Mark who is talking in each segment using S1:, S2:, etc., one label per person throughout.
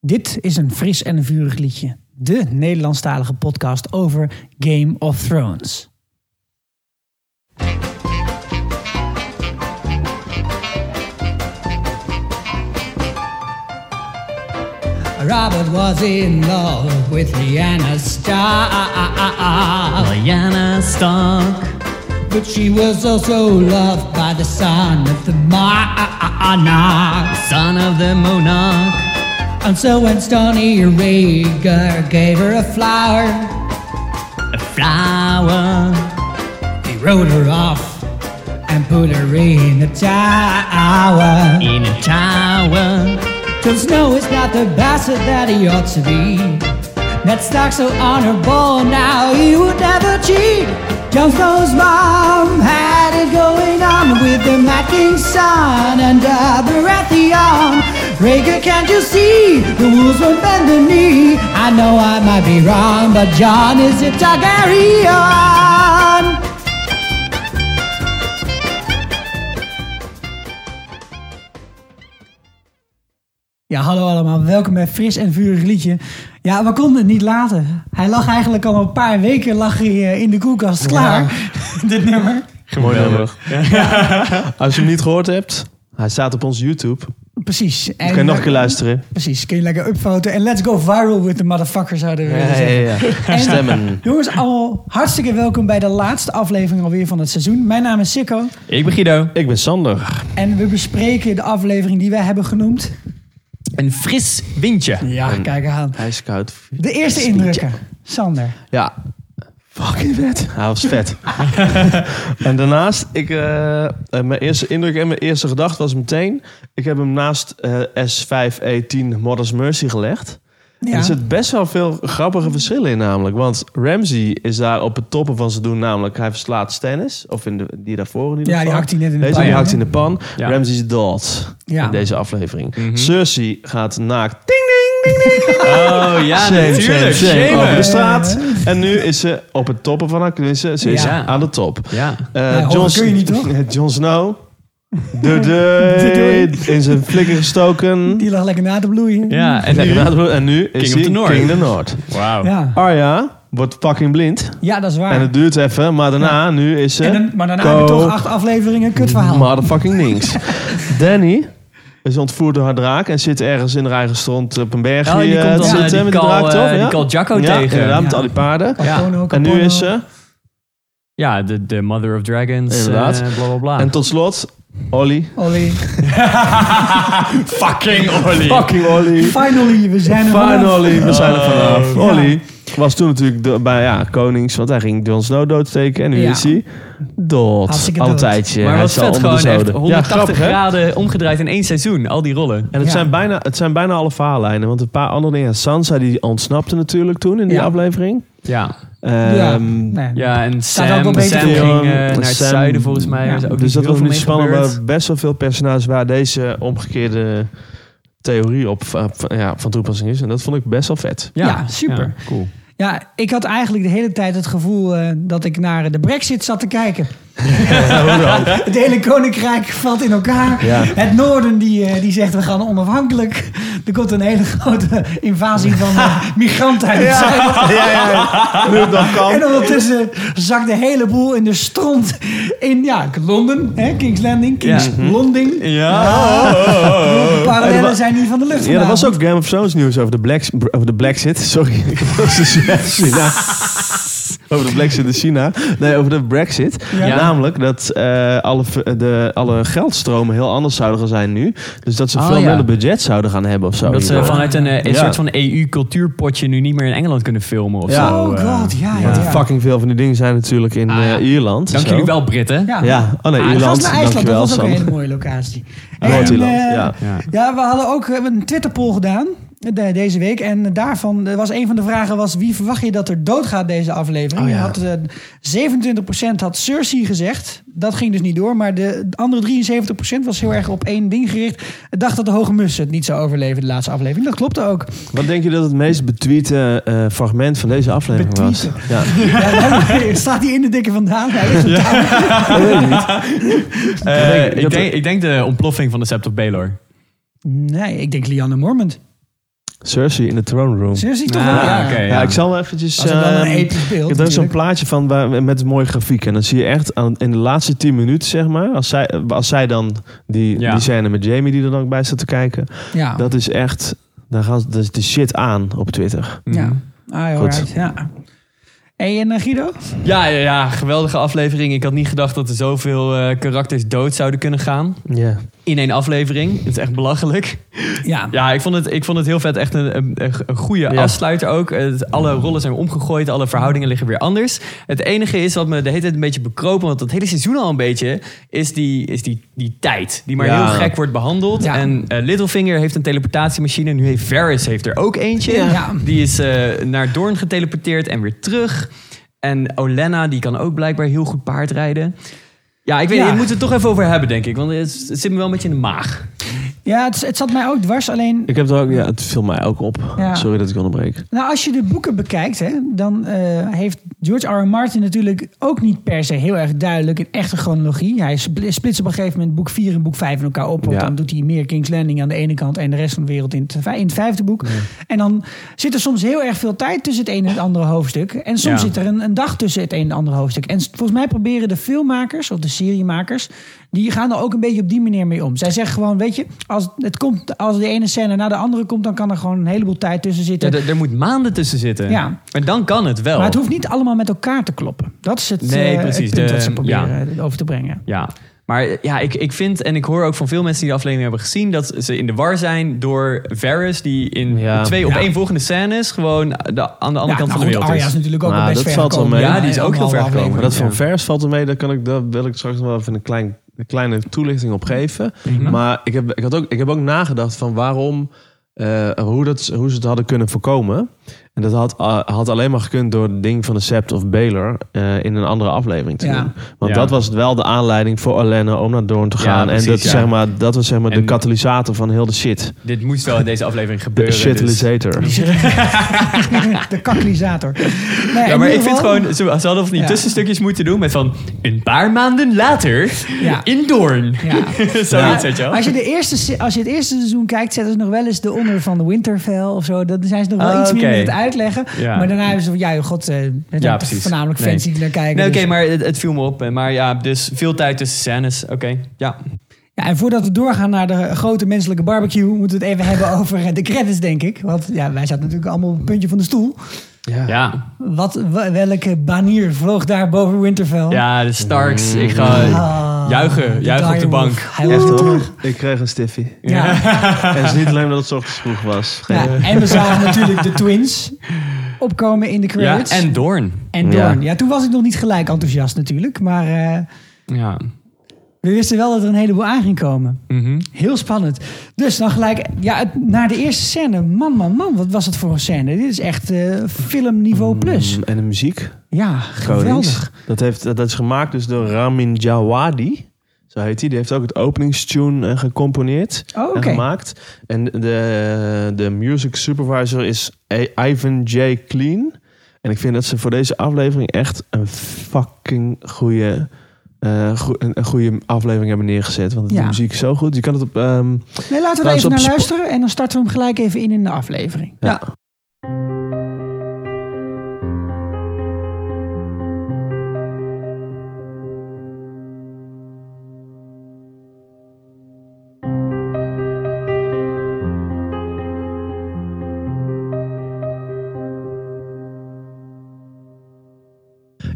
S1: Dit is een fris en een vurig liedje. De Nederlandstalige podcast over Game of Thrones. Robert was in love with Lyanna Stark,
S2: Diana Stark.
S1: but she was also loved by the son of the monarch.
S2: Son of the monarch.
S1: And so when Stony Rhaegar gave her a flower,
S2: A flower.
S1: he rode her off and put her in a tower.
S2: In a tower.
S1: Cause no, it's not the bastard that he ought to be. Ned Stark so honorable now he would never cheat. Jon Snow's mom had it going on with the Mad King's son under Baratheon. Rhaegar, can't you see? The wolves won't bend the knee. I know I might be wrong, but John is a Targaryen. Ja, hallo allemaal. Welkom bij Fris en Vurig Liedje. Ja, we konden het niet laten. Hij lag eigenlijk al een paar weken lag hij eh, in de koelkast klaar. Dit nummer.
S3: Geweldig. Als je hem niet gehoord hebt, hij staat op onze YouTube.
S1: Precies. En eh,
S3: Dan kan je nog een keer luisteren.
S1: Precies. Kun je lekker upvoten. En let's go viral with the motherfuckers, zouden we willen
S3: Ja,
S1: zeggen.
S3: ja, ja.
S1: En- eh,
S3: Stemmen.
S1: Jongens, allemaal hartstikke welkom bij de laatste aflevering alweer van het seizoen. Mijn naam is Sikko.
S2: Ik ben Guido.
S3: Ik ben Sander.
S1: En we bespreken de aflevering die wij hebben genoemd.
S2: Een fris windje.
S1: Ja, kijk aan.
S3: Hij is koud.
S1: De eerste indrukken. Sander.
S3: Ja. Fucking vet. Hij was vet. en daarnaast, ik, eh, eh, mijn eerste indruk en mijn eerste gedachte was meteen... Ik heb hem naast eh, S5E10 Modest Mercy gelegd. En
S1: Ja.
S3: Er zit best wel veel grappige verschillen in namelijk. Want Ramsey is daar op het toppen van zijn doen namelijk. Hij verslaat Stannis. Of in de, die daarvoor in ieder
S1: Ja, die
S3: geval.
S1: hakt hij net in de
S3: Deze
S1: pan,
S3: die
S1: hè?
S3: hakt in de pan.
S2: Ja. Mhm.
S3: Ramsey is dood
S1: Ja.
S3: in deze aflevering. Cersei gaat naakt. Ding, ding, ding, ding, ding.
S2: Oh ja,
S3: Shame, shame,
S2: natuurlijk.
S3: shame.
S2: Shamen.
S3: Over de straat. En nu is ze op het toppen van haar kunsten. Ze is
S2: Ja.
S3: aan de top.
S2: Ja.
S3: Eh,
S1: hoger
S3: Jon-
S1: kun je niet, toch?
S3: Jon Snow. De, de, in zijn flikker gestoken.
S1: Die lag lekker na te bloeien.
S2: Ja, en
S3: Lekker na te doen. En nu is
S2: King of
S3: hij
S2: the North.
S3: King of the North.
S2: Wauw.
S1: Ja.
S3: Arya wordt fucking blind.
S1: Ja, dat is waar.
S3: En het duurt even, maar daarna, nu is ze...
S1: En dan- maar daarna heb je
S3: Ko-
S1: toch acht afleveringen kutverhaal.
S3: Motherfucking niks. Danny is ontvoerd door haar draak en zit ergens in haar eigen stront op een berg.
S2: Oh, en die
S3: eh,
S2: komt dan,
S3: te
S2: eh,
S3: zitten
S2: die
S3: met de
S2: kal,
S3: draak,
S2: eh,
S3: toch?
S2: die
S3: Ja?
S2: kal Jacco
S3: ja,
S2: tegen.
S3: inderdaad, met
S1: Ja.
S3: al die paarden.
S1: Capone,
S3: En nu
S1: Capone.
S3: is ze...
S2: Ja, de, de Mother of Dragons.
S3: Inderdaad.
S2: eh, bla bla bla.
S3: En tot slot, Olly.
S1: Olly.
S2: fucking Olly.
S3: Fucking Olly.
S1: Finally, we zijn er
S3: Fine
S1: vanaf.
S3: Olly, we zijn er vanaf.
S1: Ja.
S3: Olly was toen natuurlijk de, bij ja, Konings, want hij ging Jon Snow doodsteken. En nu
S1: Ja.
S3: is hij dood.
S1: Hartstikke
S3: Al een
S1: dood.
S3: tijdje.
S2: Maar
S3: Hij
S2: wat
S3: is al
S2: vet
S3: onder de
S2: gewoon echt.
S3: zoden. Ja,
S2: 180
S3: grappig, hè?
S2: graden omgedraaid in één seizoen. Al die rollen.
S3: En het,
S1: Ja.
S3: zijn bijna, het zijn bijna alle verhaallijnen. Want een paar andere dingen. Sansa die ontsnapte natuurlijk toen in die
S1: Ja.
S3: aflevering.
S2: Ja.
S1: Ja,
S3: Ehm,
S1: nee.
S2: Ja, en
S1: Staat ook wel
S2: Sam,
S1: beter
S2: Sam
S1: voor.
S2: ging eh,
S3: Theon,
S2: naar het
S3: Sam.
S2: zuiden volgens mij.
S1: Ja.
S2: Er is ook
S3: Dus
S2: niet
S3: dat
S2: heel
S3: was
S2: veel
S3: niet
S2: mee
S3: spannend.
S2: gebeurd.
S3: Maar best wel veel personages waar deze omgekeerde theorie op eh, van- ja, van toepassing is. En dat vond ik best wel vet.
S1: Ja, super.
S2: Ja, cool.
S1: Ja, ik had eigenlijk de hele tijd het gevoel eh, dat ik naar de brexit zat te kijken. het hele koninkrijk valt in elkaar.
S3: Ja.
S1: Het noorden die, eh, die zegt we gaan onafhankelijk. Er komt een hele grote invasie van eh, migranten uit het zuiden.
S3: Nu dat kan.
S1: En ondertussen zakt de hele boel in de stront in ja, Londen, hè, King's Landing, King's
S2: Ja.
S1: Londing. De
S3: En er
S1: parallellen
S3: wa-
S1: zijn niet van de lucht
S3: Ja, er was
S4: Nou,
S1: vanavond.
S3: ook Game of Thrones nieuws over de, blacks, over de Brexit. Sorry, over de China. Over de Brexit in China. Nee, over de Brexit.
S1: Ja.
S3: Namelijk dat eh, alle, v- de, alle geldstromen heel anders zouden gaan zijn nu. Dus dat ze
S2: Oh,
S3: veel
S2: ja.
S3: minder budget zouden gaan hebben of zo.
S2: Dat ze
S3: Oh, Ja.
S2: vanuit een, eh, een
S3: Ja.
S2: soort van EU-cultuurpotje nu niet meer in Engeland kunnen filmen of
S3: Ja.
S2: zo.
S1: Oh
S2: eh.
S1: god, ja, ja.
S3: Want
S1: ja.
S3: fucking veel van die dingen zijn natuurlijk in
S2: Ah, ja.
S3: eh, Ierland.
S2: Dank
S3: zo.
S2: jullie wel, Britten.
S1: Ja.
S3: Ja, oh nee,
S1: Ah, dan gaan
S3: Ierland.
S1: we naar IJsland,
S3: Dankjewel,
S1: dat was ook een
S3: Sam.
S1: hele mooie locatie. En,
S3: Noord-Ierland,
S1: eh,
S3: ja.
S2: Ja.
S1: Ja, we hadden ook eh, een Twitter-poll gedaan eh, de- deze week. En daarvan eh, was een van de vragen was... wie verwacht je dat er doodgaat deze aflevering?
S3: Oh, ja.
S1: had, eh, 27% had Cersei gezegd. Dat ging dus niet door. Maar de andere 73% was heel erg op één ding gericht. Het Dacht dat de Hoge Mus het niet zou overleven, de laatste aflevering. Dat klopte ook.
S3: Wat denk je dat het meest betweete eh, fragment van deze aflevering was?
S1: Betweeten.
S3: Ja.
S1: Ja, staat die in de dikke vandaan? Hij is het
S3: Dat weet ik niet.
S2: Eh,
S3: denk
S2: ik,
S3: dat-
S2: denk, ik denk de ontploffing van de Sept of Baelor.
S1: Nee, ik denk Lianne Mormont.
S3: Cersei in de throne room.
S4: Cersei toch
S2: Ah,
S4: wel? Ja,
S2: oké.
S3: Ja,
S2: ja.
S3: ik zal wel eventjes...
S4: Als het dan een
S3: eh,
S4: episch
S3: ik
S4: beeld
S3: heb ook zo'n
S4: natuurlijk.
S3: plaatje van waar- met een mooie grafiek. En dan zie je echt aan, in de laatste tien minuten, zeg maar... Als zij, als zij dan die,
S2: Ja.
S3: die scène met Jamie die er dan ook bij staat te kijken.
S4: Ja.
S3: Dat is echt... Daar gaan ze dat is de shit aan op Twitter.
S4: ja.
S2: Mm.
S4: Ah,
S3: Goed.
S4: alright, ja. Hey, en eh, Guido?
S2: Ja, ja, ja, geweldige aflevering. Ik had niet gedacht dat er zoveel eh, karakters dood zouden kunnen gaan.
S3: Ja.
S2: In één aflevering. Het is echt belachelijk.
S4: Ja.
S2: Ja, ik vond het, ik vond het heel vet. Echt een, een, een goede
S3: Ja.
S2: afsluiter ook. Het- alle rollen zijn omgegooid. Alle verhoudingen liggen weer anders. Het enige is wat me de hele tijd een beetje bekropen... want dat hele seizoen al een beetje... is die, is die, die tijd. Die maar
S3: Ja.
S2: heel gek wordt behandeld.
S4: Ja.
S2: En eh, Littlefinger heeft een teleportatiemachine. Nu heeft Varys heeft er ook eentje.
S4: Ja. Ja.
S2: Die is eh, naar Doorn geteleporteerd en weer terug. En Olenna, die kan ook blijkbaar heel goed paardrijden. Ja, ik weet
S4: Ja.
S2: niet. We moeten het toch even over hebben, denk ik. Want het, het zit me wel een beetje in de maag.
S4: Ja, het, het zat mij ook dwars. Alleen,
S3: Ik heb er ook... Ja, het viel mij ook op.
S4: Ja.
S3: Sorry dat ik onderbreek.
S4: nou, als je de boeken bekijkt, hè, dan eh, heeft George R. R. Martin natuurlijk ook niet per se heel erg duidelijk een echte chronologie. Hij spl- splitst op een gegeven moment boek 4 en boek 5 in elkaar op. Want
S3: Ja.
S4: dan doet hij meer King's Landing aan de ene kant en de rest van de wereld in het, vij- in het vijfde boek. En dan zit er soms heel erg veel tijd tussen het een en het andere hoofdstuk. En soms
S2: Ja.
S4: zit er een, een dag tussen het een en het andere hoofdstuk. En s- volgens mij proberen de filmmakers of de seriemakers, die gaan er ook een beetje op die manier mee om. Zij zeggen gewoon, weet je, als, het komt, als de ene scène na de andere komt, dan kan er gewoon een heleboel tijd tussen
S2: Ja,
S4: zitten.
S2: er, er moet maanden tussen zitten.
S4: Ja.
S2: En dan kan het wel.
S4: Maar het hoeft niet allemaal met elkaar te kloppen. Dat is het,
S2: Oh. Nee,
S4: eh,
S2: precies.
S4: het punt
S2: De-
S4: wat ze proberen over te brengen.
S2: Ja. Maar ja, ik, ik vind en ik hoor ook van veel mensen die de aflevering hebben gezien... dat ze in de war zijn door Varys... die in
S3: Ja.
S2: twee
S4: Ja.
S2: opeenvolgende scènes gewoon de, aan de andere
S4: Ja, nou
S2: kant van de
S4: goed,
S2: wereld
S4: Arya is
S2: is.
S4: natuurlijk ook
S3: Nou,
S4: wel best
S3: dat
S4: ver
S3: valt wel
S4: gekomen.
S3: mee.
S2: Ja, die is ook heel ver
S4: anderhalve
S2: gekomen.
S4: aflevering.
S3: Maar dat van
S2: Ja.
S3: vers valt er mee. Daar, kan ik, daar wil ik straks nog wel even een, klein, een kleine toelichting op geven.
S2: Mhm.
S3: Maar ik heb, ik, had ook, ik heb ook nagedacht van waarom... eh, hoe, dat, hoe ze het hadden kunnen voorkomen. En dat had, ah, had alleen maar gekund door het ding van de Sept of Baylor... eh, in een andere aflevering te
S4: Ja.
S3: doen. Want
S2: Ja.
S3: dat was wel de aanleiding voor Alena om naar Doorn te
S2: Ja,
S3: gaan.
S2: precies,
S3: en dat,
S2: ja.
S3: zeg maar, dat was zeg maar de
S2: En-
S3: katalysator van heel de shit.
S2: Dit moest wel in deze aflevering
S3: De
S2: gebeuren. dus-
S3: shitalisator.
S4: de kaklisator. Nee,
S2: Ja,
S4: in
S2: maar ik
S4: ieder
S2: vind
S4: geval-
S2: gewoon, ze, ze hadden of niet
S4: Ja.
S2: tussenstukjes moeten doen met van een paar maanden later
S4: Ja.
S2: in Doorn.
S4: Ja.
S2: Zoiets, weet je wel.
S4: Als je, de eerste, se- als je het eerste seizoen kijkt, zetten ze nog wel eens de onder van de Winterfell of zo. Dan zijn ze nog wel
S2: Ah,
S4: iets meer
S2: oké.
S4: met het uitleggen.
S2: Ja.
S4: Maar daarna hebben ze van, ja, joh, god, eh, het
S2: Ja,
S4: zijn toch
S2: precies.
S4: voornamelijk
S2: Nee.
S4: fans die naar kijken.
S2: Nee, oké,
S4: dus-
S2: maar het, het viel me op. eh, Maar ja, dus veel tijd tussen scènes. Oké, ja.
S4: ja, en voordat we doorgaan naar de grote menselijke barbecue, moeten we het even hebben over eh, de credits, denk ik. Want ja, wij zaten natuurlijk allemaal op het puntje van de stoel.
S2: Ja,
S4: Wat, wa- welke banier vloog daar boven Winterfell?
S2: ja de Starks.
S3: Mm.
S2: Ik ga
S4: Ah,
S2: juichen, juichen op de
S4: direwolf.
S2: bank.
S4: Hij
S3: Echt
S4: was
S3: hoor.
S4: terug.
S3: Ik kreeg een stiffie.
S4: Ja.
S3: En het is niet alleen dat het 's ochtends vroeg was. Geen-
S4: Ja, en we zagen natuurlijk de twins opkomen in de
S2: Ja,
S4: credits.
S2: en Doorn.
S4: en Dorn. Ja. toen was ik nog niet gelijk enthousiast natuurlijk. Maar eh,
S2: Ja.
S4: we wisten wel dat er een heleboel aan ging komen.
S2: Mhm.
S4: Heel spannend. Dus dan gelijk ja, het- naar de eerste scène. Man, man, man, wat was het voor een scène? Dit is echt eh,
S2: Oh,
S4: filmniveau plus.
S3: Mm, En de muziek.
S4: Ja, geweldig.
S3: Dat, heeft, dat is gemaakt dus door Ramin Djawadi. Zo heet hij. Die heeft ook het openingstune eh, gecomponeerd
S4: Oh, oké.
S3: en gemaakt. En de, de music supervisor is I- Ivan J. Clean. En ik vind dat ze voor deze aflevering echt een fucking goede, een, een goede aflevering hebben neergezet. Want
S4: Ja.
S3: de muziek is zo goed. Je kan het op... ehm,
S4: Nee, laten we er
S3: Trouwens,
S4: even
S3: op
S4: naar
S3: Spo-
S4: luisteren. En dan starten we hem gelijk even in in de aflevering.
S3: ja.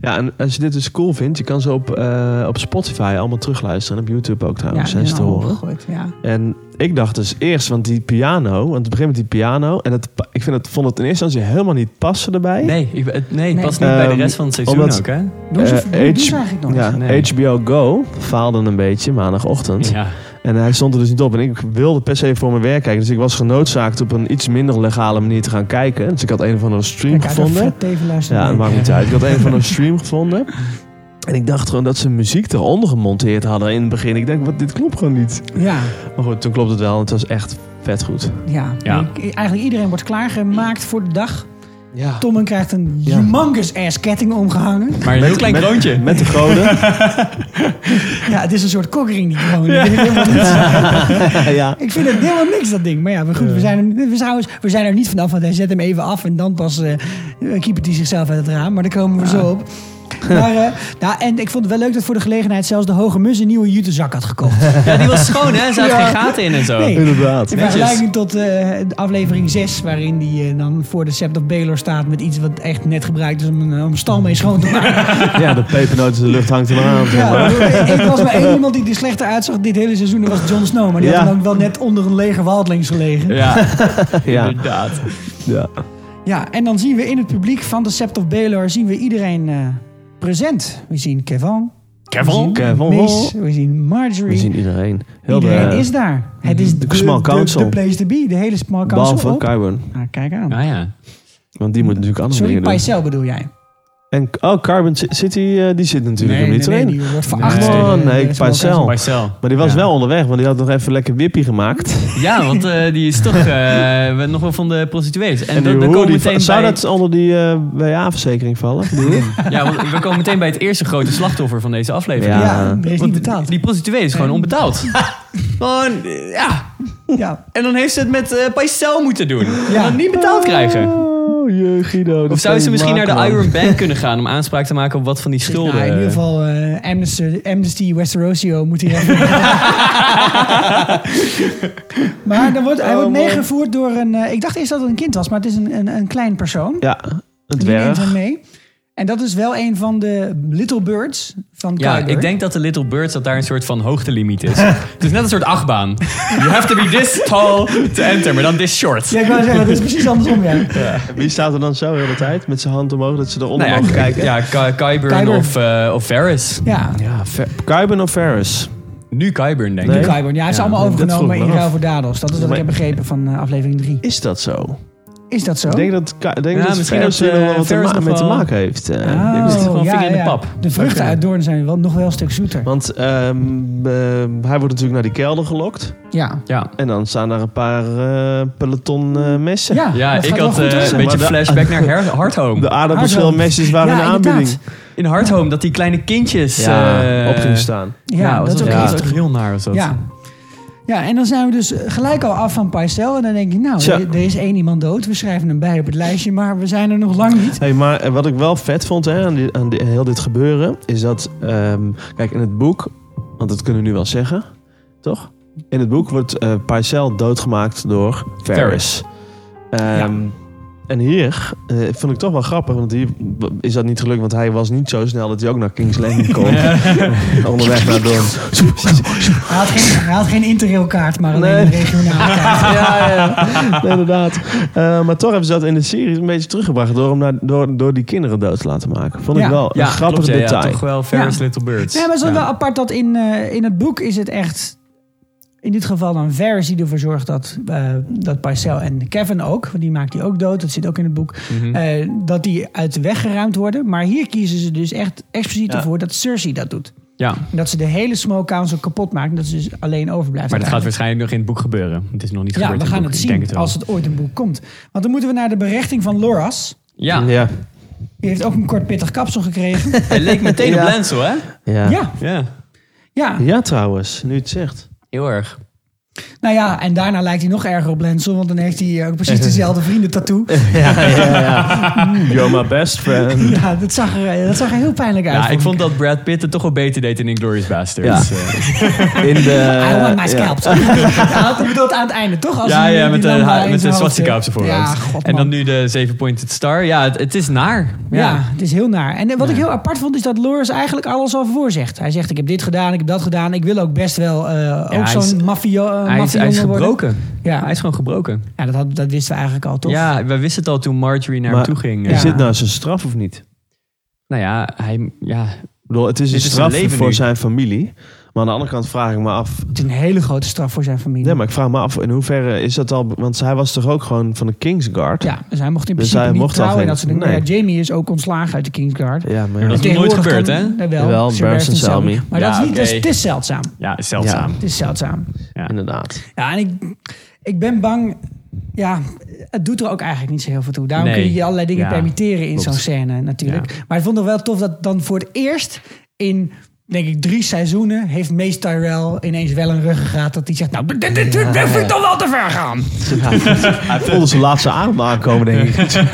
S3: Ja, en als je dit dus cool vindt, je kan ze op, eh, op Spotify allemaal terugluisteren. En op YouTube
S4: Ja,
S3: ook trouwens,
S4: die
S3: zijn ze
S4: zijn
S3: te
S4: allemaal
S3: horen. Eh,
S4: opgegooid, Ja.
S3: En ik dacht dus eerst, want die piano, want het begint met die piano. En dat, pa- ik vind het, vond het in eerste instantie helemaal niet passen erbij.
S2: Nee, ik, het- nee, het
S4: Nee.
S2: past niet bij de
S3: Ehm,
S2: rest van het seizoen
S3: omdat-
S2: ook, hè?
S4: Doen ze
S3: Eh,
S4: doen die
S3: H-
S4: ze eigenlijk nog?
S3: Ja,
S2: Nee.
S3: HBO Go faalde een beetje maandagochtend.
S2: Ja.
S3: En hij stond er dus niet op. En ik wilde per se voor mijn werk kijken. Dus ik was genoodzaakt op een iets minder legale manier te gaan kijken. Dus ik had een of andere stream
S4: Kijk, uit een
S3: gevonden.
S4: vet even luisteren.
S3: Ja, dat maakt niet uit. Ik had een van een stream gevonden. En ik dacht gewoon dat ze muziek eronder gemonteerd hadden in het begin. Ik denk, wat, dit klopt gewoon niet.
S4: Ja,
S3: Maar goed, toen klopt het wel. Het was echt vet goed.
S4: ja.
S2: Ja.
S4: Ik- eigenlijk iedereen wordt klaargemaakt voor de dag.
S3: Ja.
S4: Tommen krijgt een humongous ass ketting omgehangen.
S2: Maar een heel klein
S3: met,
S2: kroontje.
S3: Met de code.
S4: Ja, het is een soort kokkering die gewoon. Ik vind het helemaal niks.
S3: ja.
S4: Ik vind het helemaal niks, dat ding. Maar ja, maar goed, we zijn, hem- we, trouwens, we zijn er niet vanaf, want hij zet hem even af en dan pas eh keepert hij zichzelf uit het raam. Maar daar komen we zo op. Maar, eh, nou, en ik vond het wel leuk dat voor de gelegenheid zelfs de Hoge Mus een nieuwe jutezak had gekocht.
S2: Ja, die was schoon, hè? Er zaten
S4: Ja.
S2: geen gaten in en zo.
S4: Nee.
S3: Inderdaad.
S4: In vergelijking tot eh, de aflevering 6, waarin die eh, dan voor de Sept of Baylor staat met iets wat echt net gebruikt is om een, om een stal mee schoon te maken.
S3: Ja, de pepernoot in de lucht hangt er maar aan. zeg maar.
S4: Ja, ik was maar één iemand die er slechter uitzag dit hele seizoen, dat was Jon Snow. Maar die had
S3: Ja.
S4: dan ook wel net onder een lege waldlings gelegen.
S2: Ja,
S3: Ja.
S2: inderdaad.
S3: ja.
S4: Ja, en dan zien we in het publiek van de Sept of Baylor zien we iedereen eh, present. We zien Kevin,
S2: Kevin?
S3: Kevin.
S4: Mace, we zien Marjorie.
S3: We zien iedereen. Heel
S4: iedereen
S3: de,
S4: is daar. Het is de,
S3: small
S4: de-
S3: council.
S4: de place to be, de hele small council.
S3: Behalve
S4: op.
S3: Carbon.
S4: Ah, kijk aan.
S2: Ah ja.
S3: Want die moet natuurlijk andere
S4: Sorry,
S3: dingen doen.
S4: Paisel bedoel jij?
S3: En, oh, Carbon Ci- City, eh, die zit natuurlijk
S4: nee,
S3: hem niet
S4: nee,
S3: erin.
S4: die wordt veracht.
S2: Nee.
S4: door de-
S3: Oh, nee,
S4: de small
S3: Paisel.
S4: council.
S2: Marcel.
S3: Maar die was
S2: Ja.
S3: wel onderweg, want die had nog even lekker wippie gemaakt.
S2: Ja, want eh, die is toch eh, we- nog wel van de prostituees. En,
S3: En
S2: dan,
S3: die
S2: dan
S3: hoe
S2: komen we
S3: die-
S2: meteen
S3: zou
S2: bij,
S3: dat onder die eh WA-verzekering vallen?
S2: ja, want we komen meteen bij het eerste grote slachtoffer van deze
S4: Ja,
S2: aflevering.
S3: Ja.
S4: er is
S2: Want
S4: niet betaald.
S2: Die prostituee is gewoon onbetaald. Gewoon, eh, ja.
S4: ja.
S2: En dan heeft ze het met eh Paisel moeten doen.
S4: Ja.
S2: En dan niet betaald krijgen.
S3: Oh, je Guido. dat
S2: Of zou
S3: kan
S2: ze
S3: je
S2: misschien naar
S3: maken,
S2: de
S3: man.
S2: Iron Bank kunnen gaan om aanspraak te maken op wat van die schulden?
S4: Nou, in ieder geval eh, Amnesty, Amnesty Westerosio moet hier even... maar dan wordt, hij wordt meegevoerd door een... eh, ik dacht eerst dat het een kind was, maar het is een, een, een klein persoon.
S3: Ja, een
S4: Die neemt
S3: dwerg.
S4: hem mee. En dat is wel een van de Little Birds van
S2: Ja,
S4: Kuiper.
S2: ik denk dat de Little Birds dat daar een soort van hoogtelimiet is. het is net een soort achtbaan. You have to be this tall to enter, maar dan this short.
S4: Ja, ik wou zeggen, dat is precies andersom. Ja.
S3: Wie staat er dan zo de hele tijd? Met zijn hand omhoog, dat ze eronder
S2: Nou ja,
S3: mogen kijken.
S2: ja Ky- Kyburn
S4: Kyburn.
S2: of, eh of Ferris.
S4: Ja,
S3: Ja, Fer- Carbon of Ferris?
S2: Nu Kyburn, denk ik.
S3: Nee.
S4: Kuiper. Ja, hij is
S2: Ja,
S4: allemaal
S3: dat vroeg
S4: overgenomen
S3: ik me
S4: in
S3: af.
S4: ruil voor Dados. Dat is wat ik
S3: Maar-
S4: heb begrepen van eh, aflevering 3.
S3: Is dat zo?
S4: Is dat zo?
S3: Ik denk dat, Ka- ik denk
S2: Ja,
S3: dat
S2: misschien
S3: Ferris
S2: dat,
S3: er
S2: eh,
S3: wel wat te
S2: Ferris
S3: ma-
S2: nog
S3: mee te
S2: wel- Ah.
S3: maken heeft. eh.
S4: Oh,
S2: er zit gewoon vinger in de pap.
S4: De vruchten
S3: Oké.
S4: uit Doorn zijn wel, nog wel een stuk zoeter.
S3: Want ehm, eh, hij wordt natuurlijk naar die kelder gelokt.
S4: Ja.
S2: Ja.
S3: En dan staan daar een paar eh, peloton eh, messen.
S4: Ja,
S2: Ja,
S4: dat
S2: ik
S4: gaat wel
S2: had
S4: goed,
S2: eh,
S4: hoor.
S2: een beetje
S3: Maar de-
S2: flashback naar Her- Hardhome.
S3: De aardappelschilmesjes waren
S4: Ja,
S3: in de aanbieding.
S4: inderdaad.
S2: In Hardhome, dat die kleine kindjes...
S3: Ja,
S2: eh,
S3: op ging staan.
S4: Ja,
S2: Ja,
S4: dat is ook
S3: ja.
S4: heftig.
S2: heel naar. Was dat.
S4: Ja. ja, en dan zijn we dus gelijk al af van Paistel. En dan denk je, nou,
S3: Zo.
S4: er er is één iemand dood. We schrijven hem bij op het lijstje, maar we zijn er nog lang niet.
S3: Hey, maar eh, wat ik wel vet vond hè, aan, die- aan die- heel dit gebeuren, is dat... ehm, kijk, in het boek, want dat kunnen we nu wel zeggen, toch? In het boek wordt eh Parcel doodgemaakt door Ferris. Ehm, En hier eh, vond ik toch wel grappig, want hier is dat niet gelukt, want hij was niet zo snel dat hij ook naar King's Landing kon. Onderweg naar Don.
S4: Hij had geen, hij had geen interrailkaart, maar alleen
S3: Nee.
S4: een regionale kaart.
S3: ja, ja. Nee, inderdaad. Eh, maar toch hebben ze dat in de serie een beetje teruggebracht door, hem naar, door, door die kinderen dood te laten maken. Vond ik
S4: Ja.
S3: wel
S2: Ja,
S3: een grappig
S2: klopt, ja, ja,
S3: detail.
S2: toch wel Ferris
S4: Ja.
S2: Little Birds.
S4: Ja, maar het is
S2: Ja.
S4: wel wel apart dat in, eh, in het boek is het echt... In dit geval dan Vers die ervoor zorgt dat, eh dat Parcel en Kevin ook... want die maakt die ook dood, dat zit ook in het boek...
S2: Mhm. Hm.
S4: eh, dat die uit de weg geruimd worden. Maar hier kiezen ze dus echt expliciet
S3: Ja.
S4: ervoor dat Cersei dat doet.
S2: Ja,
S4: En dat ze de hele Smoke Council kapot maakt... en dat ze dus alleen overblijft.
S2: maar dat
S4: uiteindelijk.
S2: gaat waarschijnlijk nog in het boek gebeuren. Het is nog niet
S4: Ja,
S2: gebeurd
S4: we
S2: in
S4: gaan
S2: boek,
S4: het
S2: ik denk
S4: zien
S2: wel.
S4: als het ooit een boek komt. Want dan moeten we naar de berechting van Loras.
S2: Ja,
S3: Ja.
S4: Die heeft ook een kort pittig kapsel gekregen.
S2: hij leek meteen op
S3: Ja.
S2: Lancel, hè?
S3: Ja. ja.
S4: ja,
S2: Ja,
S4: ja.
S3: trouwens, nu je het zegt.
S2: heel erg.
S4: Nou ja, en daarna lijkt hij nog erger op Lensel, want dan heeft hij eh, ook precies dezelfde vriendentattoo.
S3: Ja, ja, ja. You're my best friend.
S4: Ja, dat zag er, eh, dat zag er heel pijnlijk uit.
S2: Ja, ik vond dat Brad Pitt het toch wel beter deed in Inglourious Basterds. Eh,
S3: Ja.
S2: Ja,
S3: In de,
S4: I want my
S3: ja.
S4: scalp. Ja, dat bedoelt aan het einde, toch? Als
S2: eh, ja,
S4: hij
S2: ja
S4: die
S2: met, de,
S4: lamba
S2: ha-
S4: in
S2: met de
S4: zijn hoofd
S2: swastika op
S4: heeft.
S2: zijn voorhoofd.
S4: Ja, god,
S2: en dan
S4: man.
S2: nu de Seven-Pointed Star. Ja, het, het is naar. Ja.
S4: Ja. het is heel naar. En wat ik heel apart vond, is dat Loris eigenlijk alles al voorzegt. Hij zegt, ik heb dit gedaan, ik heb dat gedaan. Ik wil ook best wel eh, ook
S2: hij is-
S4: zo'n maffio eh,
S2: Hij, is, hij is
S4: maffiajongen worden.
S2: gebroken.
S4: Ja.
S2: Hij is gewoon gebroken.
S4: Ja, dat, had, dat wisten we eigenlijk al, toch?
S2: Ja, we wisten het al toen Marjorie naar
S3: Maar
S2: hem toe ging.
S4: Ja.
S3: Is dit nou zijn straf of niet?
S2: Nou ja, hij, ja,
S3: Ik bedoel, het is een
S2: Dit is
S3: straf
S2: zijn leven
S3: voor
S2: nu.
S3: zijn familie. Maar aan de andere kant vraag ik me af...
S4: Het is een hele grote straf voor zijn familie.
S3: Nee, maar ik vraag me af, in hoeverre is dat al... Want hij was toch ook gewoon van de Kingsguard?
S4: Ja, dus hij mocht in
S3: Dus
S4: principe
S3: hij
S4: niet
S3: mocht al
S4: trouwen. En
S3: geen-
S4: dat soort dingen.
S3: nee.
S4: Maar ja, Jamie is ook ontslagen uit de Kingsguard.
S3: Ja, maar...
S2: Maar dat is nog nooit gebeurd, hè?
S4: Wel,
S3: Jawel,
S4: Sir
S3: Barristan
S4: Barristan
S3: Selmy.
S4: Selmy. Maar
S2: Ja,
S4: dat is niet, dat is,
S2: oké.
S4: het is zeldzaam.
S2: ja is zeldzaam.
S4: Het is zeldzaam.
S3: Inderdaad.
S4: Ja, en ik, ik ben bang... Ja, het doet er ook eigenlijk niet zo heel veel toe. Daarom
S2: Nee.
S4: kun je je allerlei dingen
S5: Ja,
S4: permitteren in
S5: klopt.
S4: zo'n scène natuurlijk. Maar ik vond het wel tof dat dan voor het eerst in, denk ik, drie seizoenen... heeft Mace Tyrell ineens wel een ruggengraat dat hij zegt... Nou, dit, dit, dit, dit vind ik toch wel te ver gaan.
S3: Hij voelde zijn laatste adem aankomen, denk ik.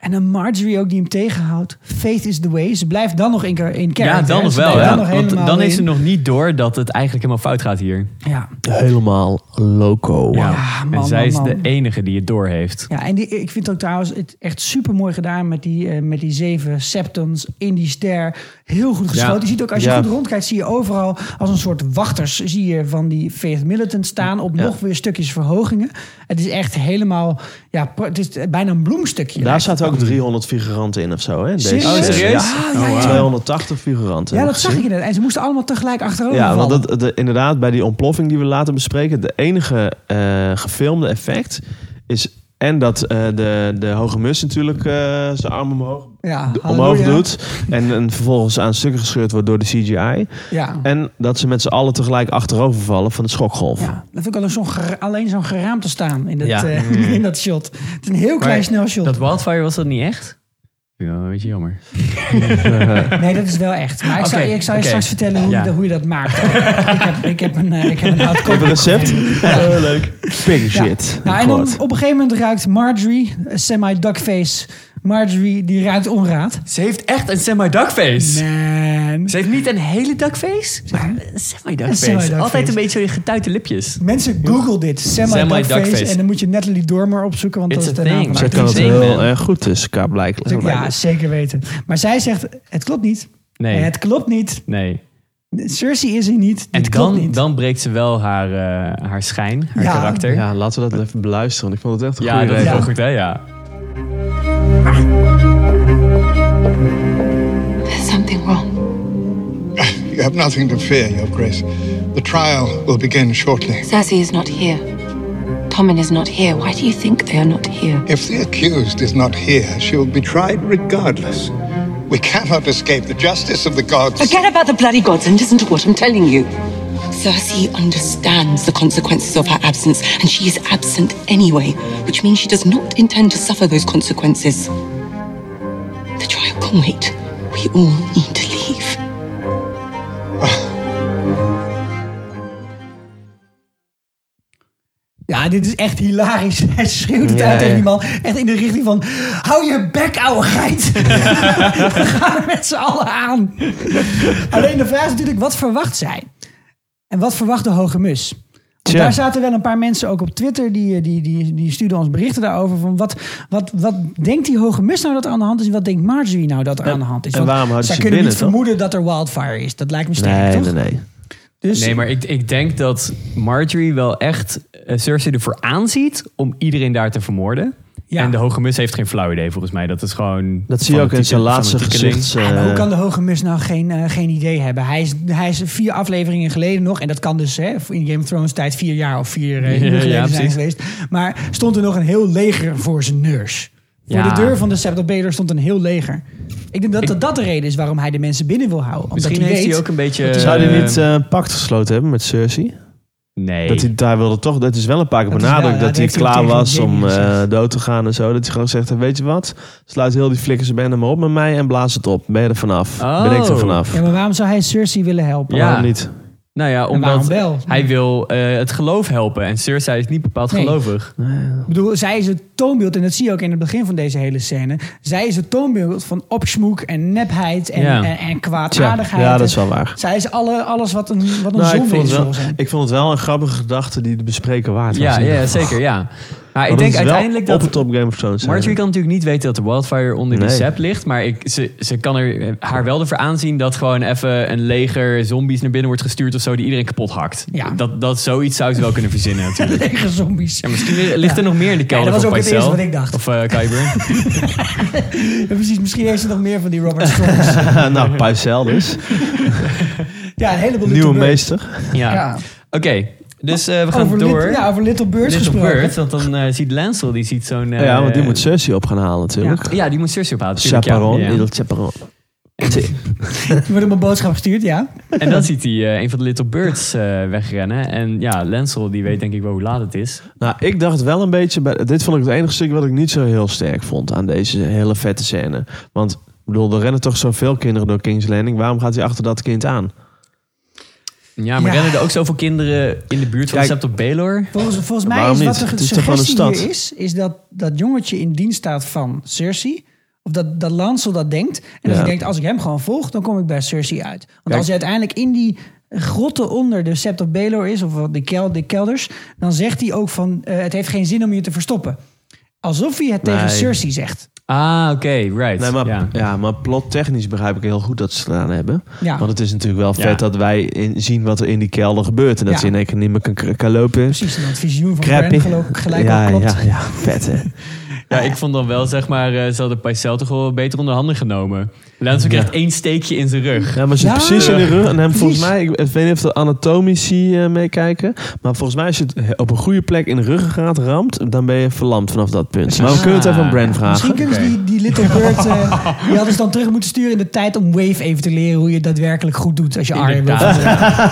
S4: En een Marjorie ook die hem tegenhoudt. Faith is the way. Ze blijft dan nog in, in character.
S2: Ja, dan
S4: hè.
S2: nog
S4: Ze
S2: wel.
S4: blijft
S2: Ja.
S4: dan nog
S2: Want
S4: helemaal
S2: dan is ze
S4: in.
S2: nog niet door dat het eigenlijk helemaal fout gaat hier.
S4: Ja.
S3: Helemaal loco.
S2: Ja.
S4: Ja, man,
S2: en zij
S4: man,
S2: is
S4: man.
S2: de enige die het door heeft.
S4: Ja, en die, ik vind het ook trouwens het echt super mooi gedaan met die, eh, met die zeven septons in die ster. Heel goed geschoten.
S2: Ja.
S4: Je ziet ook als je
S3: Ja.
S4: goed rondkijkt, zie je overal als een soort wachters zie je van die Faith Militant staan op nog weer stukjes verhogingen. Het is echt helemaal, ja, pro- het is bijna een bloemstukje.
S3: Daar zaten ook 300 figuranten in of zo. Hè? in
S4: Serieus?
S3: serie.
S2: Oh, serieus?
S3: Ja.
S4: Ah, ja, ja.
S3: 280 figuranten.
S4: ja,
S3: heb
S4: dat zag ik
S3: gezien.
S4: inderdaad. En ze moesten allemaal tegelijk achterover
S3: Ja, want
S4: vallen.
S3: dat, de- inderdaad, bij die ontploffing die we later bespreken, de enige eh, gefilmde effect is. En dat eh, de, de hoge mus natuurlijk eh, zijn arm omhoog,
S4: ja,
S3: omhoog
S4: halleluja.
S3: doet. En, en vervolgens aan stukken gescheurd wordt door de CGI.
S4: Ja.
S3: En dat ze met z'n allen tegelijk achterover vallen van de schokgolf.
S4: Ja, dat vind ik wel zo'n gera- alleen zo'n geraamte staan in dat,
S2: Ja.
S4: eh, in dat shot. Het is een heel klein
S2: Maar
S4: snel shot.
S2: Dat wildfire was dat niet echt? Ja, een beetje jammer.
S4: Nee, dat is wel echt. Maar ik, zou,
S2: Oké,
S4: ik zou je
S2: oké.
S4: straks vertellen hoe,
S2: Ja.
S4: hoe je dat maakt. ik, heb, ik heb een, eh, ik heb een oud
S3: Op een
S4: koper.
S3: recept? Eh, leuk. Pink shit.
S4: Nou, en dan
S3: God.
S4: op een gegeven moment ruikt Marjorie, eh, semi-duckface, Marjorie, die ruikt onraad.
S2: Ze heeft echt een semi-duckface.
S4: Man.
S2: Ze heeft niet een hele duckface, maar een
S4: Een
S2: semi-duckface.
S4: semi-duckface.
S2: Altijd een beetje zo die getuite lipjes.
S4: Mensen, google dit. Semi-duckface.
S2: Semi-duckface.
S4: En dan moet je Natalie Dormer opzoeken, want
S2: It's
S4: dat is
S2: a
S4: de naam van
S2: thing.
S3: Zij
S4: haar.
S3: kan het
S2: Zing,
S3: heel
S2: man.
S3: erg goed, dus qua blijkbaar.
S4: Ja, zeker weten. Maar zij zegt, het klopt niet.
S2: Nee,
S4: Het klopt niet.
S2: nee.
S4: Cersei is er niet.
S2: En
S4: Dit klopt
S2: dan,
S4: niet.
S2: dan breekt ze wel haar, eh, haar schijn, haar
S4: Ja.
S2: karakter. Ja,
S3: Ja, laten we dat even beluisteren, want ik vond het echt een
S2: dat
S3: goede
S2: is
S4: Ja.
S2: wel goed, hè? Ja.
S6: There's something wrong.
S7: You have nothing to fear, Your Grace. The trial will begin shortly.
S6: Cersei is not here. Tommen is not here. Why do you think they are not here?
S7: If the accused is not here, she will be tried regardless. We cannot escape the justice of the gods.
S6: Forget about the bloody gods and listen to what I'm telling you. Cersei understands the consequences of her absence, and she is absent anyway, which means she does not intend to suffer those consequences. The trial can wait. We all need to leave.
S4: Ja, dit is echt hilarisch. Hij schreeuwt het uit tegen die man. Echt in de richting van... Hou je bek, ouwe geit. We gaan er met z'n allen aan. Alleen de vraag is natuurlijk... Wat verwacht zij? En wat verwacht de hoge mus? Want
S3: Tja.
S4: daar zaten wel een paar mensen ook op Twitter... die, eh, die, die, die stuurden ons berichten daarover. Van wat, wat, wat denkt die hoge mus nou dat er aan de hand is? En wat denkt Marjorie nou dat er aan de hand is?
S3: en
S4: Want
S3: waarom houdt
S4: zij
S3: ze
S4: kunnen
S3: binnen,
S4: niet
S3: toch?
S4: vermoeden dat er wildfire is. Dat lijkt me sterk,
S3: Nee,
S4: toch?
S3: nee, nee.
S4: Dus,
S2: Nee, maar ik, ik denk dat Marjorie wel echt eh, Cersei ervoor aanziet om iedereen daar te vermoorden.
S4: Ja.
S2: En de hoge mus heeft geen flauw idee volgens mij. Dat is gewoon...
S3: Dat zie je ook in zijn laatste gezicht. eh,
S4: Ja,
S2: Eh,
S4: maar hoe kan de Hoge Mus nou geen, eh, geen idee hebben? Hij is, hij is vier afleveringen geleden nog, en dat kan dus hè, in Game of Thrones tijd vier jaar of vier eh,
S2: Ja,
S4: uur geleden
S2: ja,
S4: zijn
S2: precies.
S4: geweest. Maar stond er nog een heel leger voor zijn neus. Voor
S2: Ja.
S4: de deur van de Septobader stond een heel leger. Ik denk dat, dat dat de reden is waarom hij de mensen binnen wil houden. Omdat
S2: Misschien
S4: hij
S2: heeft
S4: weet,
S2: hij ook een beetje...
S3: Zou
S2: eh,
S3: hij niet eh, een pact gesloten hebben met Cersei?
S2: Nee.
S3: Dat hij daar wilde toch... Dat is wel een paar keer
S4: Dat is wel-
S3: benadrukt
S4: ja,
S3: dat
S4: dat
S3: hij
S4: heeft hij
S3: klaar
S4: tegen
S3: was
S4: Jamie
S3: om eh,
S4: gezegd.
S3: dood te gaan en zo. Dat hij gewoon zegt, eh, weet je wat? Sluit heel die flikkersbende maar op met mij en blaas het op. Ben je er vanaf?
S2: Oh.
S3: Ben ik er vanaf?
S4: Ja, maar waarom zou hij Cersei willen helpen?
S2: Ja.
S3: Waarom niet?
S2: Nou ja,
S4: waarom
S2: omdat
S4: wel?
S2: hij wil eh, het geloof helpen. En Cersei is niet bepaald
S4: Nee.
S2: gelovig.
S4: Ik bedoel, zij is het toonbeeld, en dat zie je ook in het begin van deze hele scène. Zij is het toonbeeld van opsmoek en nepheid en,
S2: Ja.
S4: en, en
S3: Tja,
S4: kwaadaardigheid.
S3: ja, dat is wel waar.
S4: Zij is alle, alles wat een, wat een
S3: Nou, ik,
S4: zonde
S3: vond
S4: is.
S3: het wel,
S4: volgens hem.
S3: ik vond het wel een grappige gedachte die te bespreken waard was.
S2: Ja,
S3: in ieder
S2: ja,
S3: geval.
S2: zeker, ja. Maar ik
S3: Want
S2: denk
S3: het is wel
S2: uiteindelijk dat...
S3: Op het top Game of Thrones. zijn.
S2: Marjorie kan natuurlijk niet weten dat de wildfire onder
S3: Nee.
S2: die sep ligt. Maar ik, ze, ze kan er, haar wel ervoor aanzien dat gewoon even een leger zombies naar binnen wordt gestuurd of zo. Die iedereen kapot hakt.
S4: Ja.
S2: Dat, dat, zoiets zou ze wel kunnen verzinnen natuurlijk.
S4: Tegen zombies.
S2: Ja, misschien ligt er nog meer in de kelder
S4: dat was
S2: van
S4: ook het
S2: Pycelle.
S4: eerste wat ik dacht.
S2: Of eh Kyber.
S4: Ja, precies, misschien heeft ze nog meer van die Robert Strong.
S3: nou, Pycelle dus.
S4: ja, een heleboel
S3: Nieuwe
S4: Little Bird.
S3: meester.
S2: ja.
S4: Ja.
S2: Oké, dus eh, we gaan
S4: Over,
S2: door.
S4: Little, ja, over Little Birds
S2: Little
S4: gesproken.
S2: Bird, want dan eh, ziet Lancel, die ziet
S3: Oh
S2: zo'n... eh,
S3: ja, want die moet Cersei op gaan halen natuurlijk.
S2: Ja, die moet Cersei ophalen. tuurlijk,
S3: Chaperon,
S2: ja.
S3: Il Chaperon.
S4: Er wordt op een boodschap gestuurd, ja.
S2: En dan ziet hij eh, een van de Little Birds eh, wegrennen. En ja, Lancel die weet denk ik wel hoe laat het is.
S3: Nou, ik dacht wel een beetje... Bij, dit vond ik het enige stuk wat ik niet zo heel sterk vond aan deze hele vette scène. Want, ik bedoel, er rennen toch zoveel kinderen door King's Landing. Waarom gaat hij achter dat kind aan?
S2: Ja, maar
S4: Ja.
S2: rennen er ook zoveel kinderen in de buurt van
S3: Kijk.
S2: Sept op Baylor?
S4: Volgens, volgens mij
S3: Waarom
S4: is wat
S3: niet?
S4: de
S3: Het
S4: ge-
S3: is toch gewoon een
S4: suggestie hier
S3: stad?
S4: is, is dat dat jongetje in dienst staat van Cersei. Of dat, dat Lancel dat denkt. En dat
S3: Ja.
S4: hij denkt, als ik hem gewoon volg, dan kom ik bij Cersei uit. Want als hij uiteindelijk in die grotten onder de Sept of Baelor is, of de, kel, de kelders, dan zegt hij ook van, eh, het heeft geen zin om je te verstoppen. Alsof hij het tegen
S3: Nee.
S4: Cersei zegt.
S2: Ah, oké, right.
S3: Nee, maar,
S2: ja.
S3: ja. maar plottechnisch begrijp ik heel goed dat ze het gedaan hebben.
S4: Ja.
S3: Want het is natuurlijk wel vet
S2: Ja.
S3: dat wij in, zien wat er in die kelder gebeurt. En dat
S4: Ja.
S3: ze in één keer niet meer kan, kan lopen.
S4: Precies, en dat visioen van
S3: Crappy.
S4: Bran geloof ik gelijk
S3: ja,
S4: al klopt.
S3: ja, ja, vet hè.
S2: Ja, ik vond dan wel, zeg maar, eh, ze hadden Pycelle toch wel beter onder handen genomen. Lancel krijgt één steekje in zijn rug.
S3: Ja, maar ze
S4: Ja.
S3: precies in de rug. En hem volgens
S4: Precies.
S3: mij, ik, ik weet niet of de anatomici eh, meekijken. Maar volgens mij als je het eh, op een goede plek in de ruggengraat ramt, dan ben je verlamd vanaf dat punt. Maar we kunnen het even aan Brand vragen.
S4: Misschien kunnen ze die, die Little Bird, eh, die hadden ze dan terug moeten sturen in de tijd om Wave even te leren hoe je daadwerkelijk goed doet als je Arjen wil.
S2: Inderdaad.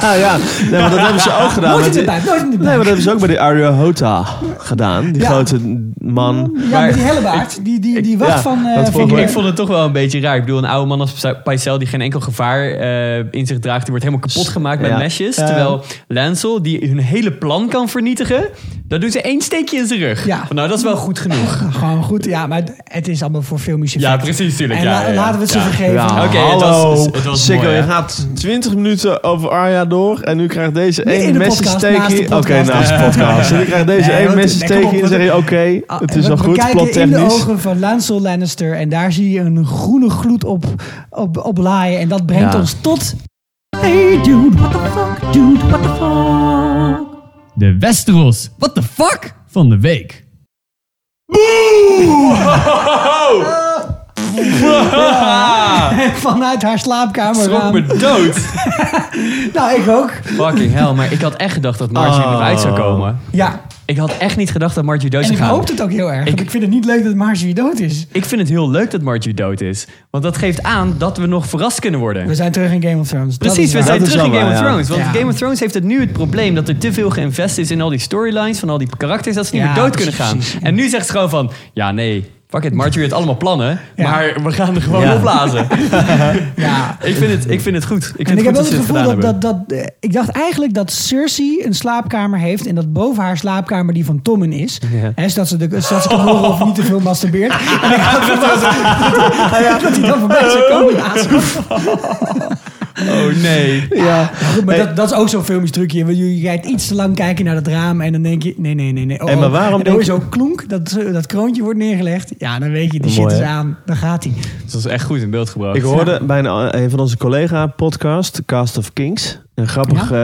S3: Ah, ja, nee, maar dat hebben ze ook gedaan.
S4: Nooit in
S3: met
S4: de
S3: die-
S4: buik, nooit in de
S3: Nee, maar dat hebben ze ook bij die Arya Hota gedaan. Die
S4: Ja.
S3: grote man.
S4: Ja, maar die hellebaard, die, die, die wacht
S3: ja,
S4: van... eh,
S3: dat
S4: van
S3: vond
S2: Ik,
S4: de-
S2: ik vond het toch wel een beetje raar. Ik bedoel, een oude man als Pycelle die geen enkel gevaar eh, in zich draagt, die wordt helemaal kapot gemaakt met
S3: Ja.
S2: mesjes.
S3: Ja.
S2: Terwijl Lancel, die hun hele plan kan vernietigen, dan doet ze één steekje in zijn rug.
S4: Ja.
S2: Van, nou, dat is wel goed genoeg.
S4: Gewoon goed, ja, maar het- het is allemaal voor filmische
S2: Ja,
S4: effect.
S2: precies, tuurlijk.
S4: En
S2: Ja,
S4: la-
S2: ja, ja.
S4: laten we het
S2: Ja.
S4: ze vergeven.
S3: Ja,
S2: Oké, het was-
S3: hallo.
S2: het was
S3: Sikko,
S2: mooi,
S3: je
S2: hè?
S3: gaat 20 minuten over Arya door en nu krijgt deze
S4: Nee, in
S3: één
S4: de
S3: message
S4: podcast,
S3: take
S4: naast de
S3: hier- Oké,
S4: podcast.
S3: naast de podcast. En nu krijgt deze
S4: Nee,
S3: één
S4: want-
S3: message
S4: nee, kom
S3: take
S4: op,
S3: hier en
S4: want-
S3: zeg je oké,
S4: Ah,
S3: het is
S4: we-
S3: al
S4: we
S3: goed,
S4: kijken in de
S3: plottechnisch.
S4: ogen van Lancel Lannister en daar zie je een groene gloed op, op, op laaien. En dat brengt
S3: Ja.
S4: ons tot... Hey dude, what the fuck, dude, what the fuck.
S8: De Westeros. What the fuck? Van de week.
S4: Vanuit haar slaapkamer.
S2: Schrok
S4: raam.
S2: me dood.
S4: Nou, ik ook.
S2: Fucking hell, maar ik had echt gedacht dat Margie
S3: Oh.
S2: eruit zou komen.
S4: Ja,
S2: Ik had echt niet gedacht dat Margie dood
S4: en
S2: zou
S4: ik
S2: gaan.
S4: hoopte het ook heel erg. want
S2: Ik-
S4: ik vind het niet leuk dat Marge weer dood is.
S2: Ik vind het heel leuk dat Margie dood is. Want dat geeft aan dat we nog verrast kunnen worden.
S4: We zijn terug in Game of Thrones. Dat
S2: Precies,
S4: is
S2: we
S4: waar.
S2: zijn
S3: Dat is
S2: terug in
S3: wel
S2: Game
S3: waar,
S2: of
S3: ja.
S2: Thrones. Want
S4: Ja.
S2: Game of Thrones heeft het nu het probleem dat er te veel geïnvest is in al die storylines van al die karakters dat ze niet
S4: Ja,
S2: meer dood
S4: precies,
S2: kunnen gaan.
S4: precies.
S2: En nu zegt ze gewoon van, ja nee, fuck it, Marjorie heeft allemaal plannen,
S4: Ja.
S2: maar we gaan er gewoon
S3: Ja.
S2: opblazen.
S4: Ja.
S2: ik, vind het, ik vind het goed. Ik vind
S4: En ik heb
S2: het goed
S4: wel
S2: dat
S4: het
S2: ze het
S4: gevoel
S2: gedaan
S4: dat,
S2: hebben.
S4: dat, dat... eh, Ik dacht eigenlijk dat Cersei een slaapkamer heeft... en dat boven haar slaapkamer die van Tommen is. Hè, zodat ze, de, zodat ze kan horen of hij niet te veel masturbeert. En ik had verwacht dat, dat hij dan voorbij zou komen. Ja, zo goed.
S2: Oh nee.
S3: Ja.
S4: Maar
S3: Hey.
S4: dat, dat is ook zo'n filmisch trucje. want Je kijkt iets te lang kijken naar dat raam... en dan denk je, nee, nee, nee. nee. Oh,
S3: Hey, maar
S4: oh.
S3: waarom
S4: en dan hoor je
S3: denk-
S4: zo klonk, dat, eh, dat kroontje wordt neergelegd. Ja, dan weet je, die shit
S3: Mooi,
S4: is
S3: hè?
S4: aan. Dan gaat hij.
S2: Dat was echt goed in beeld gebracht.
S3: Ik hoorde bij een, een van onze collega-podcast, Cast of Kings, een grappige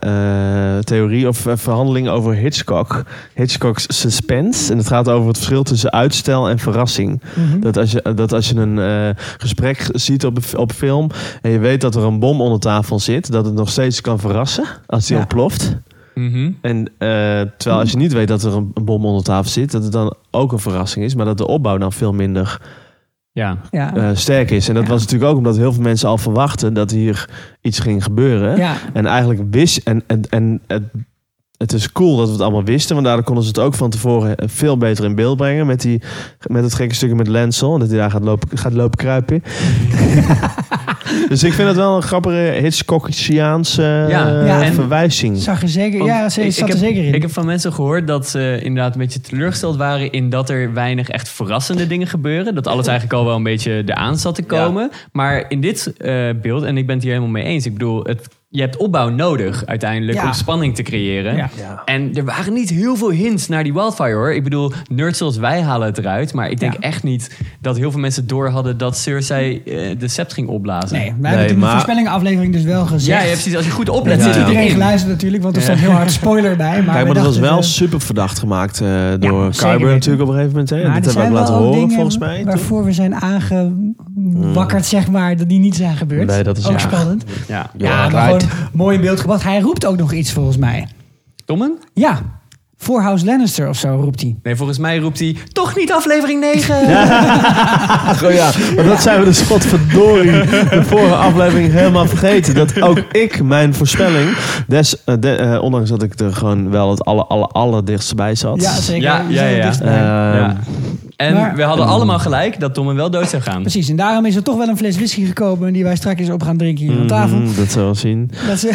S3: eh, eh, theorie of eh, verhandeling over Hitchcock. Hitchcock's suspense. En het gaat over het verschil tussen uitstel en verrassing. dat, als je, dat als je een eh, gesprek ziet op, een- op film en je weet dat er een bom onder tafel zit, dat het nog steeds kan verrassen als die
S4: Ja.
S3: ontploft.
S2: Mhm.
S3: En eh, terwijl als je niet weet dat er een, een bom onder tafel zit, dat het dan ook een verrassing is, maar dat de opbouw dan veel minder
S2: Ja.
S4: Ja.
S3: eh, sterk is. En dat
S4: Ja.
S3: was natuurlijk ook omdat heel veel mensen al verwachten dat hier iets ging gebeuren.
S4: Ja.
S3: En eigenlijk wist. En, en, en het, het is cool dat we het allemaal wisten. Want daardoor konden ze het ook van tevoren eh, veel beter in beeld brengen. Met, die, met het gekke stukje met Lancel. Dat hij daar gaat lopen, gaat lopen kruipen. dus ik vind het wel een grappige Hitchcockiaanse eh,
S2: Ja.
S4: Ja. En-
S3: verwijzing.
S4: Zag er zeker,
S2: Want
S4: ja, ze zat er
S2: heb,
S4: zeker in.
S2: Ik heb van mensen gehoord dat ze inderdaad een beetje teleurgesteld waren in dat er weinig echt verrassende dingen gebeuren. Dat alles eigenlijk al wel een beetje eraan zat te komen. Maar in dit eh, beeld, en ik ben het hier helemaal mee eens, ik bedoel, het, je hebt opbouw nodig uiteindelijk
S4: Ja.
S2: om spanning te creëren.
S4: Ja.
S3: Ja.
S2: En er waren niet heel veel hints naar die wildfire hoor. Ik bedoel, nerds zoals wij halen het eruit. Maar ik denk
S4: Ja.
S2: echt niet dat heel veel mensen door hadden dat Cersei eh, de sept ging opblazen.
S4: Nee, wij
S3: Nee,
S4: hebben toen de
S3: maar-
S4: voorspellingenaflevering dus wel gezegd.
S2: Ja, ja, precies. Als je goed oplet,
S4: Dat
S2: zit
S4: heeft
S2: het
S4: iedereen
S2: erin.
S4: geluisterd natuurlijk, want er stond heel hard spoiler bij. Maar
S3: Kijk,
S4: wij
S3: maar dat was
S4: dachten
S3: wel
S4: het, eh,
S3: super verdacht gemaakt eh, door
S4: zeker
S3: Kyber
S4: weten.
S3: natuurlijk op een gegeven moment. Hè.
S4: maar
S3: Dat
S4: er
S3: hebben we ook
S4: zijn
S3: laten
S4: wel ook
S3: horen
S4: dingen
S3: volgens mij. toch?
S4: Waarvoor we zijn aangewakkerd, zeg maar, dat die niet zijn gebeurd.
S3: Nee, dat is
S4: ook
S3: ja.
S4: spannend.
S2: Ja.
S4: Ja, maar gewoon mooi in beeld gebracht. Hij roept ook nog iets volgens mij.
S2: Tommen?
S4: Ja, Voor House Lannister of zo, roept hij.
S2: Nee, volgens mij roept hij toch niet aflevering 9.
S3: Oh ja, maar dat zijn we dus godverdorie de vorige aflevering helemaal vergeten. Dat ook ik mijn voorspelling, des, eh, de- eh, ondanks dat ik er gewoon wel het aller, aller, allerdichtst bij zat.
S4: Ja, zeker.
S2: Ja,
S4: Die
S2: ja,
S4: zijn er
S2: ja.
S4: dichtbij.
S3: Ehm,
S2: Ja. En
S4: Maar-
S2: we hadden allemaal gelijk dat Tom hem wel dood zou gaan.
S4: Precies, en daarom is er toch wel een fles whisky gekomen die wij straks op gaan drinken hier aan tafel.
S3: mm, dat zullen we zien.
S4: Dat is,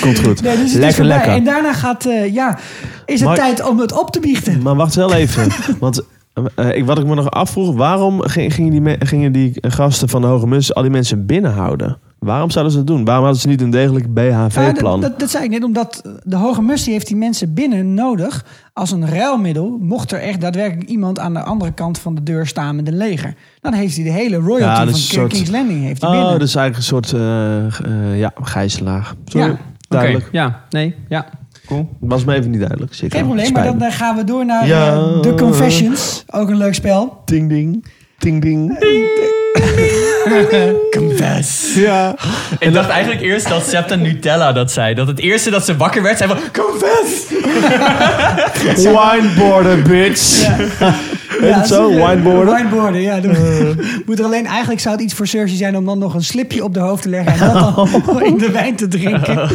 S3: Komt goed.
S4: nee, dus het is
S3: lekker,
S4: voorbij.
S3: lekker.
S4: En daarna gaat, eh, ja, is het
S3: Maar-
S4: tijd om het op te biechten.
S3: Maar wacht wel even. Want eh, ik, wat ik me nog afvroeg, waarom ging- gingen die, me- gingen die gasten van de Hoge Mus al die mensen binnenhouden? Waarom zouden ze dat doen? Waarom hadden ze niet een degelijk
S4: Ja,
S3: BHV-plan?
S4: Nou, dat, dat, dat zei ik net, omdat de hoge mus die heeft die mensen binnen nodig als een ruilmiddel. Mocht er echt daadwerkelijk iemand aan de andere kant van de deur staan met een leger. Dan heeft hij de hele royalty
S3: Ja, dat
S4: van
S3: is een soort-
S4: King's Landing heeft hij
S3: oh,
S4: binnen.
S3: dus eigenlijk een soort eh, eh, ja, gijzelaar. Sorry,
S4: Ja, oké.
S2: Oké,
S3: duidelijk.
S2: ja, nee, ja. Cool.
S3: Was me even niet duidelijk. Zeker.
S4: Geen probleem, maar dan
S3: Spijt me.
S4: eh, gaan we door naar
S3: Ja.
S4: eh, The Confessions. Ook een leuk spel.
S3: Ding ding. Ding ding.
S2: Confess.
S3: Ja.
S2: Ik dacht eigenlijk eerst dat Septa Nutella dat zei. Dat het eerste dat ze wakker werd, zei van... Confess!
S3: Wineboarder, bitch. Heet het zo? Eh.
S4: eh,
S3: Wineboarder?
S4: Wineboarden, ja. Dan- Moet er alleen, eigenlijk zou het iets voor Cersei zijn om dan nog een slipje op de hoofd te leggen. En dat dan in de wijn te drinken.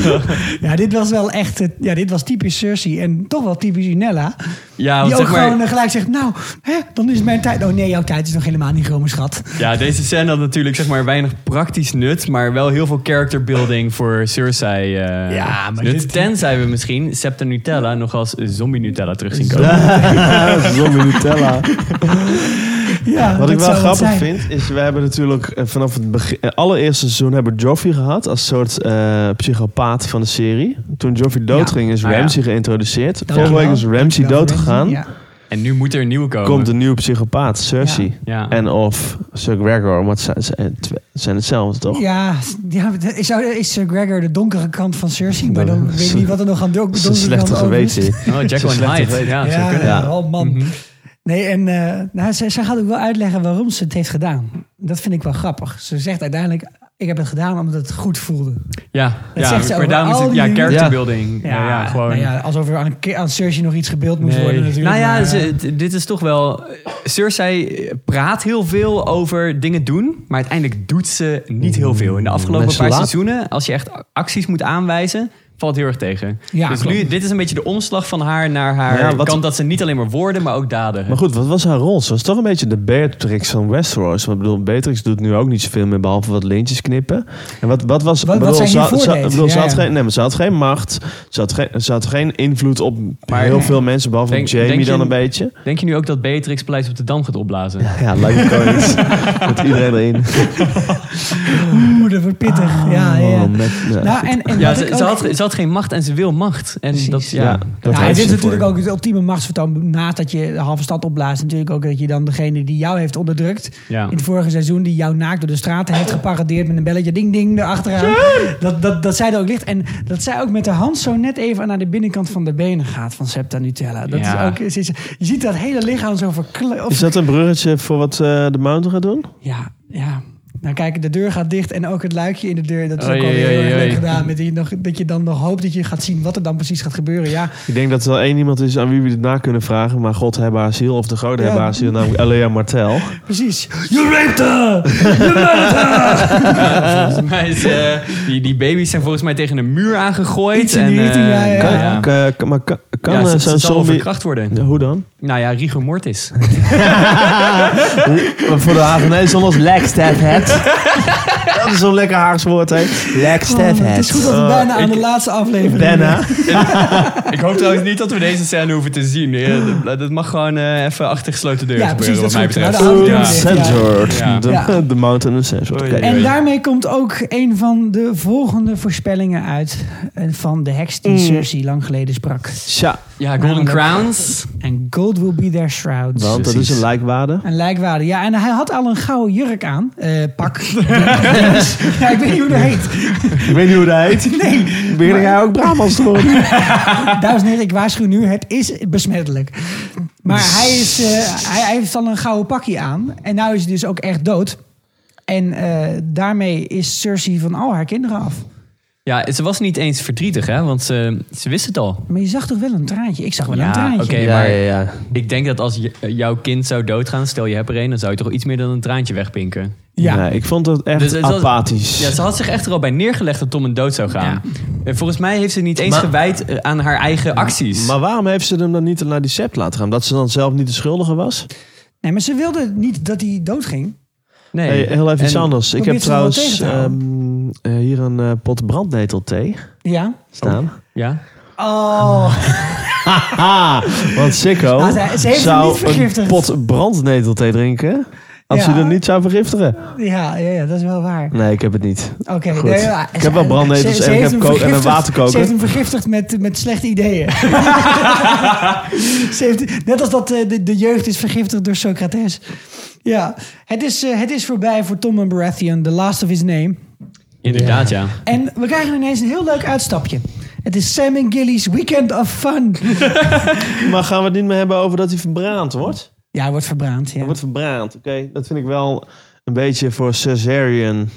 S4: Ja, dit was wel echt, eh, ja, dit was typisch Cersei en toch wel typisch Inella.
S2: Ja, want
S4: Die ook
S2: zeg maar-
S4: gewoon eh, gelijk zegt, nou, hè, dan is mijn tijd. Oh nee, jouw tijd is nog helemaal niet gekomen, schat.
S2: Ja, deze scène had natuurlijk zeg maar weinig praktisch nut, maar wel heel veel character building voor Cersei. eh
S4: Ja, maar
S2: nut.
S4: dit-
S2: Tenzij we misschien Septa Nutella nog als zombie Nutella terug zien komen.
S3: Ah, Zombie Nutella.
S4: Ja,
S3: Wat
S4: dat
S3: ik wel
S4: zou wat
S3: grappig
S4: zijn.
S3: vind, is we hebben natuurlijk eh, vanaf het begin, eh, allereerste seizoen hebben we Joffrey gehad als soort eh, psychopaat van de serie. Toen Joffrey doodging is
S2: Ah, ja.
S3: Ramsey geïntroduceerd.
S4: Dankjewel.
S3: Vorige week is Ramsey
S4: Dankjewel,
S3: doodgegaan.
S4: Ja.
S2: En nu moet er een nieuwe komen.
S3: Komt een nieuwe psychopaat, Cersei.
S2: Ja.
S3: En of Sir Gregor, want ze ze- ze zijn hetzelfde toch?
S4: Ja, ja, is, zou- is Sir Gregor de donkere kant van Cersei? Maar
S3: Dan-
S4: dan weet ik niet wat er nog aan de donkere
S3: Dat is een
S4: kant
S3: slechte
S4: over is.
S3: geweten.
S2: Oh, Jack
S3: Zo
S2: and
S3: slecht
S2: Hyde.
S3: geweten.
S2: Ja,
S4: Ja,
S2: zeker.
S3: kunnen.
S4: oh man. Nee, en eh, nou, zij, zij gaat ook wel uitleggen waarom ze het heeft gedaan. Dat vind ik wel grappig. Ze zegt uiteindelijk, ik heb het gedaan omdat het goed voelde.
S2: ja,
S4: Dat
S2: ja,
S4: zegt ze
S2: maar
S4: over
S2: daarom is
S4: al
S2: het ja,
S4: die-
S2: character
S3: Ja.
S2: building. Ja, ja, gewoon.
S4: nou ja, alsof er aan, aan Cersei nog iets gebeeld moest
S2: Nee.
S4: worden natuurlijk.
S2: nou ja,
S4: maar,
S2: ze- d- dit is toch wel... Cersei praat heel veel over dingen doen, maar uiteindelijk doet ze niet heel veel. In de afgelopen
S3: Mensen
S2: paar
S3: laat-
S2: seizoenen, als je echt acties moet aanwijzen, valt heel erg tegen.
S4: Ja,
S2: dus
S4: klopt.
S2: nu, dit is een beetje de omslag van haar naar haar
S3: Ja, wat-
S2: kant dat ze niet alleen maar woorden, maar ook daden.
S3: Maar goed, wat was haar rol? Ze was toch een beetje de Beatrix van Westeros. Want ik bedoel, Beatrix doet nu ook niet zoveel meer behalve wat lintjes knippen. En wat, wat was...
S4: Wat- wat
S3: ik bedoel,
S4: zij
S3: ze,
S4: hiervoor
S3: ze-
S4: deed.
S3: ik bedoel, ze
S4: Ja,
S3: had
S4: ja.
S3: geen, nee, maar ze had geen macht. Ze had geen, ze had geen invloed op
S2: Maar-
S3: heel veel mensen, behalve op
S2: Denk-
S3: Jamie
S2: denk je-
S3: dan een beetje.
S2: Denk je nu ook dat Beatrix Paleis op de Dam gaat opblazen?
S3: Ja, lijkt me gewoon iets. Met iedereen erin.
S4: eh, Oeh, dat wordt pittig. Ah, ja, ja, ja.
S3: Oh, met- nou,
S4: Nou, en, en
S2: Ja,
S4: wat
S2: ze,
S4: ik
S2: ze
S4: ook-
S2: had, ze had geen macht en ze wil macht. En
S4: Precies.
S2: dat, ja.
S3: ja, dat
S4: Ja,
S3: heeft
S4: dit is
S3: ze
S4: natuurlijk
S3: voor.
S4: ook het ultieme machtsvertoon. Naast dat je de halve stad opblaast, natuurlijk ook dat je dan degene die jou heeft onderdrukt.
S2: Ja.
S4: In het vorige seizoen, die jou naakt door de straten heeft geparadeerd met een belletje ding-ding erachteraan. Dat, dat, dat zij er ook ligt. En dat zij ook met de hand zo net even naar de binnenkant van de benen gaat van Septa Nutella. Dat
S2: Ja.
S4: is ook, is, is- je ziet dat hele lichaam zo verkle-
S3: Is
S4: of
S3: dat een bruggetje voor wat eh, de Mountain gaat doen?
S4: Ja, ja. Nou kijk, de deur gaat dicht en ook het luikje in de deur. Dat is
S2: Oei,
S4: ook alweer
S2: oei,
S4: heel erg
S2: oei.
S4: leuk gedaan. Met die, nog, dat je dan nog hoopt dat je gaat zien wat er dan precies gaat gebeuren. Ja,
S3: Ik denk dat er wel één iemand is aan wie we dit na kunnen vragen. Maar God hebben haar ziel, of de goden hebben haar ziel, namelijk Elia Martel.
S4: precies. You raped her! You murdered her!
S2: Volgens mij is, eh, die, die baby's zijn volgens mij tegen een muur aangegooid.
S4: Iets in
S2: en,
S4: die richting,
S2: eh,
S4: ja, ja, ja.
S3: Kan,
S2: ja.
S3: kan- kan- maar kan, kan
S2: Ja,
S3: eh,
S2: ze, ze
S3: zo'n
S2: zal wel
S3: zombie...
S2: verkracht worden.
S3: Ja, hoe dan?
S2: Nou ja, rigor mortis.
S3: voor de Hagenees anders lekstef het. Dat is zo'n lekker Haags woord, hè? Lekstef
S4: Oh, het is goed dat we bijna
S2: Oh,
S4: aan de laatste aflevering
S3: Benna.
S2: Ik hoop trouwens niet dat we deze scène hoeven te zien. Ja, dat, dat mag gewoon eh, even achter gesloten deuren
S4: Ja,
S2: gebeuren,
S4: precies,
S2: wat mij
S4: dat is
S2: betreft.
S4: goed. Nou, dan-
S2: ja.
S3: Censored.
S2: Ja.
S3: De,
S4: Ja.
S3: de mountain is censored. Oké.
S2: Oei.
S4: En daarmee komt ook een van de volgende voorspellingen uit. eh, Van de heks die Cersei lang geleden sprak.
S3: Tja,
S2: Ja, Golden
S4: Namelijk-
S2: Crowns.
S4: En gold will be their shrouds.
S3: want dat is een lijkwaarde.
S4: Een lijkwaarde. Ja, en hij had al een gouden jurk aan. Eh, pak. ja, ik weet niet hoe dat heet.
S3: Ik weet niet hoe dat heet.
S4: Nee.
S3: Begin jij ook Brabants te worden?
S4: Dames en heren, ik waarschuw nu. Het is besmettelijk. Maar hij, is, eh, hij, hij heeft al een gouden pakje aan. En nu is hij dus ook echt dood. En eh, daarmee is Cersei van al haar kinderen af.
S2: Ja, ze was niet eens verdrietig, hè? Want ze, ze wist het al.
S4: Maar je zag toch wel een traantje? Ik zag wel een
S2: Ja,
S4: traantje.
S2: oké,
S3: Ja,
S2: maar
S3: ja, ja.
S2: ik denk dat als je- jouw kind zou doodgaan, stel je hebt er een, dan zou je toch iets meer dan een traantje wegpinken.
S4: Ja.
S3: Nee, ik vond het echt
S2: Dus het was-
S3: apathisch.
S2: Ja, ze had zich echt er al bij neergelegd dat Tom een dood zou gaan. En volgens mij heeft ze niet eens
S3: Maar-
S2: gewijd eh, aan haar eigen acties.
S3: Maar waarom heeft ze hem dan niet naar die sept laten gaan? Dat ze dan zelf niet de schuldige was?
S4: Nee, maar ze wilde niet dat hij doodging.
S2: nee.
S3: Hey, heel even iets
S2: En-
S3: anders. Ik
S4: probeert
S3: heb
S4: ze wel
S3: trouwens
S4: tegen te
S3: ehm, eh, hier een eh, pot brandnetelthee
S4: Ja.
S3: staan.
S2: Ja?
S4: Oh,
S3: Ah, want Sikko
S4: Nou, ze- ze heeft hem
S3: zou
S4: niet vergiftigd.
S3: een pot brandnetelthee drinken als
S4: Ja.
S3: hij er niet zou vergiftigen.
S4: ja, ja, ja, dat is wel waar.
S3: Nee, ik heb het niet.
S4: Oké.
S3: Goed.
S4: nee, ja,
S3: Ik heb wel
S4: ze-
S3: brandnetels
S4: ze-
S3: en
S4: ze
S3: ik
S4: heeft
S3: heb
S4: hem
S3: ko- en een
S4: vergiftigd-
S3: waterkoker.
S4: Ze heeft hem vergiftigd met, met slechte ideeën. ze heeft, net als dat eh, de, de jeugd is vergiftigd door Socrates. Ja, het is, eh, het is voorbij voor Tom Baratheon, the last of his name.
S2: Inderdaad, ja.
S4: En we krijgen ineens een heel leuk uitstapje. Het is Sam en Gilly's Weekend of Fun.
S3: Maar gaan we het niet meer hebben over dat hij verbraand wordt?
S4: Ja, hij wordt verbrand. Ja.
S3: Hij wordt verbraand, oké. Dat vind ik wel een beetje voor Caesarian.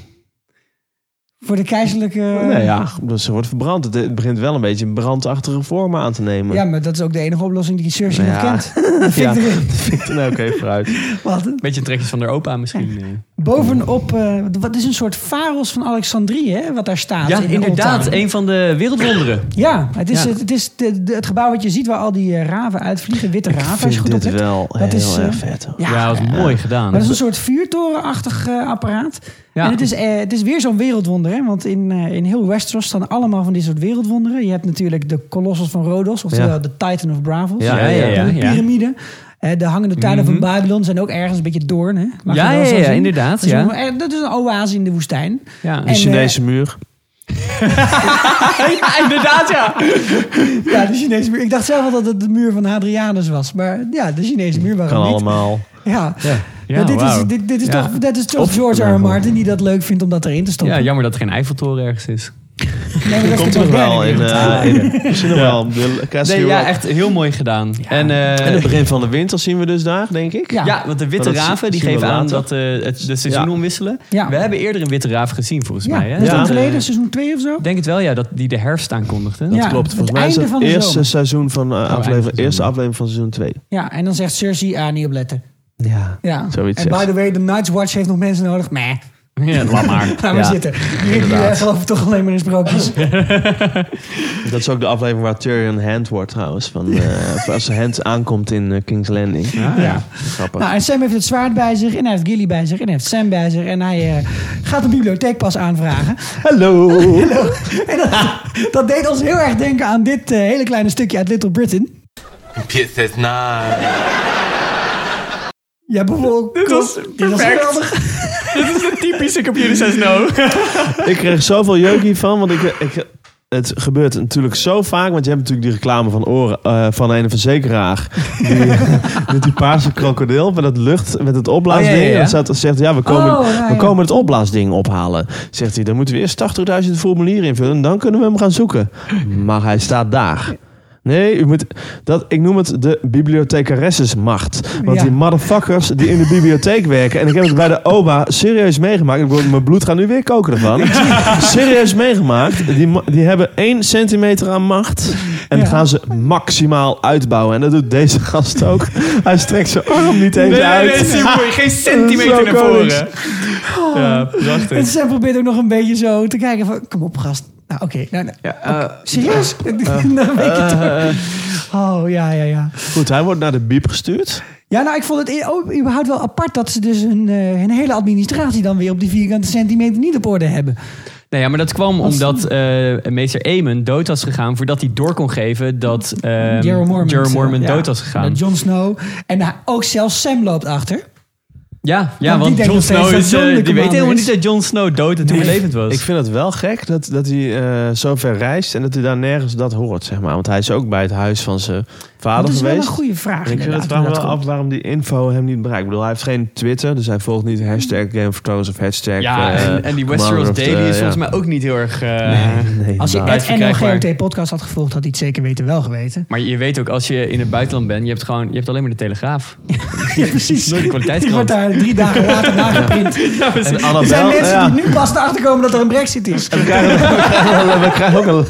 S4: Voor de keizerlijke...
S3: Nee, ja, dus ze wordt verbrand. Het, het begint wel een beetje een brandachtige vormen aan te nemen.
S4: Ja, maar dat is ook de enige oplossing die Cersei
S3: Nou
S4: nog
S3: ja.
S4: kent. Dat vind ik
S3: Ja.
S4: erin.
S3: Nee, oké, vooruit.
S4: Wat?
S2: Beetje trekjes van haar opa misschien. eh.
S4: Bovenop, eh, wat is een soort faros van Alexandrië, hè, wat daar staat.
S2: Ja,
S4: in de
S2: inderdaad.
S4: oldtimer.
S2: Een van de wereldwonderen.
S4: Ja, het is,
S2: Ja.
S4: Het, het is de- de- het gebouw wat je ziet waar al die eh, raven uitvliegen, witte raven.
S3: Ik
S4: als je
S3: vind
S4: goed
S3: dit
S4: oplet.
S3: wel
S4: Dat
S3: heel
S4: is, eh,
S3: erg vet. hoor.
S4: Ja,
S2: Ja, dat is mooi gedaan.
S4: Maar dat is een soort vuurtorenachtig eh, apparaat.
S2: Ja.
S4: En het is, eh, het is weer zo'n wereldwonder. Hè? Want in, eh, in heel Westeros staan allemaal van dit soort wereldwonderen. Je hebt natuurlijk de Colossus van Rhodos, oftewel
S3: Ja.
S4: de Titan of Bravos.
S2: Ja, ja, ja,
S4: de
S2: ja. Mhm.
S4: piramide. Eh, de hangende tuinen van Babylon zijn ook ergens een beetje doorn. Hè? Mag je
S2: Ja,
S4: wel
S2: ja,
S4: zo
S2: ja,
S4: zien.
S2: inderdaad,
S4: Dat is,
S2: ja.
S4: wel- eh, dat is een oase in de woestijn.
S2: Ja.
S3: De
S4: en,
S3: Chinese muur.
S2: ja, inderdaad, ja.
S4: Ja, de Chinese muur. Ik dacht zelf al dat het de muur van Hadrianus was. Maar ja, de Chinese muur waarom
S3: Kan
S4: niet?
S3: allemaal.
S4: Ja.
S2: Ja,
S4: Maar dit, is,
S2: wauw.
S4: dit, dit is
S2: Ja.
S4: toch, dat is toch
S3: Of-
S4: George R. R. Martin die dat leuk vindt om dat erin te stoppen.
S2: Ja, jammer dat er geen Eiffeltoren ergens is.
S4: Nee, maar dat
S3: Komt
S4: is
S3: er
S4: de
S3: nog wel in.
S4: moderne wereld.
S3: eh, in- Misschien nog wel. De Castle
S2: Nee,
S3: Rock.
S2: ja, echt heel mooi gedaan. En, eh,
S3: En het begin van de winter zien we dus daar, denk ik.
S4: Ja.
S2: ja, want de witte
S3: Maar dat
S2: raven die
S3: zien we
S2: geven aan
S3: later.
S2: dat eh, het, de seizoen
S3: Ja.
S2: omwisselen.
S4: Ja.
S2: We hebben eerder een witte raaf gezien, volgens
S4: Ja,
S2: mij. Hè?
S4: dat is lang
S3: Ja.
S4: geleden, seizoen 2 of zo.
S2: Ik denk het wel, ja, dat die de herfst aankondigde.
S4: Ja.
S3: Klopt,
S4: het
S3: volgens mij is
S4: einde
S3: dat
S4: van
S3: het
S4: de
S3: eerste
S4: zomer.
S3: seizoen van eh,
S2: einde van
S3: aflevering,
S2: de
S3: eerste
S2: zomer.
S3: aflevering van seizoen 2.
S4: Ja, en dan zegt Cersei, ah, niet opletten.
S3: Ja.
S4: Ja.
S3: Zoiets
S4: en by
S3: zegt.
S4: the way, de Night's Watch heeft nog mensen nodig. Meh,
S2: Ja, laat maar.
S4: laat maar
S3: Ja,
S4: zitten. Hier, hier geloven toch alleen maar in sprookjes.
S3: Dat is ook de aflevering waar Tyrion Hand wordt trouwens. Van, eh, als Hand aankomt in eh, King's Landing. Ja. Grappig.
S4: nou, en Sam heeft het zwaard bij zich, en hij heeft Gilly bij zich, en hij heeft Sam bij zich. En hij eh, gaat een bibliotheekpas aanvragen.
S3: Hallo!
S4: En dat, dat deed ons heel erg denken aan dit eh, hele kleine stukje uit Little Britain.
S9: Pit says nine.
S4: Ja, bijvoorbeeld. Dit
S2: was perfect. Dit is de typische computer says no.
S3: ik kreeg zoveel jeukie van, want ik, ik, het gebeurt natuurlijk zo vaak. Want je hebt natuurlijk die reclame van, oren, eh, van een verzekeraar. Die, met die paarse krokodil, met, dat lucht, met het opblaasding.
S2: Oh, ja, ja, ja.
S3: En staat, zegt, ja, we komen,
S4: Oh, ja,
S3: we
S4: ja.
S3: komen het opblaasding ophalen. Zegt hij, dan moeten we eerst 80.000 formulieren invullen. En dan kunnen we hem gaan zoeken. Maar hij staat daar. Nee, u moet, dat, ik noem het de bibliothecaressesmacht. Want
S4: Ja.
S3: die motherfuckers die in de bibliotheek werken... en ik heb het bij de OBA serieus meegemaakt. Ik bedoel, mijn bloed gaat nu weer koken ervan. serieus meegemaakt. Die, ma- die hebben één centimeter aan macht... en
S4: Ja.
S3: gaan ze maximaal uitbouwen. En dat doet deze gast ook. Hij strekt zijn arm niet eens uit.
S2: geen
S3: centimeter naar voren.
S2: Ja,
S4: En
S2: prachtig.
S4: Sam probeert ook nog een beetje zo te kijken van... Kom op, gast. Nou, oké. Nou, nou,
S3: eh,
S4: serieus? Dan weet je het toch. Oh, ja, ja, ja.
S3: Goed, hij wordt naar de biep gestuurd.
S4: Ja, nou, ik vond het i- ook überhaupt wel apart... dat ze dus hun, eh, hun hele administratie dan weer op die vierkante centimeter niet op orde hebben.
S2: Nee, ja, maar dat kwam omdat eh meester Eamon dood was gegaan... voordat hij door kon geven dat eh,
S4: Jerome Mormont.
S2: Jerome Mormont
S4: eh, ja.
S2: dood was gegaan.
S4: Met Jon Snow. En nou, ook zelfs Sam loopt achter.
S2: Ja, ja
S4: Want die denkt
S2: want, Jon
S4: nog steeds
S2: Snow
S4: dat
S2: is,
S4: Jon
S2: eh,
S4: de
S2: die weet
S4: commander
S2: helemaal
S4: is.
S2: niet dat Jon Snow dood en toen levend was.
S3: Ik vind het wel gek dat, dat hij eh, zo ver reist en dat hij daar nergens dat hoort, zeg maar. Want hij is ook bij het huis van zijn
S4: Dat
S3: vader
S4: is wel
S3: geweest.
S4: een goede vraag.
S3: En ik vind het
S4: inderdaad,
S3: vraag
S4: hoe
S3: me
S4: dat
S3: wel af
S4: komt.
S3: waarom die info hem niet bereikt. Ik bedoel, hij heeft geen Twitter, dus hij volgt niet hashtag Game of Thrones of hashtag...
S2: ja,
S3: eh,
S2: en, en die
S3: Commander
S2: Westeros
S3: of the-
S2: Daily
S4: eh,
S2: is
S3: ja.
S2: volgens mij ook niet heel erg... eh,
S3: Nee,
S4: Als je
S3: nou,
S2: Blijft
S4: het NLGOT
S2: verkrijgbaar.
S4: podcast had gevolgd, had hij het zeker weten wel geweten.
S2: Maar je weet ook, als je in het buitenland bent, je hebt, gewoon, je hebt alleen maar de Telegraaf.
S4: Ja, precies.
S2: Door de kwaliteitskrant.
S4: Die wordt daar drie dagen later nageprint.
S3: En
S4: Er zijn
S3: Annabel,
S4: mensen
S3: ja.
S4: die nu pas erachter komen dat er een brexit is.
S3: We krijgen, we krijgen wel- we krijgen ook een,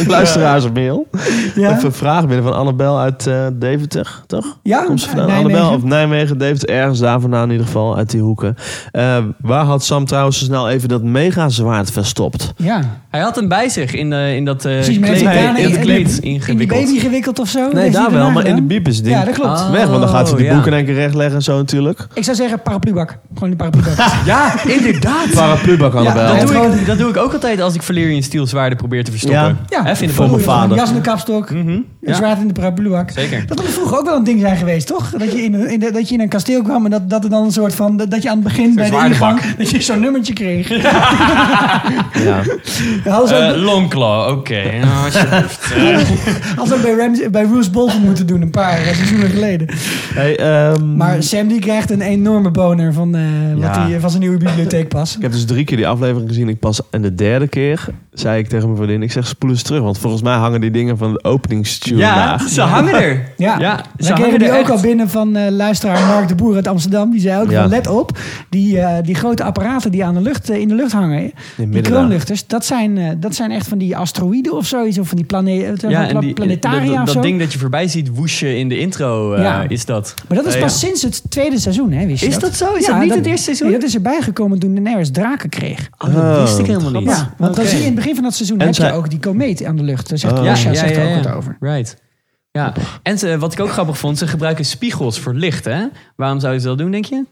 S3: een luisteraarsmail.
S4: Ja?
S3: Even een vraag binnen van Annabel uit eh, Deventer, toch?
S4: Ja,
S3: Komt ze vandaan?
S4: Oh, Nijmegen.
S3: Annabel of Nijmegen, Deventer, ergens daar vandaan in ieder geval, uit die hoeken. Eh, waar had Sam trouwens zo snel even dat mega zwaard verstopt?
S4: Ja.
S2: Hij had hem bij zich in, eh, in dat eh,
S4: Precies, maar
S2: kleed,
S4: heeft hij daarna
S2: in
S4: in-
S2: het kleed
S4: in- In die
S2: ingewikkeld.
S4: baby gewikkeld of zo? Heeft
S3: Nee,
S4: hij
S3: daar wel,
S4: daarna
S3: maar in de
S4: gedaan?
S3: biep is het ding
S4: Ja, dat klopt.
S2: Ah.
S3: weg. Want dan gaat hij die
S2: ja.
S3: boeken in één keer rechtleggen en zo natuurlijk.
S4: Ik zou zeggen parapluubak. Gewoon die parapluubak.
S2: Ja, inderdaad.
S3: Paraplubak Annabel.
S4: Ja,
S2: Dat doe,
S4: Gewoon-
S2: ik, dat doe ik ook altijd als ik Valyrian Steel zwaarden probeer te verstoppen.
S4: Ja,
S2: Even in de
S3: Voor
S2: boom.
S3: mijn vader.
S4: Jas in de kapstok, een
S2: Mhm, ja.
S4: zwaard in de parapluak.
S2: Zeker.
S4: Dat moet vroeger ook wel een ding zijn geweest, toch? Dat je in, een- in de- dat je in een kasteel kwam en dat, dat er dan een soort van... Dat je aan het begin bij de
S2: zwaardenbak.
S4: ingang... Dat je zo'n nummertje kreeg.
S3: Ja.
S4: Dat hadden ze ook-
S2: Eh, Longclaw, oké. Nou, alsjeblieft. Eh,
S4: Als we bij, Rams, bij Roose Bolton moeten doen, een paar eh, seizoenen geleden.
S3: Hey, ehm,
S4: Maar Sam die krijgt een enorme boner van, eh, wat
S3: Ja.
S4: die, van zijn nieuwe bibliotheekpas.
S3: Ik heb dus drie keer die aflevering gezien. Ik pas en de derde keer zei ik tegen mijn vriendin: ik zeg spoel eens terug, want volgens mij hangen die dingen van de openingstune
S2: ja,
S3: daar.
S2: ze hangen er.
S4: Ja,
S2: ze
S4: wij kregen
S2: hangen
S4: die
S2: er
S4: ook
S2: echt.
S4: al binnen van eh, luisteraar Mark de Boer uit Amsterdam. Die zei ook
S3: Ja.
S4: van let op, die, eh, die grote apparaten die aan de lucht, eh, in de lucht hangen, eh, die
S3: middendagen.
S4: kroonluchters, dat zijn, eh, dat zijn echt van die asteroïden of zoiets. Of van die plane eh,
S2: Ja,
S4: van
S2: en die,
S4: planetaria
S2: dat, dat,
S4: of zo.
S2: dat ding dat je voorbij ziet woesje in de intro eh,
S4: Ja.
S2: is dat.
S4: Maar dat is
S3: Ja,
S4: pas sinds het tweede seizoen, hè, wist je
S2: Is dat zo? Is dat niet het eerste seizoen?
S4: Ja, dat is erbij gekomen toen Daenerys draken kreeg.
S2: Oh, dat wist ik
S3: Oh,
S2: helemaal niet.
S4: Ja, want dan zie je in het begin van dat seizoen
S3: En
S4: heb je
S3: zij-
S4: ook die komeet aan de lucht. Daar zegt
S3: Oh.
S4: Russia zegt er ook
S2: ja.
S4: wat over.
S2: Right. Ja, en ze- wat ik ook grappig vond, ze gebruiken spiegels voor licht, hè? Waarom zouden ze dat doen, denk je?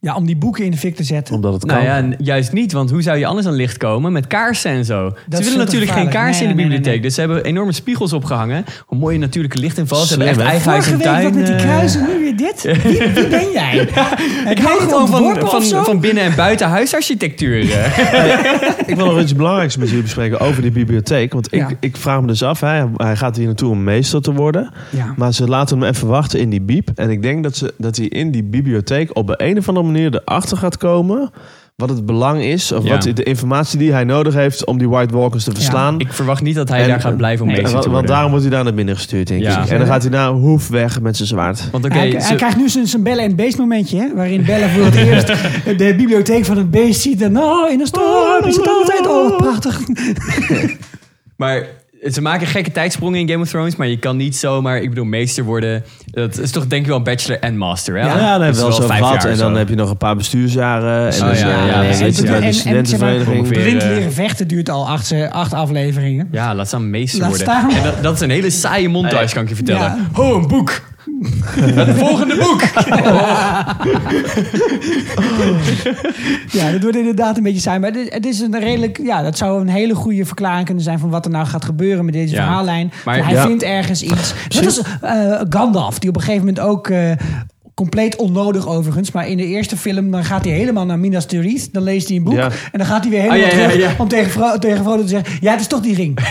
S4: Ja, om die boeken in de fik te zetten.
S3: Omdat het kan.
S2: Nou ja, n- juist niet, want hoe zou je anders aan licht komen met kaarsen en zo? ze
S4: veel
S2: willen
S4: te
S2: natuurlijk geen
S4: gevaarlijk.
S2: kaarsen
S4: Nee,
S2: in de
S4: nee, nee,
S2: bibliotheek, dus ze hebben enorme spiegels opgehangen. Hoe mooie natuurlijke lichtinval. Ze hebben
S3: Slim,
S2: echt
S3: hè?
S2: eigen huis
S4: Vorige
S2: en
S4: week
S2: tuin.
S4: dat met die
S2: eh,
S4: kruisen, nu weer dit. Wie, wie ben jij? ik
S2: Ik hou gewoon van,
S4: of zo?
S2: van, van binnen- en buitenhuisarchitectuur. eh.
S3: Ik wil nog iets belangrijks met jullie bespreken over die bibliotheek. Want ik,
S4: Ja.
S3: ik vraag me dus af, hij, hij gaat hier naartoe om meester te worden.
S4: Ja.
S3: Maar ze laten hem even wachten in die biep. En ik denk dat, ze, dat hij in die bibliotheek op de een of andere manier erachter gaat komen... wat het belang is, of
S2: Ja.
S3: wat de informatie die hij nodig heeft... om die White Walkers te verslaan.
S2: Ik verwacht niet dat hij
S3: En-
S2: daar gaat blijven om
S3: Nee,
S2: bezig
S3: want,
S2: te
S3: want
S2: worden.
S3: daarom wordt hij daar naar binnen gestuurd, denk ik.
S2: Ja.
S3: En dan gaat hij naar Hoef weg met zijn zwaard.
S2: Want oké,
S4: hij, hij
S2: ze-
S4: krijgt nu zijn zijn bellen en beest momentje, hè? waarin Bellen voor het eerst de bibliotheek van het beest ziet. En oh, in een storm is het altijd oh, prachtig.
S2: maar ze maken gekke tijdsprongen in Game of Thrones, maar je kan niet zomaar, ik bedoel, meester worden. Dat is toch denk ik wel bachelor en master, hè?
S3: Ja, dan
S2: Dat
S3: heb
S2: is
S3: je wel zo
S2: vijf
S3: gehad.
S2: jaar
S3: En
S2: zo.
S3: dan heb je nog een paar bestuursjaren. En
S2: Oh
S3: dan
S2: ja, ja,
S3: ja,
S2: precies,
S3: weet je
S2: ja.
S3: bij
S4: En-
S3: de
S4: en-
S3: studentenvereniging.
S2: Weer,
S4: Blind
S2: eh,
S4: leren vechten duurt al acht, eh, acht afleveringen.
S2: Ja, laat staan meester
S4: Laat
S2: worden.
S4: staan.
S2: En dat, dat is een hele saaie montage, kan ik je vertellen.
S4: Ja.
S2: Ho, een boek! Het volgende boek!
S4: Ja, dat wordt inderdaad een beetje saai. Maar dit- het is een redelijk. Ja, dat zou een hele goede verklaring kunnen zijn van wat er nou gaat gebeuren met deze
S2: Ja.
S4: verhaallijn.
S2: Maar-
S4: Maar hij
S3: Ja.
S4: vindt ergens iets. Net als eh, Gandalf, die op een gegeven moment ook. eh, Compleet onnodig overigens, maar in de eerste film dan gaat hij helemaal naar Minas Tirith. Dan leest hij een boek
S3: Ja.
S4: en dan gaat hij weer helemaal
S2: Ah, ja, ja,
S4: terug
S2: ja.
S4: om tegen, Fro- tegen Frodo te zeggen... Ja, het is toch die ring.
S2: ik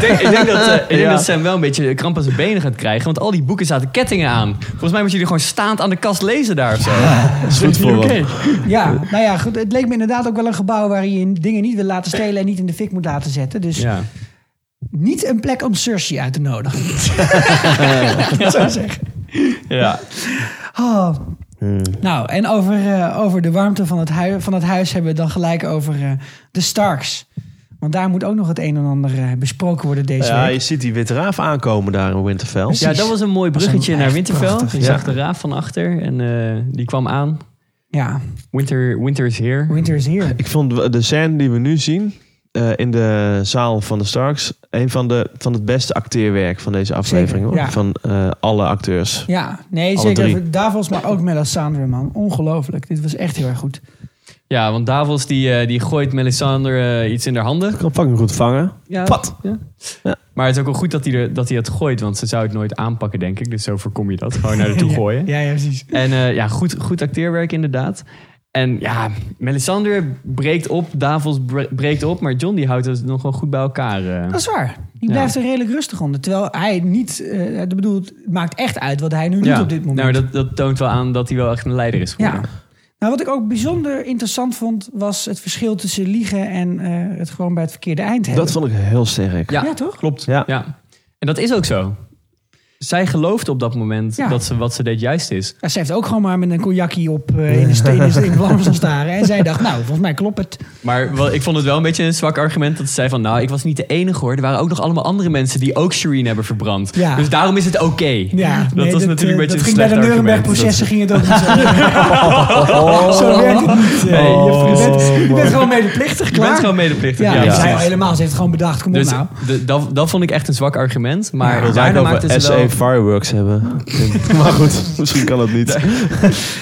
S2: denk, ik denk, dat, eh, ik denk
S3: Ja.
S2: dat Sam wel een beetje kramp aan zijn benen gaat krijgen. Want al die boeken zaten kettingen aan. Volgens mij moet je die gewoon staand aan de kast lezen daar of zo.
S3: Dat is goed voor hem.
S4: Ja,
S3: Eh.
S4: nou ja, goed, het leek me inderdaad ook wel een gebouw waar je dingen niet wil laten stelen en niet in de fik moet laten zetten. Dus
S2: Ja.
S4: niet een plek om Cersei uit te nodigen. Dat zou ik zeggen.
S2: ja.
S4: Oh.
S3: Hmm.
S4: Nou, en over, eh, over de warmte van het, hui- van het huis hebben we het dan gelijk over eh, de Starks. Want daar moet ook nog het een en ander eh, besproken worden deze
S3: Ja, je
S4: week.
S3: ziet die witte raaf aankomen daar in Winterfell.
S2: ja, dat was een mooi bruggetje
S4: echt
S2: naar Winterfell.
S4: prachtig,
S2: je
S3: ja.
S2: zag de raaf van achter en eh, die kwam aan.
S4: Ja,
S2: Winter, winter is here.
S4: winter is here.
S3: Ik vond de scène die we nu zien eh, in de zaal van de Starks... een van, de, van het beste acteerwerk van deze aflevering. hoor.
S4: ja.
S3: Van eh, alle acteurs.
S4: Ja, nee,
S3: Alle
S4: zeker.
S3: drie.
S4: Davos, maar ook Melisandre, man. Ongelooflijk. Dit was echt heel erg goed.
S2: Ja, want Davos die, eh, die gooit Melisandre eh, iets in haar handen.
S3: Kan fucking goed vangen.
S2: Ja.
S3: Pat.
S2: Ja.
S3: Ja.
S2: Maar het is ook wel goed dat hij, er, dat hij het gooit, want ze zou het nooit aanpakken, denk ik. Dus zo voorkom je dat. Gewoon naar de toe gooien.
S4: Ja, ja, precies.
S2: En eh, ja, goed, goed acteerwerk inderdaad. En ja, Melisandre breekt op, Davos bre- breekt op, maar John die houdt het nog wel goed bij elkaar. eh.
S4: Dat is waar. Die blijft er redelijk rustig onder. Terwijl hij niet, eh ik bedoel, het maakt echt uit wat hij nu doet
S2: ja.
S4: op dit moment.
S2: Nou, dat, dat toont wel aan dat hij wel echt een leider is geworden.
S4: Ja. Nou, wat ik ook bijzonder interessant vond, was het verschil tussen liegen en eh, het gewoon bij het verkeerde eind hebben.
S3: Dat vond ik heel sterk.
S4: Ja, toch?
S2: Klopt.
S3: Ja.
S2: Ja. En dat is ook zo. zij geloofde op dat moment
S4: Ja.
S2: dat ze wat ze deed juist is.
S4: Ja, ze heeft ook gewoon maar met een cognacje op eh, in de steden in vlammen staan staren. En zij dacht, nou, volgens mij klopt het.
S2: Maar wel, ik vond het wel een beetje een zwak argument dat ze zei van... nou, ik was niet de enige hoor. Er waren ook nog allemaal andere mensen die ook Shireen hebben verbrand.
S4: Ja.
S2: Dus daarom is het oké.
S4: Ja,
S2: dat
S4: nee,
S2: was natuurlijk
S4: eh,
S2: een beetje
S4: dat
S2: een
S4: ging
S2: slecht
S4: Bij de Nuremberg-processen ging het ook niet zo. Zo werkt het niet. eh.
S2: Nee,
S4: Je hebt- je, bent,
S3: Oh,
S4: je bent
S3: man.
S4: gewoon medeplichtig,
S2: Je
S4: klaar.
S2: bent gewoon medeplichtig.
S4: ja,
S2: Ja,
S4: ja,
S2: precies.
S4: zij al helemaal. Ze heeft het gewoon bedacht. Kom op
S2: Dus
S4: nou.
S2: de- dat, dat vond ik echt een zwak argument.
S4: Ja,
S2: Maar
S4: het
S2: daarna,
S3: over
S2: maakte ze
S3: SA
S2: wel,
S3: Fireworks hebben. maar goed, misschien kan dat niet.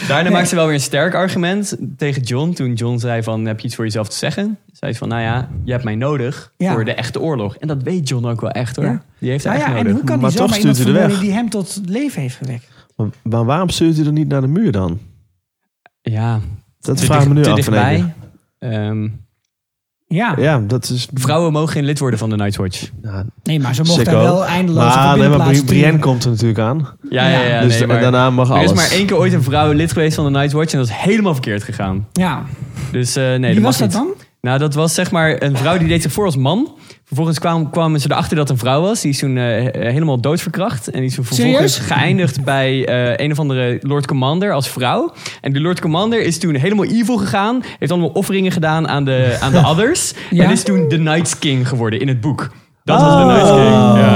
S2: daarna maakte ze wel weer een sterk argument tegen John. Toen John zei van, heb je iets voor jezelf te zeggen? Zei ze van, nou ja, je hebt mij nodig
S4: Ja.
S2: voor de echte oorlog. En dat weet John ook wel echt hoor.
S4: Ja.
S2: Die heeft hij
S4: Nou
S2: echt
S4: ja, en
S2: nodig.
S4: hoe kan
S3: Maar
S4: die
S3: toch
S4: zomaar
S3: stuurt
S4: iemand
S3: hij er
S4: vermoorden
S3: weg.
S4: die hem tot leven heeft gewekt?
S3: Maar, maar waarom stuurt hij dan niet naar de muur dan?
S2: Ja,
S3: Dat
S2: te
S3: vraag ik me
S2: dicht-
S3: nu
S2: te
S3: af. in één
S2: dichtbij. Ehm,
S4: Ja.
S3: keer. Ja, dat is...
S2: vrouwen mogen geen lid worden van de Nightwatch.
S3: Nou,
S4: Nee, maar ze mocht daar
S3: sicko.
S4: wel eindeloos op
S3: Maar,
S4: de
S3: nee, maar
S4: binnenplaats
S3: Bri- Brienne
S4: sturen.
S3: komt er natuurlijk aan.
S2: Ja, ja, ja.
S4: Ja.
S2: nee,
S3: Dus da-
S2: maar-
S3: daarna mag
S2: Er is
S3: alles.
S2: maar één keer ooit een vrouw lid geweest van de Nightwatch en dat is helemaal verkeerd gegaan.
S4: Ja.
S2: Dus eh, nee,
S4: Wie
S2: dat
S4: was
S2: mag
S4: dat
S2: niet.
S4: dan?
S2: Nou, dat was zeg maar een vrouw die deed zich voor als man. Vervolgens kwamen, kwamen ze erachter dat het een vrouw was. Die is toen eh, he- helemaal doodverkracht. En die is toen vervolgens
S4: Serieus?
S2: geëindigd bij eh, een of andere Lord Commander als vrouw. En die Lord Commander is toen helemaal evil gegaan. Heeft allemaal offeringen gedaan aan de, aan de others.
S4: Ja?
S2: En is toen de Night King geworden in het boek. Dat was de Night King.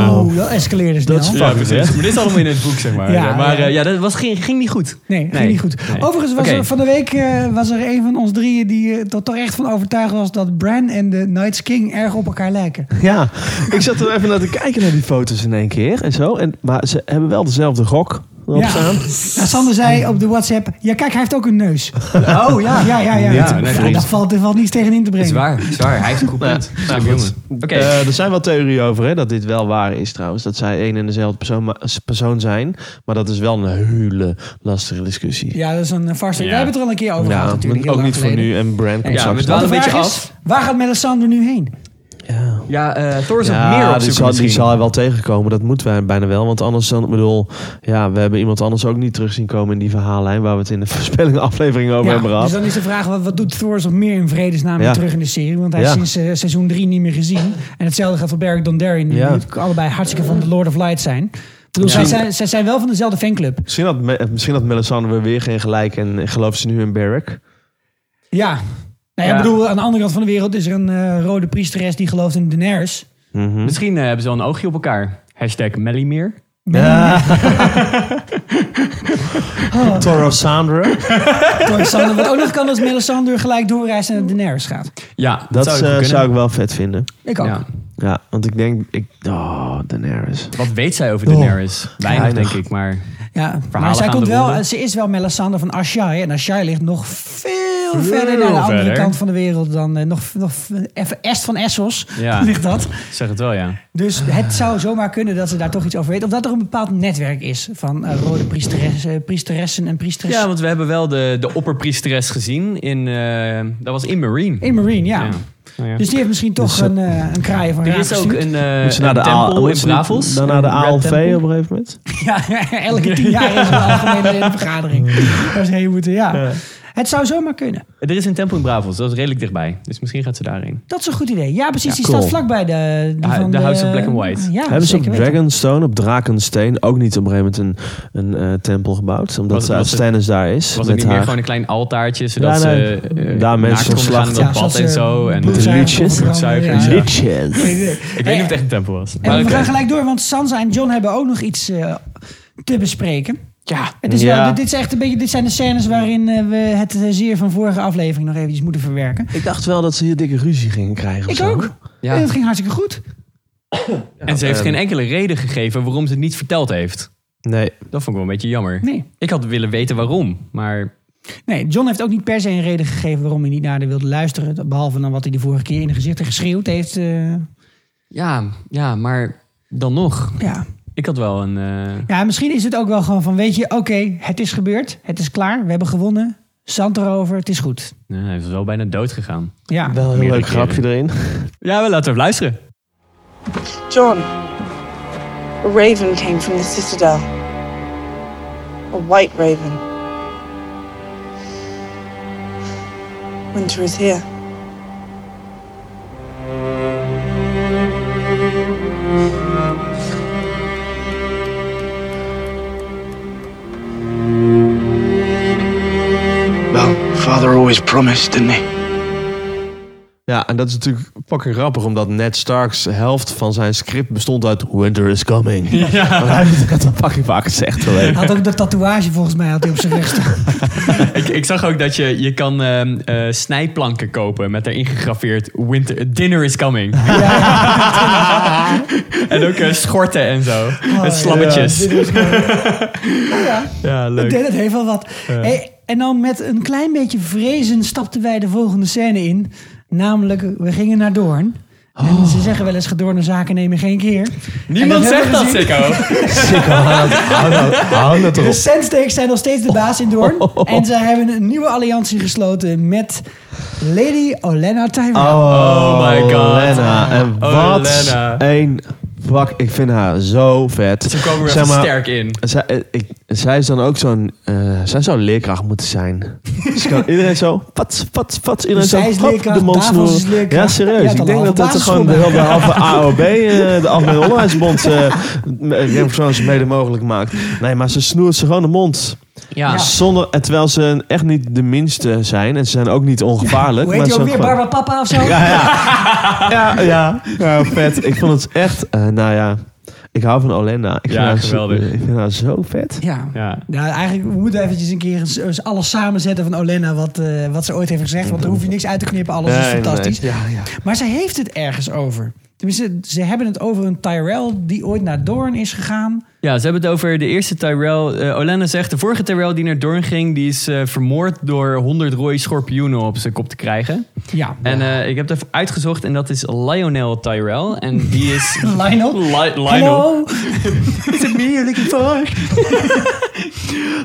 S4: Oh, dat escaleerde snel.
S3: is
S2: Ja,
S3: fucking
S2: precies.
S3: vet.
S2: Maar dit is allemaal in het boek, zeg maar.
S4: Ja,
S2: Ja, maar
S4: ja.
S2: eh, ja, dat was, ging, ging niet goed.
S4: Nee, ging niet goed.
S2: Nee.
S4: Overigens was
S2: Oké.
S4: er van de week eh, was er een van ons drieën die er toch echt van overtuigd was dat Bran en de Night's King erg op elkaar lijken.
S3: Ja, ik zat er even naar te kijken naar die foto's in één keer en zo. En, maar ze hebben wel dezelfde gok erop
S4: Ja.
S3: staan.
S4: Nou, Sander zei op de WhatsApp: Ja, kijk, hij heeft ook een neus. Oh ja, ja, ja. ja,
S2: Niet te bevrijden.
S4: dat valt, er valt niets tegen in te
S2: Het is
S4: brengen.
S2: waar, het is waar. Hij heeft een goed punt. Slimme jongen. Oké.
S3: Eh, er zijn wel theorieën over hè, dat dit wel waar is trouwens. Dat zij één en dezelfde persoon, ma- persoon zijn. Maar dat is wel een hele lastige discussie.
S4: Ja, dat is een vaste.
S2: Ja.
S4: We hebben het er al een keer over
S3: Ja,
S4: gehad, natuurlijk.
S3: ook
S4: heel lang
S3: niet voor
S4: geleden.
S3: nu. En Brand komt
S2: Ja,
S3: straks
S2: we
S4: Want
S3: nog.
S4: de
S2: Een beetje
S4: vraag is:
S2: af.
S4: waar gaat Melisandre nu heen?
S3: Ja.
S2: Ja, eh Thor is
S3: Ja, dus
S2: nog meer op
S3: die,
S2: zoek
S3: zal, die
S2: misschien.
S3: zal hij wel tegenkomen. Dat moeten wij bijna wel. Want anders dan, ik bedoel, ja, we hebben iemand anders ook niet terug zien komen in die verhaallijn waar we het in de voorspellende aflevering over hebben
S4: dus
S3: gehad.
S4: dan is de vraag, wat, wat doet Thor of meer in vredesnaam weer
S3: Ja.
S4: terug in de serie? Want hij is
S3: Ja.
S4: sinds eh, seizoen 3 niet meer gezien. En hetzelfde gaat voor Beric Dondarrion. Die
S3: Ja.
S4: natuurlijk allebei hartstikke van de Lord of Light zijn. Ik bedoel, zij, zijn zij zijn wel van dezelfde fanclub.
S3: Misschien had, Me- eh, misschien had Melisandre weer geen gelijk en gelooft ze nu in Barrack.
S4: Ja. Nou ja,
S2: Ja.
S4: ik bedoel, aan de andere kant van de wereld is er een eh, rode priesteres die gelooft in Daenerys.
S2: Misschien eh, hebben ze wel een oogje op elkaar. Hashtag Mellymeer.
S3: Toro Sandra.
S4: Melisandre. Wat ook nog kan als Melisandre gelijk doorreist en naar Daenerys gaat.
S2: Ja, dat,
S3: Dat
S2: zou,
S3: zou,
S2: ik wel kunnen.
S3: eh, zou ik wel vet vinden.
S4: Ik ook.
S2: Ja.
S3: Ja, want ik denk... Ik, oh, Daenerys.
S2: Wat weet zij over
S3: Oh,
S2: Daenerys? Weinig,
S3: Weinig.
S2: denk ik, maar...
S4: Ja, maar
S2: Verhalen
S4: zij
S2: gaan
S4: komt
S2: de
S4: wel,
S2: ronde.
S4: ze is wel Melisandre van Ashai. En Ashai ligt nog veel verder naar de andere
S2: verder.
S4: kant van de wereld dan eh, nog, nog even Est van Essos
S2: Ja.
S4: ligt dat.
S2: Zeg het wel, ja.
S4: Dus het zou zomaar kunnen dat ze daar toch iets over weet. Of dat er een bepaald netwerk is van eh, rode priesteressen, priesteressen en priesters.
S3: Dus-
S2: Ja, want we hebben wel de, de opperpriesteres gezien in... eh, dat was in Marine.
S4: In Marine, ja.
S2: Nou ja.
S4: Dus die heeft misschien toch
S3: Dus, eh,
S4: een, eh, een kraaien van
S2: Er
S4: raak
S2: is ook
S4: gestuurd.
S2: een, eh
S3: Moet ze naar
S2: een
S3: de
S2: tempel
S3: A- moet
S2: in
S3: ze niet
S2: Bravos.
S3: Dan naar de
S2: Een red
S3: ALV op
S2: tempel.
S3: een gegeven moment?
S4: Ja, elke tien jaar is er een algemene vergadering. Daar zou je moeten, ja. Het zou zomaar kunnen.
S2: Er is een tempel in Bravos, dat is redelijk dichtbij. Dus misschien gaat ze daarheen.
S4: Dat is een goed idee. Ja, precies. die
S3: cool.
S4: staat vlakbij de... Die
S2: Ja,
S4: van
S2: de House of Black and White.
S4: Ja,
S3: Hebben ze op
S4: zeker weten.
S3: Dragonstone, op Drakensteen, ook niet op een gegeven moment een, een eh, tempel gebouwd? Omdat
S2: Was-
S3: ze
S2: was
S3: als
S2: het-
S3: Stannis daar is.
S2: Was het
S3: met
S2: niet
S3: haar.
S2: meer gewoon een klein altaartje, zodat
S3: Ja, nee.
S2: ze eh,
S3: Daar
S2: naakt
S3: mensen
S2: konden gaan
S3: slachten.
S2: in dat
S4: Ja,
S2: bad
S4: zodat
S2: en
S4: ze
S2: zo. En,
S4: bloed
S2: ik
S4: zuigen
S3: liedjes.
S4: kon verbranden,
S2: Bloedzuigers,
S4: ja.
S3: Bitches.
S2: weet niet of het echt een tempel was.
S4: En
S2: Maar
S4: we
S2: oké.
S4: gaan gelijk door, want Sansa en John hebben ook nog iets eh, te bespreken. Ja, het is
S3: Ja.
S4: Wel, dit, dit, is echt een beetje, dit zijn de scènes waarin eh, we het eh, zeer van vorige aflevering nog eventjes moeten verwerken.
S3: Ik dacht wel dat ze hier dikke ruzie gingen krijgen. of
S4: Ik
S3: zo.
S4: ook.
S2: Ja.
S4: En dat ging hartstikke goed.
S2: En ze heeft
S3: Ehm,
S2: geen enkele reden gegeven waarom ze het niet verteld heeft.
S3: Nee,
S2: Dat vond ik wel een beetje jammer.
S4: Nee.
S2: Ik had willen weten waarom, maar
S4: nee, John heeft ook niet per se een reden gegeven waarom hij niet naar haar wilde luisteren. Behalve dan wat hij de vorige keer in de gezichten geschreeuwd heeft. eh,
S2: ja, ja, maar dan nog.
S4: ja.
S2: Ik had wel een... eh,
S4: ja, misschien is het ook wel gewoon van, weet je, oké, het is gebeurd. Het is klaar, we hebben gewonnen. Zand erover, het is goed.
S2: nou, hij is wel bijna dood gegaan.
S4: Ja,
S3: wel een heel
S2: Meerdere
S3: leuk grapje erin.
S2: Ja, wel, laten we even luisteren.
S10: John, a raven came from the citadel. A white raven. Winter is here.
S9: father always promised, didn't he?
S3: Ja, en dat is natuurlijk fucking grappig, omdat Ned Starks helft van zijn script bestond uit Winter is coming.
S4: Ja.
S3: Maar Hij heeft dat fucking vaak gezegd. alleen.
S4: Hij had ook de tatoeage volgens mij had hij op zijn rechter.
S2: ik, ik zag ook dat je, je kan ehm, eh, snijplanken kopen met daarin gegraveerd winter, dinner is coming. en ook eh, schorten en zo. en slammetjes.
S4: Ja, dit is gewoon-
S2: Ja, leuk.
S4: Nee, dat heeft wel wat. Hey, en dan met een klein beetje vrezen stapten wij de volgende scène in. Namelijk, we gingen naar Doorn. En ze zeggen wel eens, gedorne zaken nemen geen keer.
S2: Oh. Niemand
S4: En
S2: zegt dat,
S4: hebben we gezien.
S2: Sikko.
S3: Sikko, hou dat- hou dat- hou dat
S4: De
S3: erop.
S4: Sandsteaks zijn nog steeds de baas in Doorn.
S2: Oh.
S4: En ze hebben een nieuwe alliantie gesloten met Lady Olenna Tyrell.
S2: Oh my god.
S3: Lena. En
S2: Oh,
S3: wat
S2: Lena.
S3: een fuck. Ik vind haar zo vet.
S2: Ze komen er
S3: Zeg
S2: echt
S3: maar,
S2: sterk in.
S3: Zij, eh, ik, zij is dan ook zo'n... eh, zij zou leerkracht moeten zijn. Ze kan iedereen zo... Pat, pat, pat. Iedereen
S4: Dus
S3: zo...
S4: zij is
S3: hop,
S4: leerkracht,
S3: de mond
S4: Davos
S3: snoeren.
S4: is leerkracht.
S3: Ja,
S4: Je
S3: serieus.
S4: hebt
S3: Ik
S4: al
S3: denk
S4: een
S3: dat dat er gewoon de,
S4: basisschool
S3: hele halve AOB... eh, de Algemene Onderwijsbond... Uh, Rempersoons mede mogelijk maakt. Nee, maar ze snoert ze gewoon de mond.
S2: Ja.
S3: Zonder, en terwijl ze echt niet de minste zijn. En ze zijn ook niet ongevaarlijk.
S4: Hoe heet
S3: maar
S4: die
S3: ze
S4: ook
S3: zijn
S4: weer?
S3: gewoon-
S4: Barbara Papa of zo?
S3: ja, ja. ja, ja. Ja, vet. Ik vond het echt, eh, nou ja, ik hou van Olena. Ik
S2: Ja,
S3: vind haar zo-
S2: geweldig.
S3: ik vind haar zo vet.
S4: Ja.
S2: Ja.
S4: Nou, eigenlijk we moeten eventjes een keer eens- eens alles samenzetten van Olenna wat, eh, wat ze ooit heeft gezegd. Want dan hoef je niks uit te knippen, alles
S3: Nee,
S4: is
S3: nee.
S4: fantastisch.
S3: Ja, ja.
S4: Maar ze heeft het ergens over. Tenminste, ze hebben het over een Tyrell die ooit naar Doorn is gegaan.
S2: Ja, ze hebben het over de eerste Tyrell. Eh, Olenna zegt, de vorige Tyrell die naar Dorn ging... die is eh, vermoord door 100 rode schorpioenen op zijn kop te krijgen.
S4: Ja.
S2: En eh, ik heb het even uitgezocht en dat is Lionel Tyrell. En die is...
S4: Lionel?
S2: Li- Lionel.
S4: Hallo?
S2: Is it me you're looking for?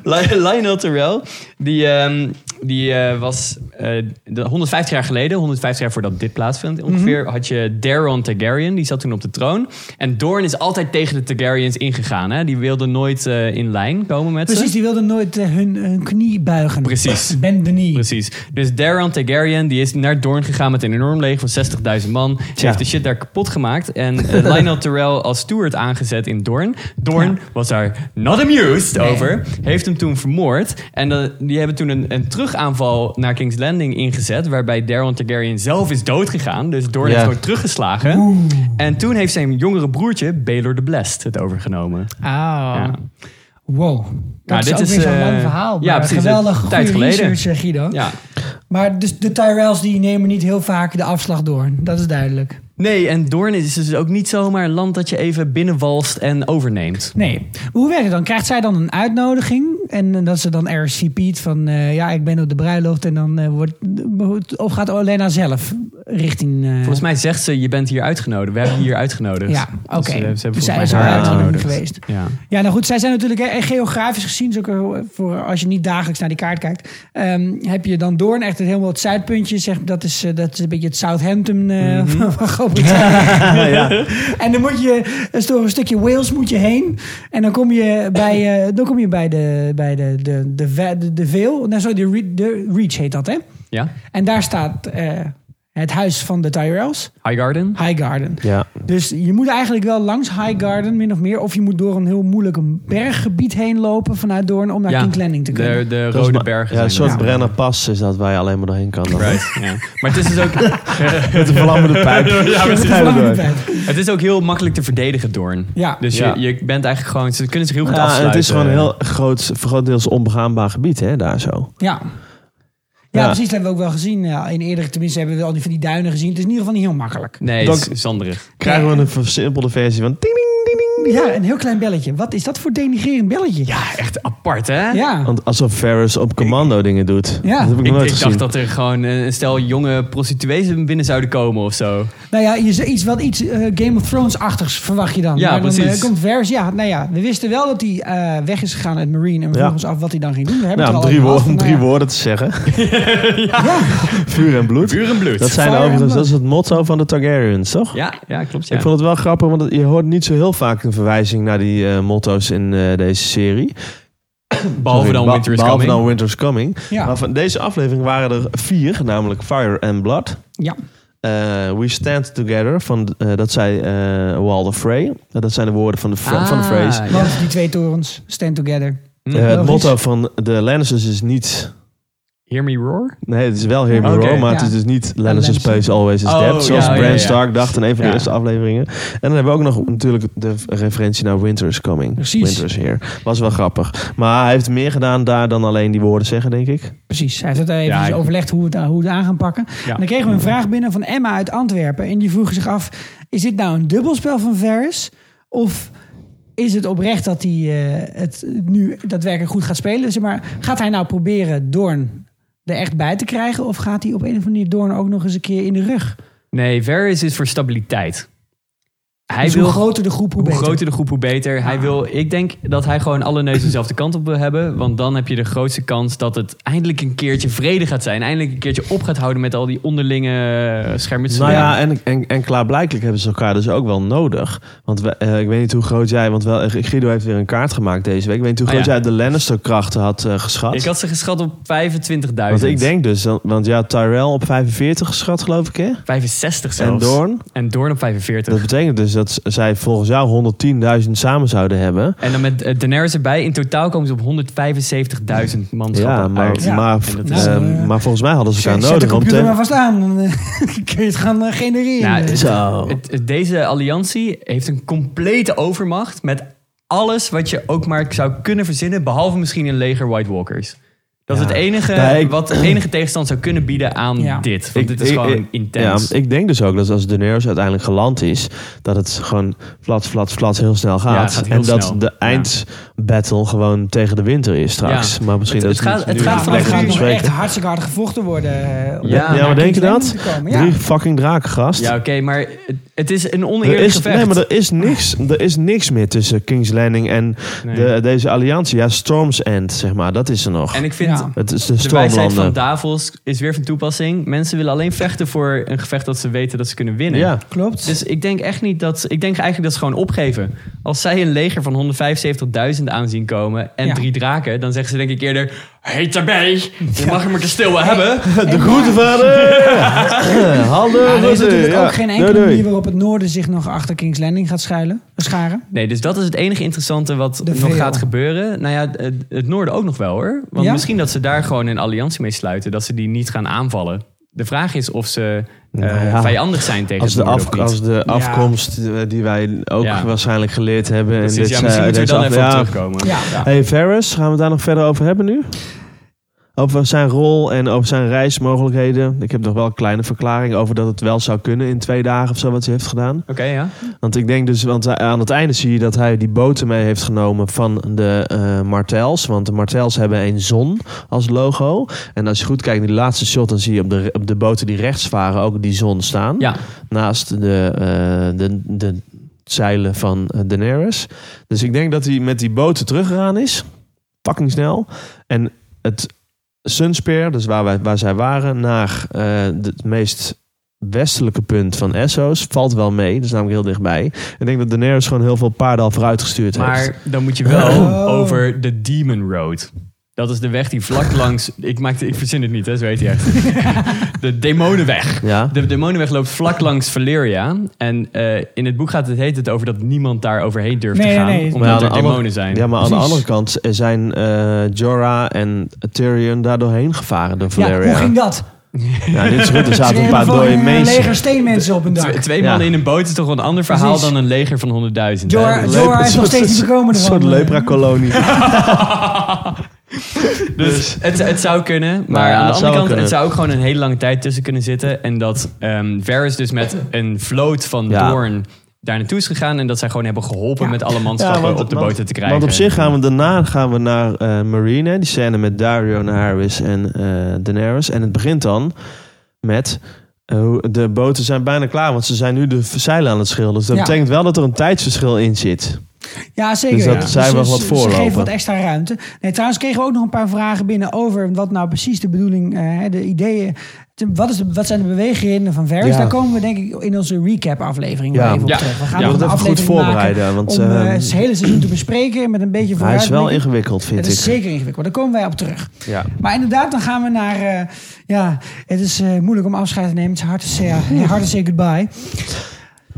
S2: Li- Lionel Terrell, die, ehm, die eh, was eh, de- 150 jaar geleden, 150 jaar voordat dit plaatsvindt ongeveer,
S4: Mhm.
S2: had je Daron Targaryen, die zat toen op de troon. En Dorne is altijd tegen de Targaryens ingegaan. Hè? Die wilde nooit eh, in lijn komen met
S4: Precies,
S2: ze.
S4: die wilden nooit eh, hun, hun knie buigen.
S2: Precies.
S4: Bend de knie.
S2: Precies. Dus Daron Targaryen die is naar Dorne gegaan met een enorm leger van 60.000 man. Ze
S3: Tja.
S2: heeft de shit daar kapot gemaakt. En eh, Lionel Terrell als steward aangezet in Dorne. Dorne was daar not amused over. Heeft hem toen vermoord. En eh, die hebben toen een, een terugaanval naar King's Landing ingezet. Waarbij Daron Targaryen zelf is doodgegaan. Dus Dorne
S3: Ja.
S2: heeft gewoon teruggeslagen. En toen heeft zijn jongere broertje, Baelor the Blessed, het overgenomen. Ja.
S4: Ah. Wow. Dat
S2: Nou,
S4: is
S2: dit
S4: ook
S2: is,
S4: weer zo'n
S2: eh,
S4: lang verhaal.
S2: ja,
S4: maar
S2: precies,
S4: Geweldig
S2: een tijd
S4: goede
S2: geleden.
S4: research, eh, Guido.
S2: ja.
S4: Maar dus de Tyrells die nemen niet heel vaak de afslag door. Dat is duidelijk.
S2: Nee, en Doorn is dus ook niet zomaar een land dat je even binnenwalst en overneemt.
S4: Nee. Maar hoe werkt het dan? Krijgt zij dan een uitnodiging? En eh, dat ze dan RSVP't van... eh, ja, ik ben op de bruiloft. En dan eh, wordt... Of gaat Olena zelf richting... eh,
S2: Volgens mij zegt ze, je bent hier uitgenodigd. We hebben je hier uitgenodigd.
S4: Ja,
S2: Dus,
S4: oké.
S2: eh, ze hebben volgens
S4: zij
S2: mij
S4: is
S2: haar
S4: al uitgenodigd
S2: uitgenodigd.
S4: geweest.
S2: Ja.
S4: Ja, nou goed, zij zijn natuurlijk eh, geografisch gezien, is ook eh, voor als je niet dagelijks naar die kaart kijkt, ehm, heb je dan Doorn echt het helemaal het zuidpuntje. Zeg, dat, is, eh, dat is een beetje het Southampton eh,
S2: Mhm.
S4: van Groot-Brittannië. En dan moet je eh, door een stukje Wales moet je heen. En dan kom je bij, eh dan kom je bij de, bij de, de, de, ve- de, de Veil. Nou, sorry, de, Re- de Reach heet dat, hè?
S2: ja.
S4: En daar staat eh, het huis van de Tyrells,
S2: Highgarden.
S4: Highgarden.
S3: Ja.
S4: Dus je moet eigenlijk wel langs Highgarden, min of meer. Of je moet door een heel moeilijk berggebied heen lopen vanuit Doorn om naar
S2: ja.
S4: King's Landing te kunnen.
S2: De, de
S3: Dat is
S2: Rode
S3: maar-
S2: Bergen.
S3: Ja, een
S2: zijn
S3: soort
S2: er.
S3: Brenner Pas is dat waar je alleen maar doorheen kan. Dan.
S2: Right, ja. Maar het is dus ook,
S3: Met een vlammende pijp.
S4: Dat
S2: Ja, precies.
S4: is
S3: Ga je
S4: wel
S3: erdoor.
S4: een tijd.
S2: het is ook heel makkelijk te verdedigen, Doorn.
S4: Ja.
S2: Dus
S3: Ja.
S2: Je, je bent eigenlijk gewoon... Ze kunnen zich heel goed
S3: Ja, en
S2: afsluiten.
S3: het is gewoon een heel groot, grotendeels onbegaanbaar gebied, hè, daar zo.
S4: Ja. Ja,
S3: Ja.
S4: precies. Dat hebben we ook wel gezien. Ja, in eerdere, tenminste, hebben we al die van die duinen gezien. Het is in ieder geval niet heel makkelijk.
S2: Nee,
S3: Dan-
S2: het is zanderig.
S3: Krijgen we een versimpelde versie van... Ding, ding, ding, ding.
S4: Ja, een heel klein belletje. Wat is dat voor denigrerend belletje?
S2: Ja, echt apart, hè?
S4: Ja.
S3: Want alsof Ferris op commando dingen doet.
S4: Ja.
S3: Dat heb ik
S2: Ik,
S3: nog nooit
S2: ik
S3: gezien.
S2: dacht dat er gewoon een een stel jonge prostituees binnen zouden komen of zo.
S4: Nou ja, je, z- iets, wel iets eh, Game of Thrones-achtigs verwacht je dan.
S2: Ja,
S4: maar dan
S2: precies.
S4: eh, komt Vers. Ja, nou ja, we wisten wel dat hij eh, weg is gegaan uit Marine. En we
S3: Ja.
S4: vroegen ons af wat hij dan ging doen. We hebben
S3: Nou, om
S4: het er
S3: drie,
S4: al over
S3: woorden,
S4: gehad,
S3: om
S4: maar ja.
S3: drie woorden te zeggen. Vuur en bloed.
S2: Vuur en bloed.
S3: Dat, zijn
S4: Fire and
S3: overigens, dat
S4: blood.
S3: is het motto van de Targaryens, toch?
S2: Ja, ja klopt. Ja.
S3: Ik vond het wel grappig, want het- je hoort niet zo heel vaak een verwijzing naar die eh, motto's in eh, deze serie.
S2: Behalve
S3: Sorry,
S2: dan
S3: ba-
S2: Winter is
S3: behalve
S2: Coming.
S3: dan Winter is Coming.
S4: Ja.
S3: Maar van deze aflevering waren er vier, namelijk Fire and Blood.
S4: Ja.
S3: eh, We Stand Together, van, eh, dat zei eh Walder Frey. Eh, dat zijn de woorden van de, fra- van de phrase.
S2: Ah, ja.
S4: Want die twee torens, stand together.
S3: Eh, het
S4: logisch.
S3: motto van de Lannisters is niet
S2: Hear Me Roar?
S3: Nee, het is wel Hear Me
S2: Oké.
S3: Roar, maar
S2: Ja.
S3: het is dus niet Lennon in
S2: Lennon
S3: Space
S2: Space.
S3: Always is
S2: Oh,
S3: Dead, zoals
S2: ja, ja,
S3: Bran
S2: ja.
S3: Stark dacht in een van de
S2: Ja.
S3: eerste afleveringen. En dan hebben we ook nog natuurlijk de referentie naar Winter is Coming.
S4: Precies.
S3: Winter is Here. Was wel grappig. Maar hij heeft meer gedaan daar dan alleen die woorden zeggen, denk ik.
S4: Precies, hij heeft het even
S3: Ja, ik-
S4: overlegd hoe we, het, eh, hoe we het aan gaan pakken.
S3: Ja.
S4: En dan kregen we een vraag binnen van Emma uit Antwerpen. En die vroeg zich af, is dit nou een dubbelspel van Varys? Of is het oprecht dat hij eh, het nu daadwerkelijk goed gaat spelen? Zeg maar, gaat hij nou proberen Doorn er echt bij te krijgen? Of gaat hij op een of andere manier Doorn ook nog eens een keer in de rug?
S2: Nee, Varys is voor stabiliteit. Hij
S4: Dus
S2: wil,
S4: hoe groter de groep, hoe,
S2: hoe
S4: beter.
S2: groter de groep, hoe beter.
S3: Ah.
S2: Hij wil, ik denk dat hij gewoon alle neuzen dezelfde kant op wil hebben. Want dan heb je de grootste kans dat het eindelijk een keertje vrede gaat zijn. Eindelijk een keertje op gaat houden met al die onderlinge eh,
S3: Nou
S2: schermutselingen.
S3: ja, en, en, en klaarblijkelijk hebben ze elkaar dus ook wel nodig. Want we- eh, ik weet niet hoe groot jij, want wel, eh, Guido heeft weer een kaart gemaakt deze week. Ik weet niet hoe
S2: Ah,
S3: groot
S2: ja.
S3: jij de Lannister-krachten had eh, geschat.
S2: ik had ze geschat op 25.000.
S3: want ik denk dus, dan- want ja, Tyrell op 45 geschat, geloof ik, hè?
S2: 65 zelfs.
S3: En Doorn?
S2: En Doorn op 45.
S3: Dat betekent dus dat z- zij volgens jou 110.000 samen zouden hebben.
S2: En dan met eh, Daenerys erbij. In totaal komen ze op 175.000 manschappen
S3: Ja, maar,
S2: uit.
S3: Maar,
S2: En dat
S3: eh,
S2: is-
S3: maar volgens mij hadden ze elkaar
S4: Zet de
S3: nodig. om
S4: computer
S3: te-
S4: maar vast aan, dan eh, kun je het gaan eh, genereren.
S2: Nou, het-
S3: Zo.
S2: het- het- deze alliantie heeft een complete overmacht met alles wat je ook maar zou kunnen verzinnen, behalve misschien een leger White Walkers. Dat is het enige
S3: Nee, ik-
S2: wat de enige tegenstand zou kunnen bieden aan dit. Want dit is gewoon intens.
S3: Ja, ik denk dus ook dat als Daenerys uiteindelijk geland is, dat het gewoon flat, flat, flat heel snel gaat.
S2: Ja, het gaat heel
S3: en dat
S2: snel.
S3: de eindbattle gewoon tegen de winter is straks.
S2: Ja.
S3: Maar misschien
S2: Het-
S3: dat
S2: het
S3: is
S2: gaat-
S3: nu
S2: het gaat
S3: niet
S2: vanaf
S3: lekker
S2: nu
S3: te
S4: nog
S3: bespreken.
S4: echt hartstikke hard gevochten worden. eh, om
S3: Ja,
S4: naar
S3: maar denk je
S4: King's
S3: dat?
S4: Landing te komen. Ja.
S3: Drie fucking draken, gast.
S2: Ja, oké, maar het, het is een
S3: Er
S2: oneerlijk
S3: is,
S2: gevecht.
S3: nee, maar er is, niks, er is niks meer tussen King's Landing en de, deze alliantie. Ja, Storm's End, zeg maar. Dat is er nog.
S2: En ik vind
S3: het is de,
S2: de wijsheid van
S3: Stormlanden.
S2: Davos is weer van toepassing. Mensen willen alleen vechten voor een gevecht dat ze weten dat ze kunnen winnen.
S3: Ja.
S4: Klopt.
S2: Dus ik denk echt niet dat. Ik denk eigenlijk dat ze gewoon opgeven. Als zij een leger van 175.000 aanzien komen en
S4: Ja.
S2: drie draken, dan zeggen ze denk ik eerder: heet erbij, je mag hem maar te stil wel hebben.
S3: De groeten vader! Handen!
S4: Maar er is
S3: groeten,
S4: natuurlijk
S3: ja.
S4: ook geen
S3: Doei,
S4: enkele
S3: doei.
S4: manier waarop het noorden zich nog achter King's Landing gaat schuilen, scharen.
S2: Nee, dus dat is het enige interessante wat
S4: De
S2: nog
S4: veel.
S2: gaat gebeuren. Nou ja, het, het noorden ook nog wel hoor. Want
S4: Ja?
S2: misschien dat ze daar gewoon een alliantie mee sluiten, dat ze die niet gaan aanvallen. De vraag is of ze eh,
S3: Nou ja,
S2: vijandig zijn tegen
S3: als
S2: het
S3: de,
S2: noorden
S3: af,
S2: of niet.
S3: als de afkomst eh, die wij ook
S2: Ja.
S3: waarschijnlijk geleerd hebben.
S2: Precies,
S3: in dit,
S2: ja, misschien
S3: eh,
S2: moeten we
S3: deze
S2: dan
S3: af-
S2: even
S3: ja.
S2: op terugkomen. Ja. Ja.
S3: Hey Ferris, gaan we het daar nog verder over hebben nu? Over zijn rol en over zijn reismogelijkheden. Ik heb nog wel een kleine verklaring over dat het wel zou kunnen in twee dagen of zo wat hij heeft gedaan.
S2: Oké, ja.
S3: Want ik denk dus, want aan het einde zie je dat hij die boten mee heeft genomen van de eh, Martels. Want de Martels hebben een zon als logo. En als je goed kijkt naar die laatste shot, dan zie je op de, op de boten die rechts varen ook die zon staan.
S2: Ja.
S3: Naast de, eh, de, de zeilen van eh, Daenerys. Dus ik denk dat hij met die boten teruggegaan is. Fucking snel. En het Sunspear, dus waar, wij, waar zij waren, naar eh, de- het meest westelijke punt van Essos valt wel mee. Dat is namelijk heel dichtbij. Ik denk dat Daenerys gewoon heel veel paarden al vooruitgestuurd heeft.
S2: Maar dan moet je wel
S3: Oh.
S2: over de Demon Road. Dat is de weg die vlak langs. Ik, maakte, ik verzin het niet, hè, zo weet je echt. De Demonenweg.
S3: Ja.
S2: De Demonenweg loopt vlak langs Valeria. En eh, in het boek gaat het, heet het over dat niemand daar overheen durft
S4: Nee,
S2: te gaan.
S4: nee, nee.
S3: Maar aan
S2: Omdat
S3: de
S2: er
S3: andere-
S2: demonen zijn.
S3: Ja, maar aan de
S2: Precies.
S3: andere kant zijn eh, Jorah en Tyrion daar doorheen gevaren door
S4: Ja,
S3: Valeria.
S4: hoe ging dat?
S3: Ja, dit is goed. Er zaten een paar dode
S4: mooie Een eh,
S3: mensen.
S4: leger steenmensen op een dak.
S2: Twee, twee mannen in een boot is toch wel een ander verhaal
S4: Precies.
S2: dan een leger van 100.000. hè?
S4: Jorah-
S2: Dat-
S4: Jorah is nog steeds niet gekomen
S3: Een
S4: ervan.
S3: soort lepra-kolonie.
S2: Dus het, het zou kunnen. Maar
S3: Nou ja,
S2: aan de
S3: het zou
S2: andere kant,
S3: kunnen.
S2: het zou ook gewoon een hele lange tijd tussen kunnen zitten. En dat ehm Varys dus met een vloot van
S3: Ja.
S2: Doorn daar naartoe is gegaan. En dat zij gewoon hebben geholpen met alle manschappen op de boten te krijgen.
S3: Want op zich gaan we daarna gaan we naar eh Marine, hè, die scène met Dario, Harris en eh, Daenerys. En het begint dan met. eh, hoe- De boten zijn bijna klaar, want ze zijn nu de zeilen aan het schilderen. Dus dat
S4: Ja.
S3: betekent wel dat er een tijdsverschil in zit.
S4: Ja, zeker.
S3: Dus dat
S4: ja.
S3: zij
S4: Ze-
S3: wel wat
S4: ze-
S3: voorlopen.
S4: Ze geven wat extra ruimte. Nee, trouwens kregen we ook nog een paar vragen binnen over wat nou precies de bedoeling, eh, hè, de ideeën. te- Wat, is de, wat zijn de beweegredenen van Varys?
S3: Ja.
S4: Daar komen we denk ik in onze recap-aflevering
S3: Ja.
S4: wel even op
S3: Ja.
S4: terug. We
S3: Ja,
S4: gaan
S3: we
S4: nog een
S3: moeten even goed
S4: aflevering
S3: voorbereiden,
S4: maken
S3: want,
S4: om eh,
S3: eh,
S4: het hele seizoen te bespreken met een beetje
S3: Hij
S4: vooruit.
S3: is wel ingewikkeld, vind
S4: Het
S3: ik.
S4: is zeker ingewikkeld, maar daar komen wij op terug.
S3: Ja.
S4: Maar inderdaad, dan gaan we naar... eh, ja, het is eh, moeilijk om afscheid te nemen. Het is hard te say, hard to say goodbye.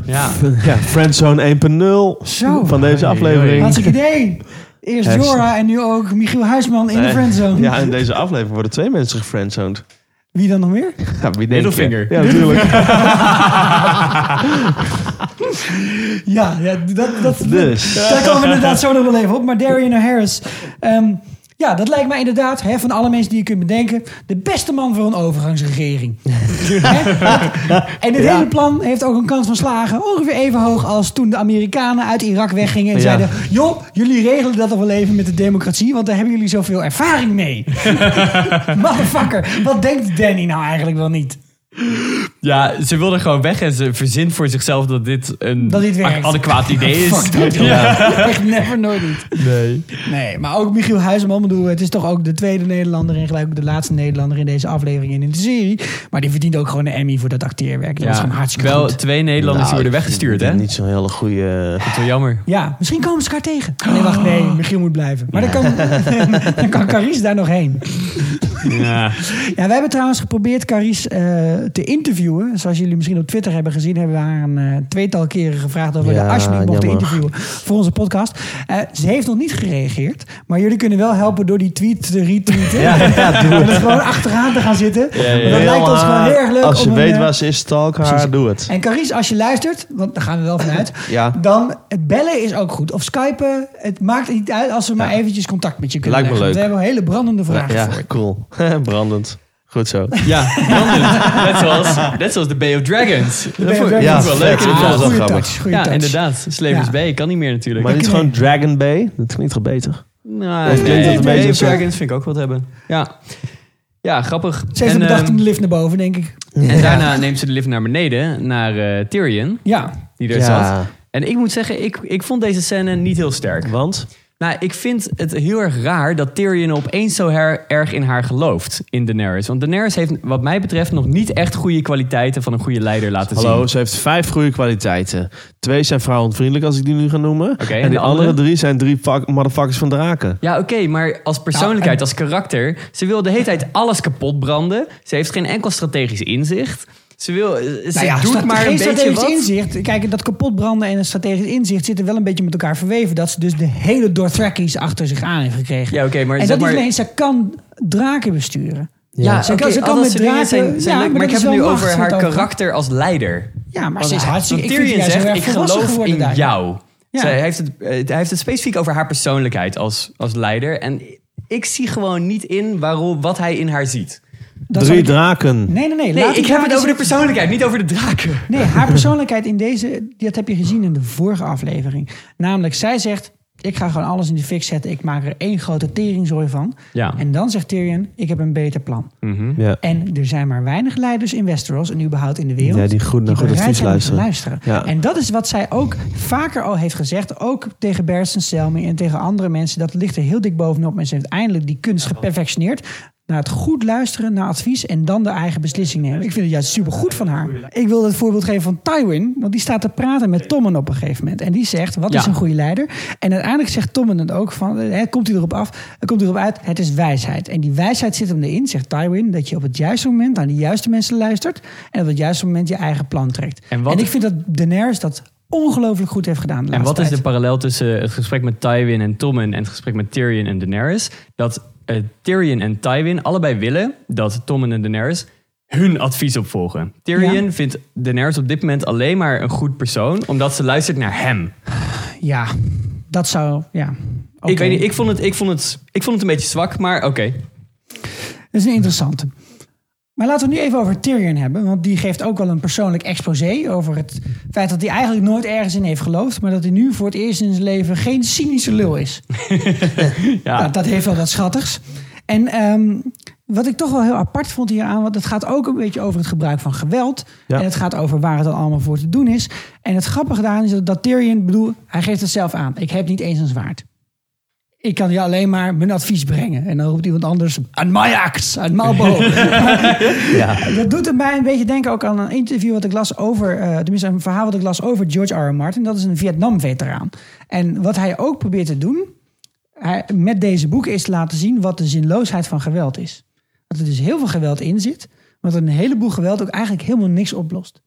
S2: Ja.
S3: ja, Friendzone 1.0
S4: Zo.
S3: van deze aflevering.
S4: Hartstikke idee. Eerst
S3: Hersen.
S4: Jorah en nu ook Michiel Huisman in de
S3: Nee.
S4: friendzone.
S3: Eh, Ja, in deze aflevering worden twee mensen gefriendzoned.
S4: Wie dan nog meer?
S3: Ja, wie denk je?
S2: Middelvinger.
S3: Ja, natuurlijk.
S4: Ja, ja dat, dat,
S3: Dus.
S4: daar komen we inderdaad zo nog wel even op. Maar Darian Harris, ehm, ja, dat lijkt mij inderdaad, hè, van alle mensen die je kunt bedenken, de beste man voor een overgangsregering. Hè? Dat- en dit hele plan heeft ook een kans van slagen ongeveer even hoog als toen de Amerikanen uit Irak weggingen en
S3: Ja.
S4: zeiden, joh, jullie regelen dat toch wel even met de democratie, want daar hebben jullie zoveel ervaring mee. Motherfucker, wat denkt Danny nou eigenlijk wel niet?
S2: Ja, ze wilde gewoon weg en ze verzint voor zichzelf dat dit een
S4: Dat dit werkt.
S2: adequaat idee is.
S4: Fuck dat, joh. Echt never, nooit niet.
S2: Nee.
S4: Nee, maar ook Michiel Huizeman. bedoel, het is toch ook de tweede Nederlander en gelijk ook de laatste Nederlander in deze aflevering en in de serie. Maar die verdient ook gewoon een Emmy voor dat acteerwerk. Dat is gewoon
S2: Ja,
S4: hartstikke
S2: wel
S4: goed.
S2: twee Nederlanders
S3: Nou,
S2: die worden weggestuurd, hè? Dat
S3: Niet zo'n hele eh, goede...
S2: is wel jammer.
S4: Ja, misschien komen ze elkaar tegen. Oh, Nee, wacht, nee,
S3: Oh.
S4: Michiel moet blijven. Maar dan kan, dan kan Carice daar nog heen.
S2: Ja.
S4: Ja, we hebben trouwens geprobeerd Carice eh, te interviewen. Zoals jullie misschien op Twitter hebben gezien, hebben we haar een eh, tweetal keren gevraagd of we
S3: Ja,
S4: haar alsjeblieft mochten
S3: jammer.
S4: interviewen voor onze podcast. Eh, ze heeft nog niet gereageerd, maar jullie kunnen wel helpen door die tweet te retweeten. Ja, En er gewoon achteraan te gaan zitten. Want Dat
S3: Heel
S4: lijkt ons gewoon
S3: haar-
S4: heel erg leuk.
S3: Als je
S4: om een,
S3: weet
S4: eh,
S3: waar ze is, stalk haar,
S4: precies.
S3: Ah, doe het.
S4: En Carice, als je luistert, want daar gaan we wel vanuit,
S3: Ja.
S4: dan het bellen is ook goed. Of skypen, het maakt niet uit als we maar eventjes contact met je kunnen
S3: Lijkt me
S4: leggen.
S3: leuk.
S4: Want We hebben hele brandende vragen
S3: Ja,
S4: voor je.
S3: cool. Brandend. Goed zo.
S2: Ja, brandend. net, zoals, net zoals de Bay of Dragons. dat vond ik
S3: Ja,
S2: wel leuk.
S3: vet. Ja, dat is wel
S4: goede
S3: grappig.
S4: touch, goede
S2: Ja,
S4: touch.
S2: inderdaad. Slavers
S4: Ja.
S2: Bay kan niet meer natuurlijk.
S3: Maar niet
S4: je
S3: gewoon Dragon Bay. Dat klinkt toch beter?
S2: Nou,
S3: Of klinkt
S2: nee,
S3: dat een
S2: Bay
S3: beetje eh,
S2: of
S3: zo?
S2: Dragons vind ik ook wat hebben. Ja, ja grappig.
S4: Ze heeft
S2: en,
S4: hem bedacht
S2: ehm,
S4: in de lift naar boven, denk ik.
S2: en daarna neemt ze de lift naar beneden, naar eh, Tyrion,
S4: Ja.
S2: die er
S3: Ja.
S2: zat. En ik moet zeggen, ik, ik vond deze scène niet heel sterk.
S3: Want?
S2: Nou, ik vind het heel erg raar dat Tyrion opeens zo her- erg in haar gelooft, in Daenerys. Want Daenerys heeft, wat mij betreft, nog niet echt goede kwaliteiten van een goede leider laten
S3: Hallo,
S2: zien.
S3: ze heeft vijf goede kwaliteiten. Twee zijn vrouwonvriendelijk, als ik die nu ga noemen.
S2: en
S3: en die
S2: de andere?
S3: andere? drie zijn drie fuck- motherfuckers van draken.
S2: Ja, oké, maar als
S4: Nou,
S2: persoonlijkheid, als karakter. Ze wil de hele tijd alles kapot branden. Ze heeft geen enkel strategisch inzicht. Ze, wil, eh, ze doet
S4: strate-
S2: maar een
S4: Nou geen
S2: beetje
S4: strategisch
S2: wat.
S4: inzicht. Kijk, dat kapotbranden en een strategisch inzicht zitten wel een beetje met elkaar verweven. Dat ze dus de hele Dothrakis achter zich aan heeft gekregen.
S2: Ja, oké, maar
S4: en
S2: zeg
S4: dat is
S2: maar-
S4: alleen, ze kan draken besturen.
S2: Ja,
S4: ze
S2: oké,
S4: kan, ze
S2: al
S4: kan
S2: dat
S4: met
S2: soort dingen
S4: draken...
S2: zijn- zijn
S4: ja,
S2: leuk, maar,
S4: dat
S2: ik heb
S4: is
S2: het nu
S4: wel
S2: over
S4: macht,
S2: haar
S4: het over-
S2: karakter als leider.
S4: Ja, maar ze is
S2: Want
S4: hartstikke...
S2: want
S4: ik vind
S2: Tyrion
S4: juist heel
S2: zegt,
S4: erg
S2: ik
S4: volwassen
S2: geloof
S4: geworden
S2: in
S4: daarin.
S2: jou.
S4: Ja.
S2: Zij heeft het, eh, hij heeft het specifiek over haar persoonlijkheid als, als leider. En ik zie gewoon niet in waarom, wat hij in haar ziet.
S4: Dat
S3: drie
S4: zou ik-
S3: draken.
S4: Nee, nee, nee. laat
S2: Nee, ik
S4: die
S2: heb het
S4: draken
S2: over de persoonlijkheid, niet over de draken.
S4: Nee, haar persoonlijkheid in deze, dat heb je gezien in de vorige aflevering. Namelijk, zij zegt, ik ga gewoon alles in de fik zetten. Ik maak er één grote teringzooi van.
S2: Ja.
S4: En dan zegt Tyrion, ik heb een beter plan.
S3: Ja.
S4: En Hm? er zijn maar weinig leiders in Westeros en überhaupt in de wereld...
S3: Ja, die goed naar goed
S4: bereid
S3: advies
S4: zijn om te
S3: luisteren. Ja.
S4: En dat is wat zij ook vaker al heeft gezegd. Ook tegen Bersten Selmy en tegen andere mensen. Dat ligt er heel dik bovenop. En ze heeft eindelijk die kunst geperfectioneerd. Naar het goed luisteren naar advies en dan de eigen beslissing nemen. Ik vind het juist supergoed van haar. Ik wil het voorbeeld geven van Tywin, want die staat te praten met Tommen op een gegeven moment. En die zegt: Wat is
S2: Ja.
S4: een goede leider? En uiteindelijk zegt Tommen het ook van: hè, Komt hij erop af? Komt hij erop uit? Het is wijsheid. En die wijsheid zit hem erin, zegt Tywin, dat je op het juiste moment aan de juiste mensen luistert. En op het juiste moment je eigen plan trekt.
S2: En wat-
S4: en ik vind dat Daenerys dat ongelooflijk goed heeft gedaan. De
S2: En wat
S4: laatste
S2: is de
S4: tijd.
S2: parallel tussen het gesprek met Tywin en Tommen en het gesprek met Tyrion en Daenerys? Dat eh, Tyrion en Tywin allebei willen dat Tommen en Daenerys hun advies opvolgen. Tyrion
S4: Ja.
S2: vindt Daenerys op dit moment alleen maar een goed persoon, omdat ze luistert naar hem.
S4: Ja, dat zou. Ja.
S2: Ik
S4: Oké.
S2: weet niet, ik vond het, ik vond het, ik vond het een beetje zwak, maar oké.
S4: Dat is een interessante. Maar laten we het nu even over Tyrion hebben. Want die geeft ook wel een persoonlijk exposé over het feit dat hij eigenlijk nooit ergens in heeft geloofd. Maar dat hij nu voor het eerst in zijn leven geen cynische lul is.
S2: Ja.
S4: Nou, dat heeft wel wat schattigs. En ehm, wat ik toch wel heel apart vond hieraan, want het gaat ook een beetje over het gebruik van geweld.
S3: Ja.
S4: En het gaat over waar het dan allemaal voor te doen is. En het grappige daaraan is dat- dat Tyrion, ik bedoel, hij geeft het zelf aan. Ik heb niet eens een zwaard. Ik kan je alleen maar mijn advies brengen. En dan roept iemand anders, aan Majax, aan Malbo. Dat doet het mij een beetje denken ook aan een interview wat ik las over, eh, tenminste een verhaal wat ik las over George R. R. Martin. Dat is een Vietnam-veteraan. En wat hij ook probeert te doen, hij- met deze boeken is te laten zien wat de zinloosheid van geweld is. Dat er dus heel veel geweld in zit, maar dat een heleboel geweld ook eigenlijk helemaal niks oplost.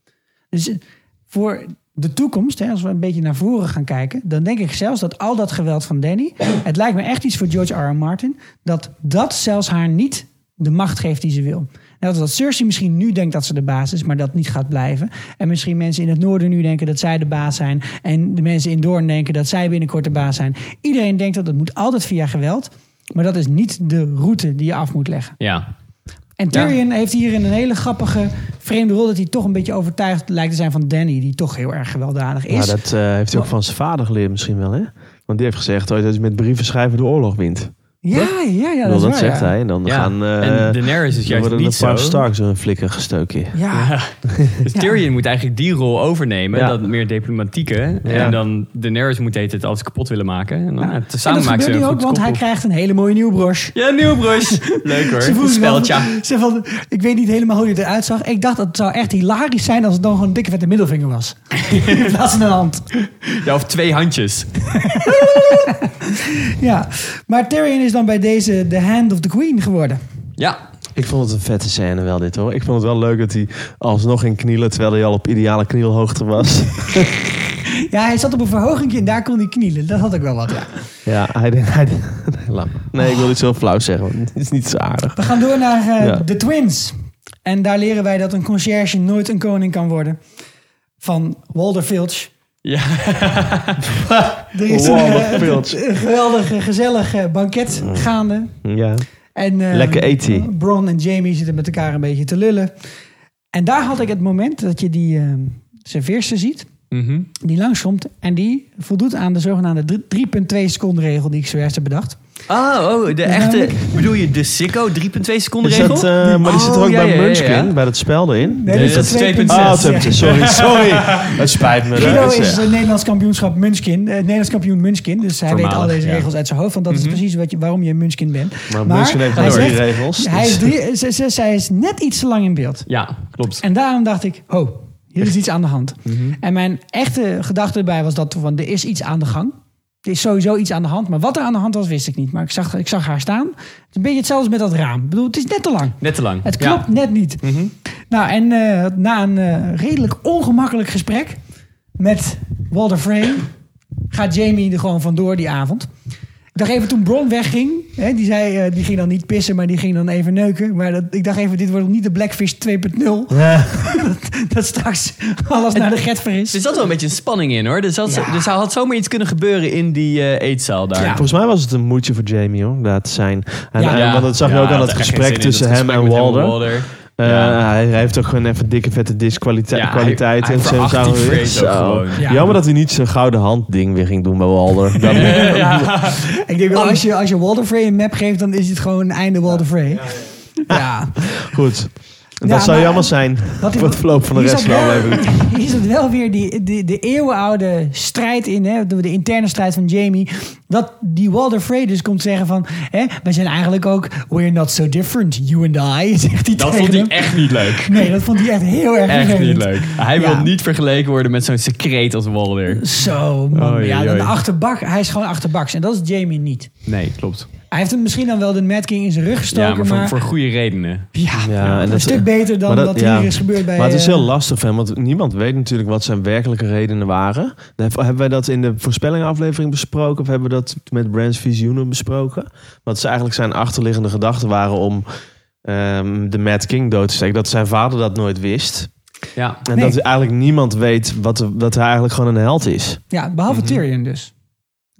S4: Dus eh, voor de toekomst, hè, als we een beetje naar voren gaan kijken, dan denk ik zelfs dat al dat geweld van Danny, het lijkt me echt iets voor George R. R. Martin, dat dat zelfs haar niet de macht geeft die ze wil. Net als dat Cersei misschien nu denkt dat ze de baas is, maar dat niet gaat blijven. En misschien mensen in het noorden nu denken dat zij de baas zijn. En de mensen in Doorn denken dat zij binnenkort de baas zijn. Iedereen denkt dat het moet altijd via geweld. Maar dat is niet de route die je af moet leggen.
S2: Ja.
S4: En Tyrion heeft hierin een hele grappige, vreemde rol. Dat hij toch een beetje overtuigd lijkt te zijn van Danny. Die toch heel erg gewelddadig is.
S3: Ja, dat eh, heeft hij ook van zijn vader geleerd misschien wel, hè? Want die heeft gezegd ooit dat hij met brieven schrijven de oorlog wint.
S4: ja, ja, ja,
S3: Ik
S4: dat,
S3: bedoel,
S4: is
S3: dat
S4: waar,
S3: zegt
S4: ja.
S3: hij. En dan
S2: Ja,
S3: gaan... eh,
S2: en Daenerys is
S3: dan
S2: juist
S3: worden
S2: niet
S3: een paar
S2: zo.
S3: Starks door een flikker gestoken.
S4: Ja.
S2: Dus Tyrion moet eigenlijk die rol overnemen.
S3: Ja.
S2: Dat meer diplomatieke.
S3: Ja.
S2: En dan Daenerys moet heet het alles kapot willen maken. En dan, ja,
S4: En
S2: tezamen
S4: dat gebeurt
S2: maken ze
S4: nu
S2: een
S4: ook,
S2: goed
S4: want hij
S2: koppel.
S4: krijgt een hele mooie nieuwe broche.
S2: Ja, Nieuwbrush. Leuk hoor.
S4: Ze voelde
S2: Een
S4: zich wel-
S2: speltje.
S4: Ze van, ik weet niet helemaal hoe hij eruit zag. Ik dacht dat het zou echt hilarisch zijn als het dan gewoon een dikke vette middelvinger was. In plaats van een hand.
S2: Ja, of twee handjes.
S4: Ja. Maar Tyrion is dan bij deze The Hand of the Queen geworden.
S2: Ja.
S3: Ik vond het een vette scène wel dit hoor. Ik vond het wel leuk dat hij alsnog ging knielen terwijl hij al op ideale knielhoogte was.
S4: Ja, hij zat op een verhoging en daar kon hij knielen. Dat had ik wel wat, ja.
S3: ja, hij... hij nee, laat maar. nee, ik wil iets heel flauw zeggen, want het is niet zo aardig.
S4: We gaan door naar eh,
S3: Ja.
S4: de Twins. En daar leren wij dat een conciërge nooit een koning kan worden. Van Walder Filch.
S2: Ja.
S4: Er is
S3: Walder
S4: eh,
S3: Filch.
S4: een geweldig, eh, gezellig eh, banket gaande.
S3: Ja.
S4: En, eh,
S3: Lekker eten.
S4: Bron en Jamie zitten met elkaar een beetje te lullen. En daar had ik het moment dat je die eh serveerster ziet.
S2: Mhm.
S4: Die langskomt en die voldoet aan de zogenaamde drie- 3,2 seconden regel die ik zojuist heb bedacht.
S2: Ah, oh, de echte... Bedoel je de Sicko 3,2 seconden
S3: Is
S2: regel?
S3: dat, eh, maar die zit er
S2: Oh,
S3: ook
S2: ja,
S3: bij
S2: ja, ja,
S3: Munchkin,
S2: ja.
S3: bij dat spel erin.
S4: Nee,
S2: dat is 2,6.
S3: Ah, het heb je- sorry, sorry. Het spijt me.
S4: Guido
S3: Dat is,
S4: is
S3: eh,
S4: het Nederlands kampioenschap Munchkin. eh, Nederlands kampioen Munchkin. Dus hij
S2: Voormalig,
S4: weet al deze
S2: ja. Mhm.
S4: regels uit zijn hoofd. Want dat is precies wat je, waarom je Munchkin bent.
S3: Maar Munchkin heeft
S4: hij
S3: nog
S4: zegt-
S3: drie regels,
S4: Hij
S3: dus-
S4: is, drie- eh, ze- ze- zij is net iets te lang in beeld.
S2: Ja, klopt.
S4: En daarom dacht ik, ho, hier is iets aan de hand.
S3: Mhm.
S4: En mijn echte gedachte erbij was dat van, er is iets aan de gang. Er is sowieso iets aan de hand. Maar wat er aan de hand was, wist ik niet. Maar ik zag, ik zag haar staan. Het is een beetje hetzelfde als met dat raam. Ik bedoel, het is net te lang.
S2: Net te lang.
S4: Het
S2: Ja.
S4: klopt net niet. Nou, en eh, na een eh, redelijk ongemakkelijk gesprek met Walter Frey... gaat Jamie er gewoon vandoor die avond. Ik dacht even toen Bron wegging... Hè, die, zei, eh, die ging dan niet pissen, maar die ging dan even neuken. Maar dat, ik dacht even, dit wordt niet de Blackfish 2.0. dat, dat straks alles naar de getver
S2: Er
S4: is.
S2: zat wel een beetje een spanning in hoor. Er, zat, er zou- had zomaar iets kunnen gebeuren in die eh, eetzaal daar.
S3: Volgens mij was het een moedje voor Jamie hoor, daar te zijn. En,
S4: Ja.
S3: en-
S2: Ja.
S3: want dat zag je
S2: Ja,
S3: ook aan het
S2: had echt geen
S3: gesprek
S2: zin in,
S3: tussen
S2: dat
S3: hem en
S2: gesprek met hem
S3: Walder. Eh,
S2: Ja.
S3: Hij heeft ook gewoon even dikke vette diskwaliteit.
S2: Ja,
S3: kwaliteit
S2: hij-
S3: en
S2: hij
S3: zo
S2: veracht die
S3: zou-
S2: Frees ook gewoon.
S4: Ja.
S3: Jammer dat hij niet zijn gouden hand ding weer ging doen bij Walder. Dan-
S4: Ik denk wel, als je, als je Walter Frey een map geeft, dan is het gewoon een einde Walter Frey. ja.
S3: Goed. Dat
S4: Ja,
S3: zou
S4: maar-
S3: jammer zijn
S4: Wat
S3: voor het verloop van de
S4: hier
S3: rest van
S4: zat
S3: de
S4: wel-
S3: aflevering.
S4: Hier zat wel weer die, de, de eeuwenoude strijd in, hè, de de interne strijd van Jamie. Dat die Walder Frey dus komt zeggen van, hè, wij zijn eigenlijk ook, we're not so different, you and I, zegt hij
S2: Dat
S4: tegen
S2: vond ik
S4: hem.
S2: echt niet leuk.
S4: Nee, dat vond hij echt heel erg
S2: Echt niet
S4: vervelend.
S2: leuk. Hij
S4: Ja.
S2: wil niet vergeleken worden met zo'n secreet als Walder.
S4: Zo, man.
S2: Oei,
S4: ja,
S2: oei.
S4: de achterbak, hij is gewoon achterbaks. En dat is Jamie niet.
S2: Nee, klopt.
S4: Hij heeft hem misschien dan wel de Mad King in zijn rug gestoken,
S2: Ja, maar voor, voor goede redenen.
S4: ja,
S3: Ja, en
S4: een
S3: dat-
S4: stuk beter dan
S3: maar
S4: wat
S3: dat- ja.
S4: hier is gebeurd bij...
S3: Maar het is
S4: eh,
S3: heel lastig van hem, want niemand weet natuurlijk wat zijn werkelijke redenen waren. Daar heb- Hebben wij dat in de voorspellingaflevering besproken? Of hebben we dat met Brands Visioenen besproken? Wat ze eigenlijk zijn achterliggende gedachten waren om ehm, de Mad King dood te steken. Dat zijn vader dat nooit wist.
S2: Ja.
S3: En
S4: Nee.
S3: dat eigenlijk niemand weet wat, dat hij eigenlijk gewoon een held is.
S4: Ja, behalve
S3: Mhm.
S4: Tyrion dus.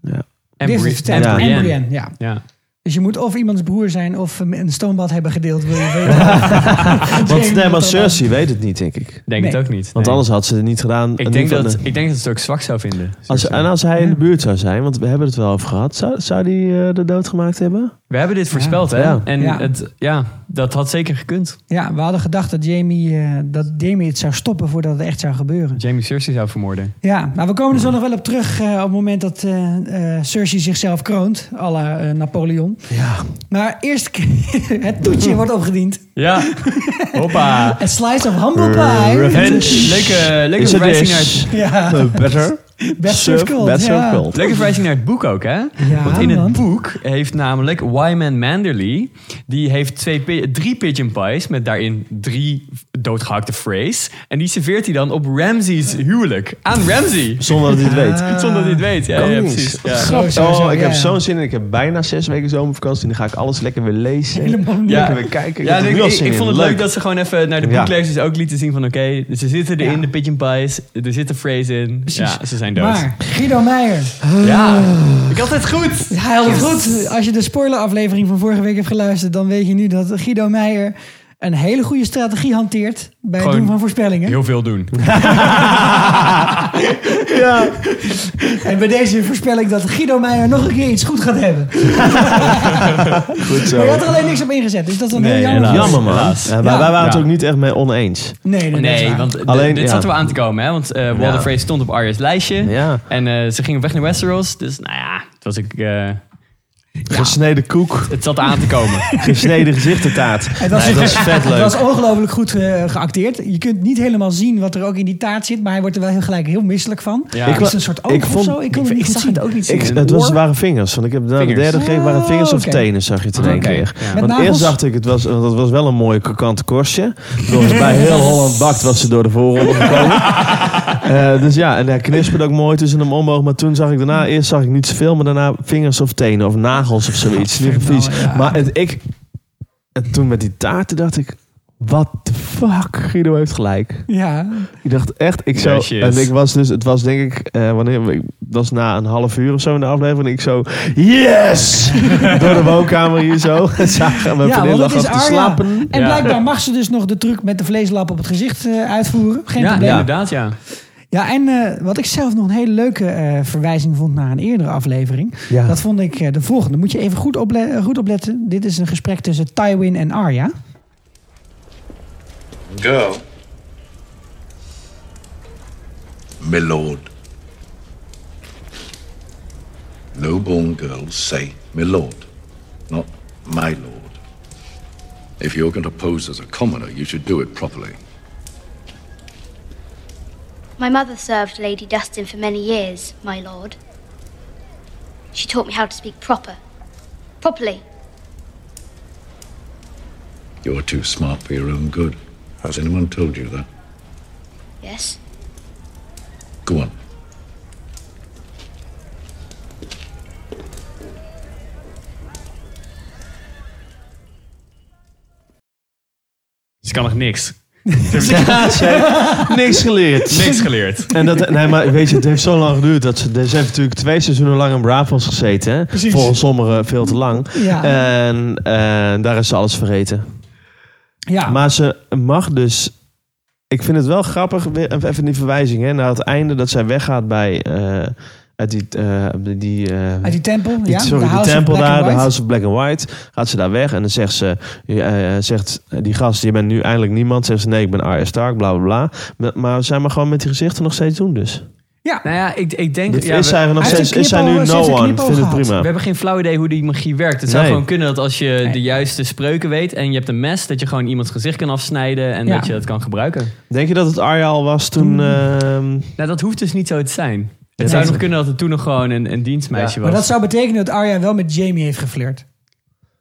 S2: En,
S4: Dit is
S2: Bri-
S4: verteld.
S3: en
S4: En
S2: Brienne.
S4: Brienne, ja.
S2: Ja.
S4: Dus je moet of iemands broer zijn of hem een stoombad hebben gedeeld. Wil je weten.
S3: Want nee, maar Cersei weet het niet, denk ik.
S2: Denk
S4: Nee.
S2: het ook niet.
S3: Want
S2: Nee.
S3: anders had ze het niet gedaan.
S2: Ik denk,
S3: Niet van
S2: dat,
S3: de-
S2: ik denk dat ze het ook zwak zou vinden.
S3: Als, en als hij in de buurt zou zijn, want we hebben het wel over gehad, zou, zou die eh, de dood gemaakt hebben?
S2: We hebben dit voorspeld, hè?
S3: Ja.
S2: En
S4: Ja.
S2: Het, ja, dat had zeker gekund.
S4: Ja, we hadden gedacht dat Jamie, eh, dat Jamie het zou stoppen voordat het echt zou gebeuren.
S2: Jamie Cersei zou vermoorden.
S4: Ja, maar we komen er zo nog wel op terug eh, op het moment dat eh, eh, Cersei zichzelf kroont. à la eh, Napoleon.
S3: Ja.
S4: Maar eerst k- het toetje wordt opgediend.
S2: Ja. Hoppa.
S4: A slice of humble pie.
S2: Revenge. Leuke, leuke
S3: Is het
S2: verwijzing
S3: dus-
S2: naar,
S4: Ja,
S3: Eh, better.
S4: best served cold.
S3: Best served
S4: ja.
S3: cold.
S2: leuke verwijzing naar het boek ook, hè?
S4: Ja,
S2: Want in
S4: man.
S2: het boek heeft namelijk Wyman Manderly... die heeft twee, pi- drie pigeon pies met daarin drie doodgehakte phrase. En die serveert hij dan op Ramsey's huwelijk. Aan Ramsey.
S3: Zonder dat hij het
S4: Ah.
S3: weet.
S2: Zonder dat hij het weet. Ja, ja
S3: Koning.
S2: precies. Ja.
S4: Zo, zo, zo,
S3: oh, ik
S4: ja, ja.
S3: heb zo'n zin in. Ik heb bijna zes weken zomervakantie. En dan ga ik alles lekker weer lezen.
S4: Helemaal niet.
S3: ja.
S2: Ja.
S3: Lekker weer kijken.
S2: Ja,
S3: heb er
S2: ik,
S3: nu al
S2: ik-
S3: zin
S2: ik
S3: in.
S2: vond het leuk dat ze gewoon even naar de
S3: Ja.
S2: boeklezers ook lieten zien van oké, dus ze zitten erin, de pigeon pies, er zit een phrase in. Ja, ze zijn dood.
S4: Maar Guido Meijer.
S2: ja, ik had het goed.
S4: Hij had het goed. Als je de spoileraflevering van vorige week hebt geluisterd, dan weet je nu dat Guido Meijer een hele goede strategie hanteert bij het
S2: Gewoon
S4: doen van voorspellingen.
S2: Heel veel doen.
S3: Ja.
S4: En bij deze voorspel ik dat Guido Meijer nog een keer iets goed gaat hebben.
S3: Goed zo.
S4: Maar je had er alleen niks op ingezet, dus dat is dan heel jammer.
S2: helaas.
S3: Jammer man.
S2: Helaas.
S3: Ja, maar wij waren het
S2: Ja.
S3: ook niet echt mee oneens.
S4: Nee, nee, nee. dat is
S2: Nee,
S4: waar.
S2: want d-
S3: Alleen,
S2: dit
S3: ja.
S2: zat er wel aan te komen, hè? Want eh Walder
S3: Ja.
S2: Frey stond op Arya's lijstje.
S3: Ja.
S2: En eh, ze gingen weg naar Westeros. Dus nou ja, het, was ik, eh,
S3: Gesneden koek,
S2: het zat aan te komen.
S3: gesneden gezichtentaat.
S4: Het was,
S3: Nee, dat is vet
S4: het
S3: leuk.
S4: was ongelooflijk goed eh, geacteerd. Je kunt niet helemaal zien wat er ook in die taart zit, maar hij wordt er wel heel gelijk heel misselijk van.
S2: Ja.
S4: Ik is
S2: Ik
S3: wa-
S4: het een soort oog
S3: ik
S4: of
S3: vond-
S4: zo? Ik kon
S2: ik-
S4: het
S2: ik
S4: niet
S2: zag
S4: goed zien.
S2: het ook niet
S4: Ik-
S3: Ik,
S2: zien.
S3: het was,
S4: oor?
S3: het waren vingers. Want ik heb na de
S2: Vingers.
S3: derde gegeven waren het vingers of
S4: Oké.
S3: tenen, zag je het in één
S2: Oké.
S3: keer.
S2: Ja. Met
S3: Want
S4: nagels?
S3: eerst dacht ik, het was, want dat was wel een mooie krokante korstje. Volgens bij heel Holland bakt was ze door de voorronde gekomen. Eh, dus ja, en hij knisperde ook mooi tussen hem omhoog. Maar toen zag ik daarna, eerst zag ik niet zoveel, maar daarna vingers of tenen of nagels of zoiets. Niet precies. Maar het, ik, en toen met die taarten dacht ik, what the fuck, Guido heeft gelijk.
S4: Ja,
S3: Ik dacht echt, ik zou.
S2: Yes, yes.
S3: En ik was dus, het was denk ik, eh, wanneer, ik- dat was na een half uur of zo in de aflevering. Ik zo, yes! Door de woonkamer hier zo. En zagen mijn
S4: ja
S3: vriendin
S4: want
S3: lag
S4: het is
S3: af te
S4: Arya.
S3: slapen.
S4: En
S2: Ja.
S4: blijkbaar mag ze dus nog de truc met de vleeslap op het gezicht eh, uitvoeren. Geen
S2: ja,
S4: probleem.
S2: inderdaad, ja.
S4: Ja, en eh, wat ik zelf nog een hele leuke eh, verwijzing vond naar een eerdere aflevering.
S3: Ja.
S4: Dat vond ik eh, de volgende. Moet je even goed, ople- eh, goed opletten. Dit is een gesprek tussen Tywin en Arya.
S11: Girl,
S9: My lord. Low-born girls say my lord, not my lord. If you're going to pose as a commoner, you should do it properly.
S12: My mother served Lady Dustin for many years, my lord. She taught me how to speak proper. Properly.
S9: You're too smart for your own good. Has anyone told you that?
S12: Yes?
S9: Go on.
S2: Ze kan nog niks.
S3: Niks geleerd.
S2: Niks geleerd.
S3: En dat, nee, maar weet je, het heeft zo lang geduurd. Dat ze, ze heeft natuurlijk twee seizoenen lang in Braavos gezeten. Hè? Volgens sommigen veel te lang.
S4: Ja.
S3: En, en daar is ze alles vergeten.
S4: Ja,
S3: Maar ze mag dus. Ik vind het wel grappig, weer even die verwijzing hè, naar het einde dat zij weggaat bij. eh, uit die. eh, die eh,
S4: uit die tempel.
S3: die-
S4: ja,
S3: sorry,
S4: de
S3: die
S4: House of
S3: tempel
S4: Black
S3: daar,
S4: and
S3: de
S4: White.
S3: House of Black and White. Gaat ze daar weg en dan zegt ze, eh, eh, zegt die gast, je bent nu eindelijk niemand. Zegt ze, nee, ik ben Arya Stark, bla bla bla. Maar- Maar zij mag gewoon met die gezichten nog steeds doen dus.
S2: Nou ja, ik, ik denk...
S3: Dit
S2: ja,
S3: is
S2: we,
S3: zij nog
S4: Hij heeft
S3: steeds,
S4: een
S3: is zij nu
S4: knipoog-
S3: no
S4: ze heeft een
S3: one. Ik
S4: knipoog
S3: vind het
S4: gehad.
S3: prima.
S2: we hebben geen flauw idee hoe die magie werkt. Het zou
S3: Nee.
S2: gewoon kunnen dat als je de juiste spreuken weet... en je hebt een mes, dat je gewoon iemands gezicht kan afsnijden... en
S4: Ja.
S2: dat je dat kan gebruiken.
S3: Denk je dat het Arya al was
S4: Hmm.
S3: toen... ehm,
S2: Nou, dat hoeft dus niet zo te zijn. Het
S3: Ja.
S2: zou nog kunnen dat het toen nog gewoon een, een dienstmeisje
S4: Maar
S2: was.
S4: dat zou betekenen dat Arya wel met Jamie heeft geflirt.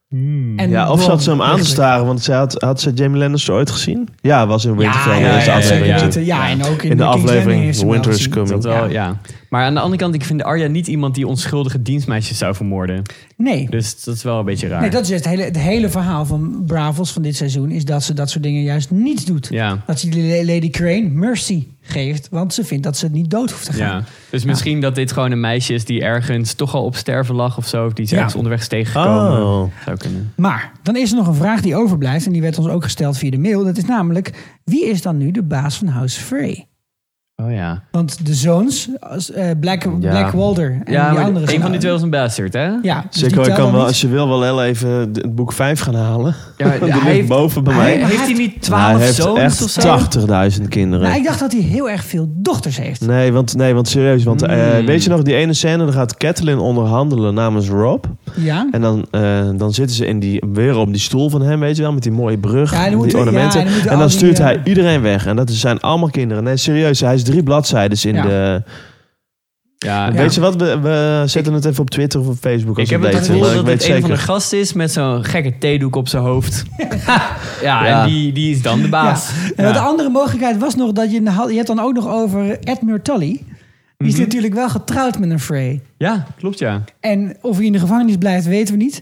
S2: Hmm.
S4: En
S3: Ja, of
S4: Bron,
S3: zat ze hem aan te
S4: eigenlijk.
S3: staren, want ze had, had ze Jamie Lannister ooit gezien? Ja, was in Winterfell.
S2: Ja,
S3: in
S2: ja,
S3: deze
S2: ja, ja,
S3: aflevering.
S2: ja.
S4: Ja, en ook in,
S3: In
S4: King's
S3: de
S4: Landing
S3: aflevering
S4: heeft ze hem
S3: Winter
S4: wel
S3: is
S4: gezien.
S2: Dat
S3: Coming.
S2: wel, ja. Maar aan de andere kant, ik vind Arya niet iemand die onschuldige dienstmeisjes zou vermoorden.
S4: Nee.
S2: Dus dat is wel een beetje raar.
S4: nee, dat is juist het hele, het hele verhaal van Bravos van dit seizoen. Is dat ze dat soort dingen juist niet doet.
S2: Ja.
S4: Dat ze die Lady Crane mercy geeft. Want ze vindt dat ze niet dood hoeft te gaan.
S2: Ja. Dus misschien dat dit gewoon een meisje is die ergens toch al op sterven lag of zo. Of die is
S4: Ja.
S2: ergens onderweg is tegengekomen.
S3: Oh.
S2: Zou kunnen.
S4: Maar dan is er nog een vraag die overblijft. En die werd ons ook gesteld via de mail. Dat is namelijk, wie is dan nu de baas van House Frey?
S2: Oh ja.
S4: Want de zoons, als, eh, Black, Black Walder en
S2: Ja,
S4: die
S2: maar
S4: andere
S2: een
S4: zijn-
S2: van die twee was een bastard, hè?
S4: Ja, dus die
S3: Zeker, ik
S4: tellen
S3: kan
S4: dan
S3: wel,
S4: niet.
S3: als je wil wel heel even de- het boek 5 gaan halen.
S2: Ja,
S3: Die ligt boven bij
S2: hij-
S3: mij.
S2: Heeft hij niet
S3: Maar hij
S2: twaalf
S3: heeft
S2: zoons of
S3: echt
S2: zo?
S3: 80.000 kinderen.
S4: Nou, ik dacht dat hij heel erg veel dochters heeft.
S3: Nee, want, nee, want serieus. Want eh,
S2: Hmm.
S3: weet je nog, die ene scène, dan gaat Catelyn onderhandelen namens Rob.
S4: Ja.
S3: En dan, eh, dan zitten ze in die, weer op die stoel van hem, weet je wel, met die mooie brug,
S4: Ja, dan
S3: die
S4: moeten- ja,
S3: ornamenten.
S4: dan moeten
S3: en
S4: al
S3: dan
S4: die,
S3: stuurt
S4: eh,
S3: hij iedereen weg. En dat zijn allemaal kinderen. Nee, serieus, hij is drie bladzijden in
S4: Ja.
S3: de...
S2: Ja,
S3: Weet je wat? We, we zetten het even op Twitter of op Facebook. Als
S2: Ik heb
S3: we
S2: het
S3: weten.
S2: gevoel
S3: Ik
S2: dat
S3: weet
S2: het een van de
S3: zeker.
S2: gasten is met zo'n gekke theedoek op zijn hoofd. ja,
S3: Ja.
S2: en die, die is dan de baas.
S4: En
S2: Ja.
S4: Nou, De andere mogelijkheid was nog dat je... Je hebt dan ook nog over Edmure Tully. Die is natuurlijk wel getrouwd met een Frey.
S2: Ja, klopt ja.
S4: En of hij in de gevangenis blijft, weten we niet.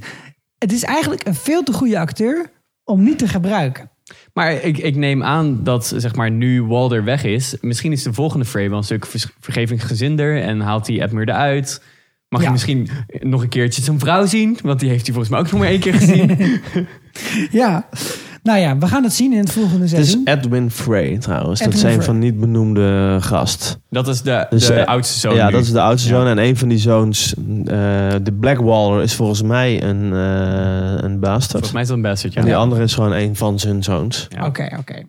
S4: Het is eigenlijk een veel te goede acteur om niet te gebruiken.
S2: Maar ik, ik neem aan dat zeg maar, nu Walder weg is, misschien is de volgende frame wel een stuk vers- vergevingsgezinder en haalt hij Edmure eruit. Mag je misschien nog een keertje zijn vrouw zien? Want die heeft hij volgens mij ook nog maar één keer gezien.
S4: Ja. Nou ja, we gaan het zien in het volgende
S3: Het is
S4: seizoen.
S3: Edwin Frey trouwens. dat
S4: Edwin
S3: zijn
S4: Frey.
S3: van niet benoemde gast.
S2: dat is de,
S3: Dus,
S2: de
S3: eh,
S2: oudste zoon.
S3: Ja,
S2: nu.
S3: dat is de oudste zoon. En een van die zoons, eh, de Blackwaller, is volgens mij een, eh een bastard.
S2: Volgens mij is dat een bastard, ja.
S3: En die
S2: Ja.
S3: andere is gewoon een van zijn zoons.
S4: Oké, oké.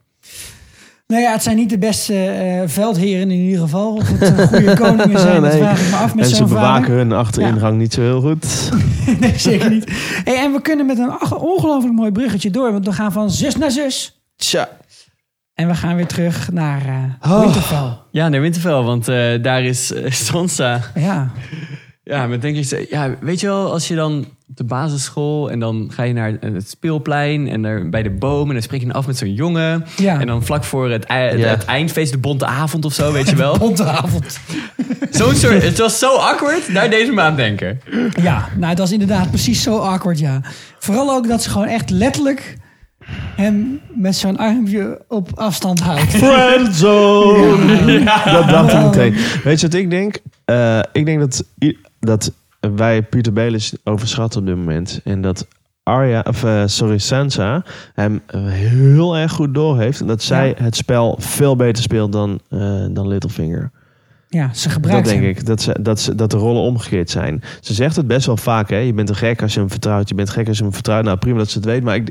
S4: Nou ja, het zijn niet de beste eh, veldheren in ieder geval. Of het eh, goede koningen zijn, dat
S3: Nee.
S4: vraag ik me af met
S3: en ze
S4: zo'n
S3: bewaken
S4: vader.
S3: hun achteringang niet zo heel goed.
S4: Nee, zeker niet. Hey, en we kunnen met een ach- ongelooflijk mooi bruggetje door. Want we gaan van zus naar zus.
S3: Tja.
S4: En we gaan weer terug naar eh, Winterfell.
S2: Ja, naar Winterfell, want eh, daar is eh, Sansa.
S4: Ja.
S2: Ja, maar denk ik, ze- ja, weet je wel, als je dan op de basisschool en dan ga je naar eh, het speelplein en daar bij de boom en dan spreek je af met zo'n jongen.
S4: Ja.
S2: En dan vlak voor het, ei-
S3: Ja.
S2: het eindfeest, de bonte avond of zo, weet je wel.
S4: bonte avond.
S2: Zo'n soort, het was zo awkward, daar deze maand denken.
S4: Ja, nou, het was inderdaad precies zo awkward, ja. Vooral ook dat ze gewoon echt letterlijk hem met zo'n armpje op afstand houdt.
S3: Friendzone! Dat dacht ik meteen. Weet je wat ik denk? Eh, ik denk dat, i- dat wij Peter Baelish overschatten op dit moment. En dat Arya, of, eh, sorry, Sansa hem eh, heel erg goed door heeft. En dat zij het spel veel beter speelt dan, eh, dan Littlefinger.
S4: Ja, ze gebruikt
S3: dat denk
S4: hem.
S3: ik. Dat, ze, dat, ze, dat de rollen omgekeerd zijn. Ze zegt het best wel vaak. Hè? Je bent een gek als je hem vertrouwt. Je bent gek als je hem vertrouwt. Nou, prima dat ze het weet. Maar ik,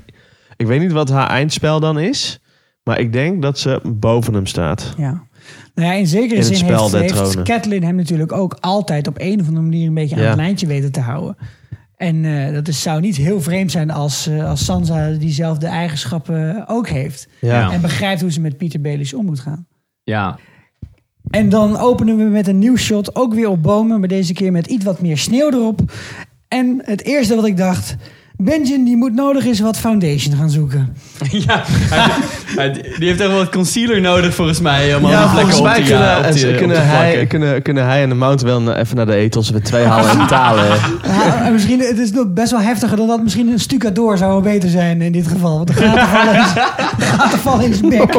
S3: ik weet niet wat haar eindspel dan is. Maar ik denk dat ze boven hem staat.
S4: Ja. Nou ja, in zekere
S3: In het
S4: zin
S3: spel
S4: heeft,
S3: der
S4: heeft
S3: tronen.
S4: Catelyn hem natuurlijk ook altijd op een of andere manier een beetje aan
S3: Ja.
S4: het lijntje weten te houden. En eh, dat is, zou niet heel vreemd zijn als, eh, als Sansa diezelfde eigenschappen ook heeft.
S2: Ja.
S4: En begrijpt hoe ze met Peter Baelish om moet gaan.
S2: Ja,
S4: En dan openen we met een nieuw shot, ook weer op bomen, maar deze keer met iets wat meer sneeuw erop. En het eerste wat ik dacht, Benjen die moet nodig is wat foundation gaan zoeken.
S2: ja hij- hij- die heeft echt wel wat concealer nodig volgens mij. Om ja,
S3: volgens
S2: plekken op
S3: mij
S2: te,
S3: kunnen,
S2: ja, op te- op te
S3: kunnen, hij,
S2: plakken.
S3: kunnen, kunnen hij en de Mount wel na- even naar de etels weer twee halen en talen.
S4: Ja, en misschien, het is nog best wel heftiger dan dat. Misschien een stucador zou wel beter zijn in dit geval. Want de gaten vallen in, de gaten vallen in zijn bek.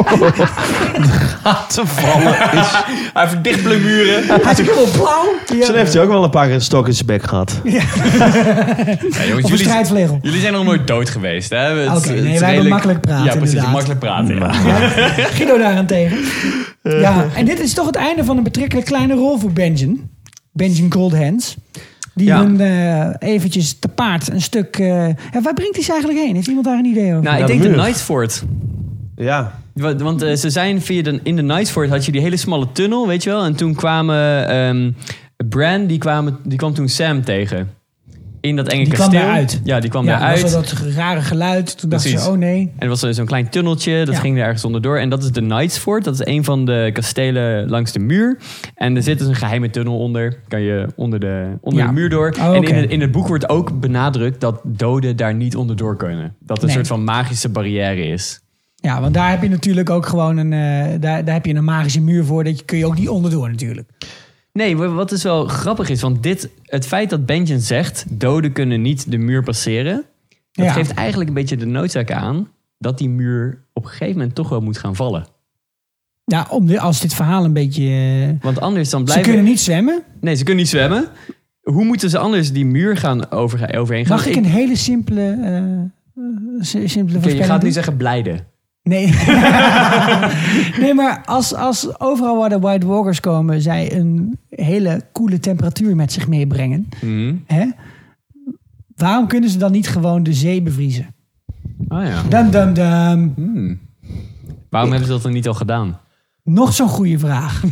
S3: Te vallen is...
S2: Hij heeft dichtblij muren.
S4: Hij is helemaal blauw.
S3: Zo heeft hij ook wel een paar keer een stok in zijn bek gehad.
S2: Ja, jongens,
S4: Of een
S2: jullie,
S4: strijdvlegel.
S2: jullie zijn nog nooit dood geweest, hè? Het-
S4: Oké,
S2: het
S4: nee,
S2: is
S4: wij hebben makkelijk praten,
S2: Ja, precies,
S4: inderdaad.
S2: makkelijk praten. ja. Eh.
S4: Guido daarentegen. Ja, en dit is toch het einde van een betrekkelijk kleine rol voor Benjen. Benjen Coldhands. Die
S2: Ja.
S4: hun eh, eventjes te paard een stuk... eh, ja, waar brengt hij ze eigenlijk heen? Heeft iemand daar een idee over?
S3: Ja,
S2: Nou, ik
S3: de
S2: denk de
S3: muur.
S2: Knightford.
S3: Ja.
S2: Wa- Want eh, ze zijn via de, in de Knightford had je die hele smalle tunnel, weet je wel. En toen kwamen ehm, Bran, die, kwamen, die kwam toen Sam tegen. In dat enge
S4: Die kwam
S2: kasteel.
S4: daaruit.
S2: Ja, die kwam
S4: ja,
S2: daaruit.
S4: was wel dat rare geluid. Toen dachten
S2: Precies.
S4: ze, oh nee.
S2: En er was zo'n klein tunneltje, dat
S4: Ja.
S2: ging er ergens onderdoor. En dat is de Knightsford, dat is een van de kastelen langs de muur. En er zit dus een geheime tunnel onder, kan je onder de, onder
S4: Ja.
S2: de muur door.
S4: Oh,
S2: En
S4: oké.
S2: in het, in het boek wordt ook benadrukt dat doden daar niet onderdoor kunnen. Dat er een
S4: Nee.
S2: soort van magische barrière is.
S4: Ja, want daar heb je natuurlijk ook gewoon een, eh, daar, daar heb je een magische muur voor. Dat je, kun je ook niet onderdoor natuurlijk.
S2: Nee, wa- wat dus wel grappig is, want dit, het feit dat Benjen zegt... doden kunnen niet de muur passeren... dat
S4: Ja.
S2: geeft eigenlijk een beetje de noodzaak aan... dat die muur op een gegeven moment toch wel moet gaan vallen.
S4: Ja, om de, als dit verhaal een beetje... eh,
S2: Want anders dan
S4: ze
S2: blijven...
S4: kunnen niet zwemmen.
S2: Nee, ze kunnen niet zwemmen. Hoe moeten ze anders die muur gaan over, overheen gaan?
S4: Mag ik een hele simpele, eh, eh, si- simpele
S2: Oké, je
S4: voorspelling
S2: gaat nu
S4: doen?
S2: zeggen blijden.
S4: Nee. nee, maar als, als overal waar de White Walkers komen... zij een hele koele temperatuur met zich meebrengen... Hè, waarom kunnen ze dan niet gewoon de zee bevriezen?
S2: Ah ja.
S4: Dum, dum, dum.
S2: Waarom hebben ze dat dan niet al gedaan?
S4: Nog zo'n goede vraag.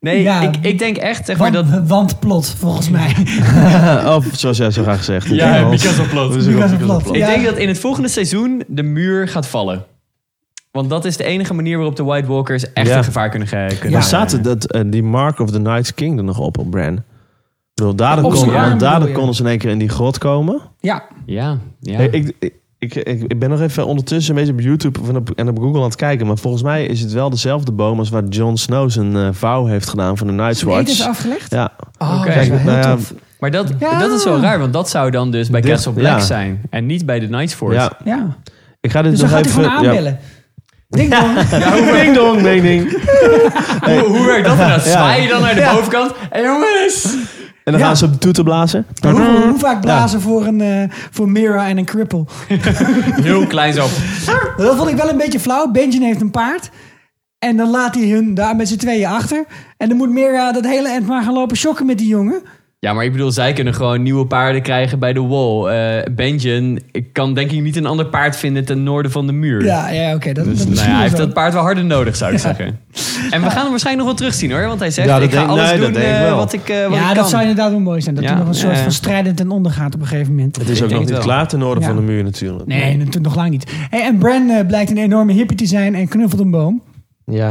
S2: Nee,
S4: Ja.
S2: ik, ik denk echt zeg maar
S4: Want,
S2: dat...
S4: want plot, volgens mij.
S3: Eh, of zoals jij zo graag zegt.
S2: Ja, because of plot.
S3: Dus ik-
S4: Because of plot.
S2: Ik
S4: Ja.
S2: denk dat in het volgende seizoen de muur gaat vallen. Want dat is de enige manier waarop de White Walkers echt
S3: Ja.
S2: in gevaar kunnen ge- kunnen.
S3: Daar zaten dat, eh, die Mark of the Night King er nog op, op Bran. Ik bedoel, daardoor,
S2: Op zijn
S3: konden,
S2: arm
S3: want daardoor
S2: bedoel je?
S3: konden ze in één keer in die grot komen.
S4: Ja.
S2: Ja, ja.
S3: Hey, ik, ik, ik, ik ben nog even ondertussen een beetje op YouTube en op, en op Google aan het kijken. Maar volgens mij is het wel dezelfde boom als waar Jon Snow zijn eh, vouw heeft gedaan van de Night's
S4: Zijn
S3: Watch.
S4: eten is afgelegd?
S3: Ja. nou
S4: Oh,
S2: Oké.
S4: dat is wel heel
S3: ja,
S4: tof.
S2: Maar dat,
S4: Ja.
S2: dat is wel raar, want dat zou dan dus bij
S3: Dit-
S2: Castle Black
S3: ja.
S2: zijn. En niet bij de Night's Force.
S3: Ja.
S4: Ja.
S3: Ik ga dit
S4: Dus dan
S3: nog
S4: gaat hij
S3: even...
S4: gewoon aanbellen. Ding dong.
S3: Ja. ding dong, ding ding.
S2: Hoe, hoe werkt dat inderdaad?
S3: Ja.
S2: Zwaai je dan naar de
S3: Ja.
S2: bovenkant? En jongens!
S3: En dan gaan ze op de toeter blazen.
S4: Hoe, hoe vaak blazen voor, een, eh, voor Mira en een cripple?
S2: Heel klein zo.
S4: Dat vond ik wel een beetje flauw. Benjamin heeft een paard. En dan laat hij hun daar met z'n tweeën achter. En dan moet Mira dat hele end maar gaan lopen shocken met die jongen.
S2: Ja, maar ik bedoel, zij kunnen gewoon nieuwe paarden krijgen bij de wall. Eh Benjen ik kan denk ik niet een ander paard vinden ten noorden van de muur.
S4: Ja, ja oké. dat, dat
S2: Dus,
S4: is
S2: nou ja, hij heeft
S4: wel.
S2: dat paard wel harder nodig, zou ik zeggen. En we gaan hem waarschijnlijk nog wel terugzien hoor. Want hij zegt,
S3: Ja, dat
S2: ik ga
S3: denk-
S2: alles
S3: nee, dat
S2: doen
S3: denk ik
S2: eh,
S3: wel.
S2: wat ik, eh, wat ik
S4: ja,
S2: kan.
S4: dat zou inderdaad wel mooi zijn. Dat
S2: Ja,
S4: hij nog een soort
S2: ja.
S4: van strijdend ten onder gaat op een gegeven moment.
S3: Het is ook
S2: denk
S3: nog
S2: het
S3: niet
S2: wel.
S3: klaar ten noorden
S4: Ja.
S3: van de muur natuurlijk.
S4: Nee, natuurlijk nog lang niet. Hey, en Bran eh, blijkt een enorme hippie te zijn en knuffelt een boom.
S3: Ja.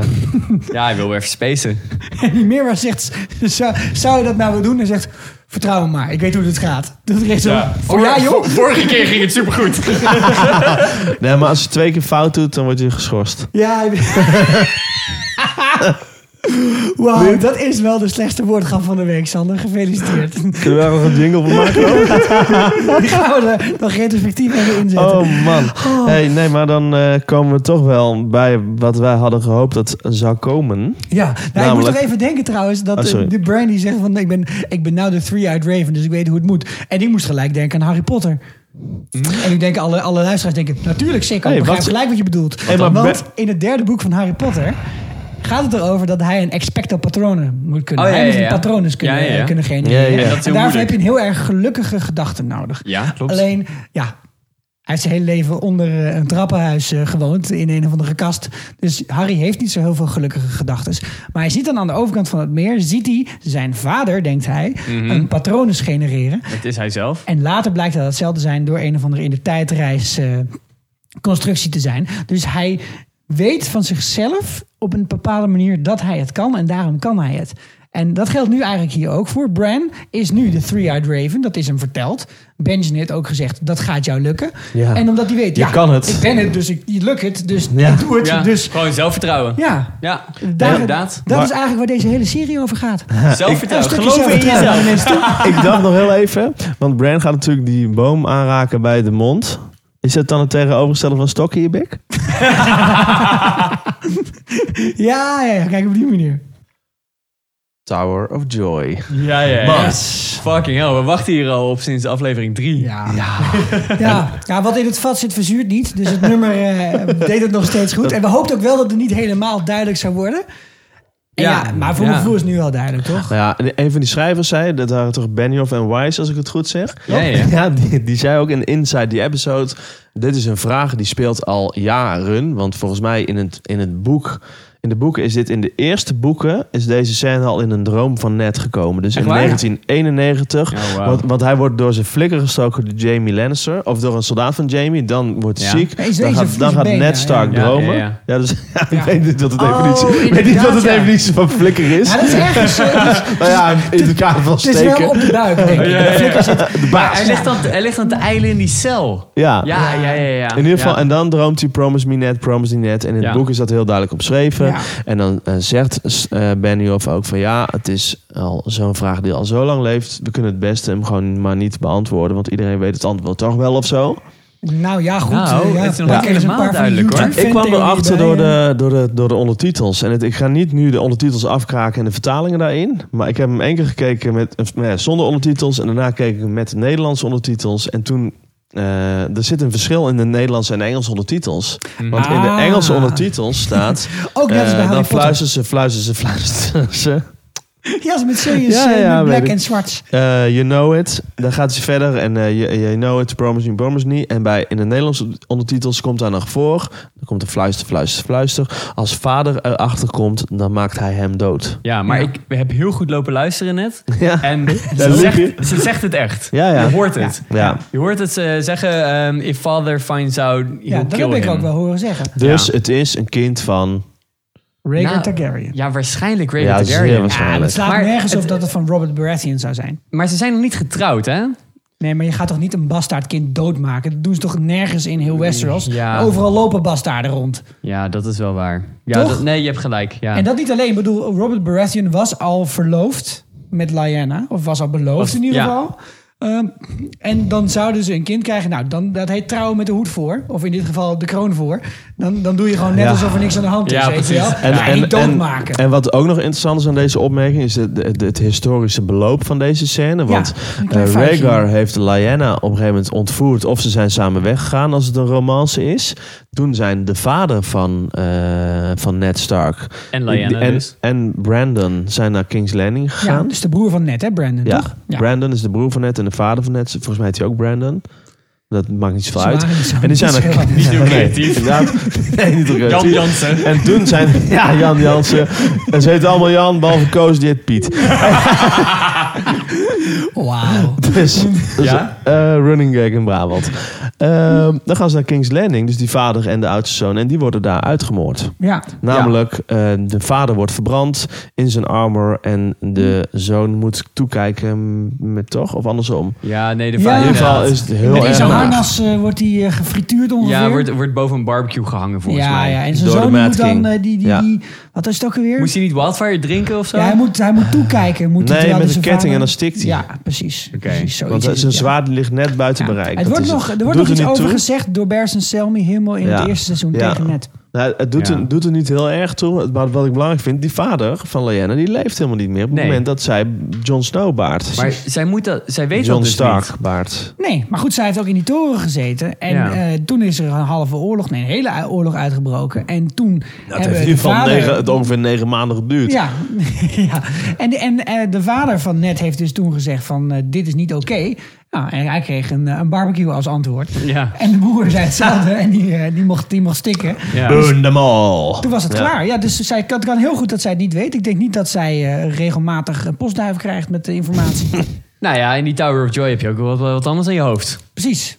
S2: Ja, hij wil weer even spacen.
S4: En die Mira zegt, zou, zou je dat nou willen doen? En zegt, vertrouw me maar, ik weet hoe dit gaat. Dat is zo,
S2: Ja.
S4: oh ja joh.
S2: Vorige keer ging het supergoed.
S3: Nee, maar als je twee keer fout doet, dan word je geschorst.
S4: Ja. Wauw, dat is wel de slechtste woordgrap van de week, Sander. Gefeliciteerd.
S3: Kunnen we daar nog een jingle van maken?
S4: Die gaan we er nog retrospectief even inzetten.
S3: Oh man. Hey, nee, maar dan eh, komen we toch wel bij wat wij hadden gehoopt dat zou komen.
S4: Ja, nou, ik moest
S3: Namelijk-
S4: nog even denken trouwens dat
S3: Oh,
S4: eh,
S3: sorry.
S4: de Brandy zegt van ik ben, ik ben nou de three-eyed raven, dus ik weet hoe het moet. En ik moest gelijk denken aan Harry Potter. En ik denk alle, alle luisteraars denken, natuurlijk zeker,
S3: Hey,
S4: ik begrijp
S3: wat-
S4: gelijk wat je bedoelt.
S3: Hey, maar
S4: Want
S3: Bra-
S4: in het derde boek van Harry Potter gaat het erover dat hij een expecto patronum moet kunnen.
S2: Oh, ja,
S4: hij moet
S2: ja,
S4: een
S2: ja.
S4: patronus kunnen, eh,
S2: Ja, ja, ja.
S4: kunnen genereren.
S3: Ja, ja, ja.
S2: En dat is
S4: En
S2: heel
S4: daarvoor heb
S2: moeilijk.
S4: je een heel erg gelukkige gedachte nodig.
S2: Ja, klopt.
S4: Alleen, ja, hij heeft zijn hele leven onder eh, een trappenhuis eh, gewoond in een of andere kast. Dus Harry heeft niet zo heel veel gelukkige gedachten. Maar hij ziet dan aan de overkant van het meer, ziet hij zijn vader, denkt hij, een patronus genereren.
S2: Het is hij zelf.
S4: En later blijkt dat hetzelfde zijn door een of andere in de tijdreis eh, constructie te zijn. Dus hij weet van zichzelf op een bepaalde manier dat hij het kan en daarom kan hij het. En dat geldt nu eigenlijk hier ook voor. Bran is nu de Three-Eyed Raven, dat is hem verteld. Benjamin heeft ook gezegd, dat gaat jou lukken.
S3: Ja.
S4: En omdat hij weet,
S3: Je
S4: ja,
S3: kan het.
S4: ik ben het, dus ik, ik luk het, dus
S3: Ja.
S4: ik doe het.
S2: Ja,
S4: Dus
S2: Gewoon zelfvertrouwen.
S4: ja,
S2: Ja,
S4: daar-
S2: inderdaad.
S4: dat
S3: Maar-
S4: is eigenlijk waar deze hele serie over gaat. Een
S2: Zelfvertrouwen.
S4: stukje
S2: Geloof in
S4: zelfvertrouwen naar
S2: jezelf.
S4: de mensen toe.
S3: Ik dacht nog heel even, want Bran gaat natuurlijk die boom aanraken bij de mond. Is dat dan het tegenovergestelde van stokken in je bek?
S4: Ja, ja, ja, kijk op die manier.
S3: Tower of Joy.
S2: Ja, ja, ja.
S3: Yes.
S2: Fucking hell, we wachten hier al op sinds aflevering 3.
S4: Ja. Ja. Ja. wat in het vat zit verzuurt niet. Dus het nummer eh, deed het nog steeds goed. En we hoopten ook wel dat het niet helemaal duidelijk zou worden. En ja,
S2: Ja.
S4: maar voor mijn
S2: Ja.
S4: gevoel is het nu wel duidelijk, toch?
S3: Nou ja, en een van die schrijvers zei, dat waren toch Benioff en Wise, als ik het goed zeg.
S2: Ja, ja.
S3: die, die zei ook in Inside the Episode, dit is een vraag die speelt al jaren. Want volgens mij in het, in het boek, in de boeken is dit, in de eerste boeken, is deze scène al in een droom van Ned gekomen. Dus
S2: Echt
S3: in
S2: waar?
S3: 1991,
S2: Ja, wauw.
S3: want, want hij wordt door zijn flikker gestoken door Jamie Lannister, of door een soldaat van Jamie, dan wordt hij
S2: Ja.
S3: ziek.
S4: Hij is- hij
S3: Dan
S4: is
S3: gaat,
S4: een
S3: dan gaat
S4: vieze been,
S3: Ned
S4: ja,
S3: Stark
S2: ja. Ja,
S3: dromen. Ja,
S2: ja, ja.
S3: dus
S4: Ja.
S3: ik weet niet dat het
S4: Oh,
S3: definitie, ik weet niet
S4: inderdaad,
S3: dat het
S4: ja.
S3: definitie van flikker is.
S4: Ja, dat is ergens. eh, het is-
S3: Nou ja, in de kaart van
S4: het is wel
S3: steken.
S4: op de duik, denk ik. De flikker zit-
S3: De
S2: Hij, ligt aan, hij ligt aan te eilen in die cel.
S3: Ja.
S2: Ja, ja, ja. ja.
S3: In ieder geval,
S2: Ja.
S3: en dan droomt hij Promise Me Net, Promise Me Net. En in het
S2: Ja.
S3: boek is dat heel duidelijk omschreven.
S4: Ja.
S3: En dan eh, zegt eh Benioff ook van ja, het is al zo'n vraag die al zo lang leeft. We kunnen het beste hem gewoon maar niet beantwoorden. Want iedereen weet het antwoord toch wel of zo.
S4: Nou ja, goed.
S2: Nou,
S4: eh, ja,
S2: het is nog
S4: pak
S2: niet
S4: er eens een
S2: helemaal
S4: paar van
S2: duidelijk,
S4: die
S2: hoor.
S4: YouTube
S3: Ik kwam
S4: fantheorieën
S3: erachter
S4: bij,
S3: door
S4: eh.
S3: de, door, de, door de ondertitels. En het, ik ga niet nu de ondertitels afkraken en de vertalingen daarin. Maar ik heb hem één keer gekeken met, eh, nou ja, zonder ondertitels. En daarna keek ik hem met de Nederlandse ondertitels. En toen... eh, er zit een verschil in de Nederlandse en Engelse ondertitels. Want in de
S4: Ah.
S3: Engelse ondertitels staat...
S4: Ook net als bij
S3: eh,
S4: Harry
S3: dan
S4: Potter.
S3: fluisteren ze, fluisteren ze, fluisteren ze.
S4: Ja, ze met serieus
S3: Ja,
S4: ja,
S3: ja, weet
S4: black
S3: ik.
S4: en zwarts.
S3: Eh, you know it. Dan gaat ze verder. En eh you, you know it, promise me, promise me. En bij, in de Nederlandse ondertitels komt daar nog voor. Dan komt er fluister, fluister, fluister. Als vader erachter komt, dan maakt hij hem dood.
S2: Ja, maar ik heb heel goed lopen luisteren net. En
S3: Daar
S2: ze
S3: liep
S2: zegt, ze zegt het echt.
S3: Ja, ja.
S2: Je hoort het.
S3: Ja. Ja.
S2: Je hoort het eh, zeggen, ehm, if father finds out, he'll
S4: Ja, dat
S2: kill
S4: heb ik
S2: him.
S4: ook wel horen zeggen.
S3: Dus het is een kind van...
S4: Rhaegar
S2: Nou,
S4: Targaryen.
S2: Ja, waarschijnlijk Rhaegar
S3: Ja, dat is
S2: Targaryen.
S3: heel waarschijnlijk.
S4: Het slaat
S2: Maar
S4: nergens
S2: het-
S4: op dat het van Robert Baratheon zou zijn.
S2: Maar ze zijn nog niet getrouwd, hè?
S4: Nee, maar je gaat toch niet een bastaardkind doodmaken? Dat doen ze toch nergens in heel Westeros?
S2: Ja.
S4: Overal lopen bastaarden rond.
S2: Ja, dat is wel waar. Ja,
S4: Toch?
S2: dat- nee, je hebt gelijk. Ja.
S4: En dat niet alleen. Ik bedoel, Robert Baratheon was al verloofd met Lyanna. Of was al beloofd
S2: Was-
S4: in ieder
S2: ja.
S4: geval. Ehm, en dan zouden ze een kind krijgen. Nou, dan, dat heet trouwen met de hoed voor. Of in dit geval de kroon voor. Dan, dan doe je gewoon net
S3: Ja.
S4: alsof er niks aan de hand is.
S2: Ja,
S4: weet je
S2: precies.
S4: wel? En, niet doodmaken.
S3: En, en wat ook nog interessant is aan deze opmerking... is het, het, het historische beloop van deze scène. Want
S4: een
S3: eh
S4: klein foutje.
S3: Rhaegar heeft Lyanna op een gegeven moment ontvoerd... of ze zijn samen weggegaan als het een romance is. Toen zijn de vader van, eh, van Ned Stark...
S2: En Lyanna
S3: en,
S2: dus.
S3: en Brandon zijn naar King's Landing
S4: ja,
S3: gegaan.
S4: dus de broer van net, hè, Brandon,
S3: Ja,
S4: toch? Ja.
S3: Brandon is de broer van Ned en de vader van Ned. Volgens mij heet hij ook Brandon. Dat maakt niet zoveel
S4: Ze
S3: uit.
S4: waren niet zo-
S3: en die zijn
S4: niet zo-
S3: er
S4: Niet
S2: heel
S3: Nee,
S2: creatief.
S3: inderdaad. Nee, niet heel creatief.
S2: Jan Jansen.
S3: En toen zijn... Ja, Jan Jansen. En ze heet allemaal Jan, behalve Koos, die heet Piet.
S4: Wauw.
S3: Dus, dus
S2: Ja?
S3: eh, running gag in Brabant. Ehm, dan gaan ze naar King's Landing. Dus die vader en de oudste zoon. En die worden daar uitgemoord.
S4: Ja.
S3: Namelijk, eh, de vader wordt verbrand in zijn armor. En de
S4: Hm.
S3: zoon moet toekijken met toch? Of andersom.
S2: Ja, nee, de
S4: Ja.
S2: vader.
S3: In ieder geval
S2: inderdaad.
S3: is het heel
S4: Met in
S3: erg
S4: zijn
S3: naar.
S4: harnas eh, wordt hij eh, gefrituurd ongeveer.
S2: Ja, wordt, wordt boven een barbecue gehangen volgens
S4: ja,
S2: mij.
S4: ja, en zijn
S3: Door de
S4: zoon die
S3: Mad
S4: moet dan
S3: King.
S4: eh, die, die,
S3: Ja.
S4: die... Wat is het ook alweer?
S2: Moest hij niet Wildfire drinken of zo?
S4: Ja, hij moet, hij moet toekijken. Moet hij
S3: Nee,
S4: terwijl
S3: met
S4: hij zijn
S3: een ketting en
S4: vader-
S3: dan stikt hij.
S4: Ja, precies.
S2: Oké,
S4: precies zoiets
S3: Want
S4: is
S3: zijn
S4: het, ja.
S3: zwaard ligt net buiten bereik.
S4: Het
S3: Dat
S4: wordt
S3: is
S4: nog, er
S3: Doet
S4: wordt nog iets
S3: niet
S4: over
S3: toe.
S4: gezegd door Bersen Selmy helemaal in
S3: Ja.
S4: het eerste seizoen
S3: Ja.
S4: tegen net.
S3: Nou, het doet,
S2: Ja.
S3: er, doet er niet heel erg toe. Maar wat ik belangrijk vind, die vader van Lyanna, die leeft helemaal niet meer. Op het
S2: Nee.
S3: moment dat zij Jon Snow baart.
S2: Maar zij, moet dat, zij weet
S3: Jon
S2: dat dus
S3: Stark
S2: niet.
S3: baart.
S4: Nee, maar goed, zij heeft ook in die toren gezeten. En
S2: Ja.
S4: eh, toen is er een halve oorlog, nee, een hele u- oorlog uitgebroken. En toen
S3: Dat heeft in ieder geval negen, het ongeveer negen maanden geduurd.
S4: Ja, ja. en, de, en eh, de vader van Ned heeft dus toen gezegd van eh, dit is niet oké. Nou, en hij kreeg een, eh, een barbecue als antwoord.
S2: Ja.
S4: En de moeder zei hetzelfde en die, eh, die, mocht, die mocht stikken.
S2: Ja.
S3: Burn them all.
S4: Toen was het
S3: Ja.
S4: klaar. Ja, dus zij, het kan heel goed dat zij het niet weet. Ik denk niet dat zij eh, regelmatig een postduif krijgt met de informatie.
S2: Nou ja, in die Tower of Joy heb je ook wel wat, wat anders aan je hoofd.
S4: Precies.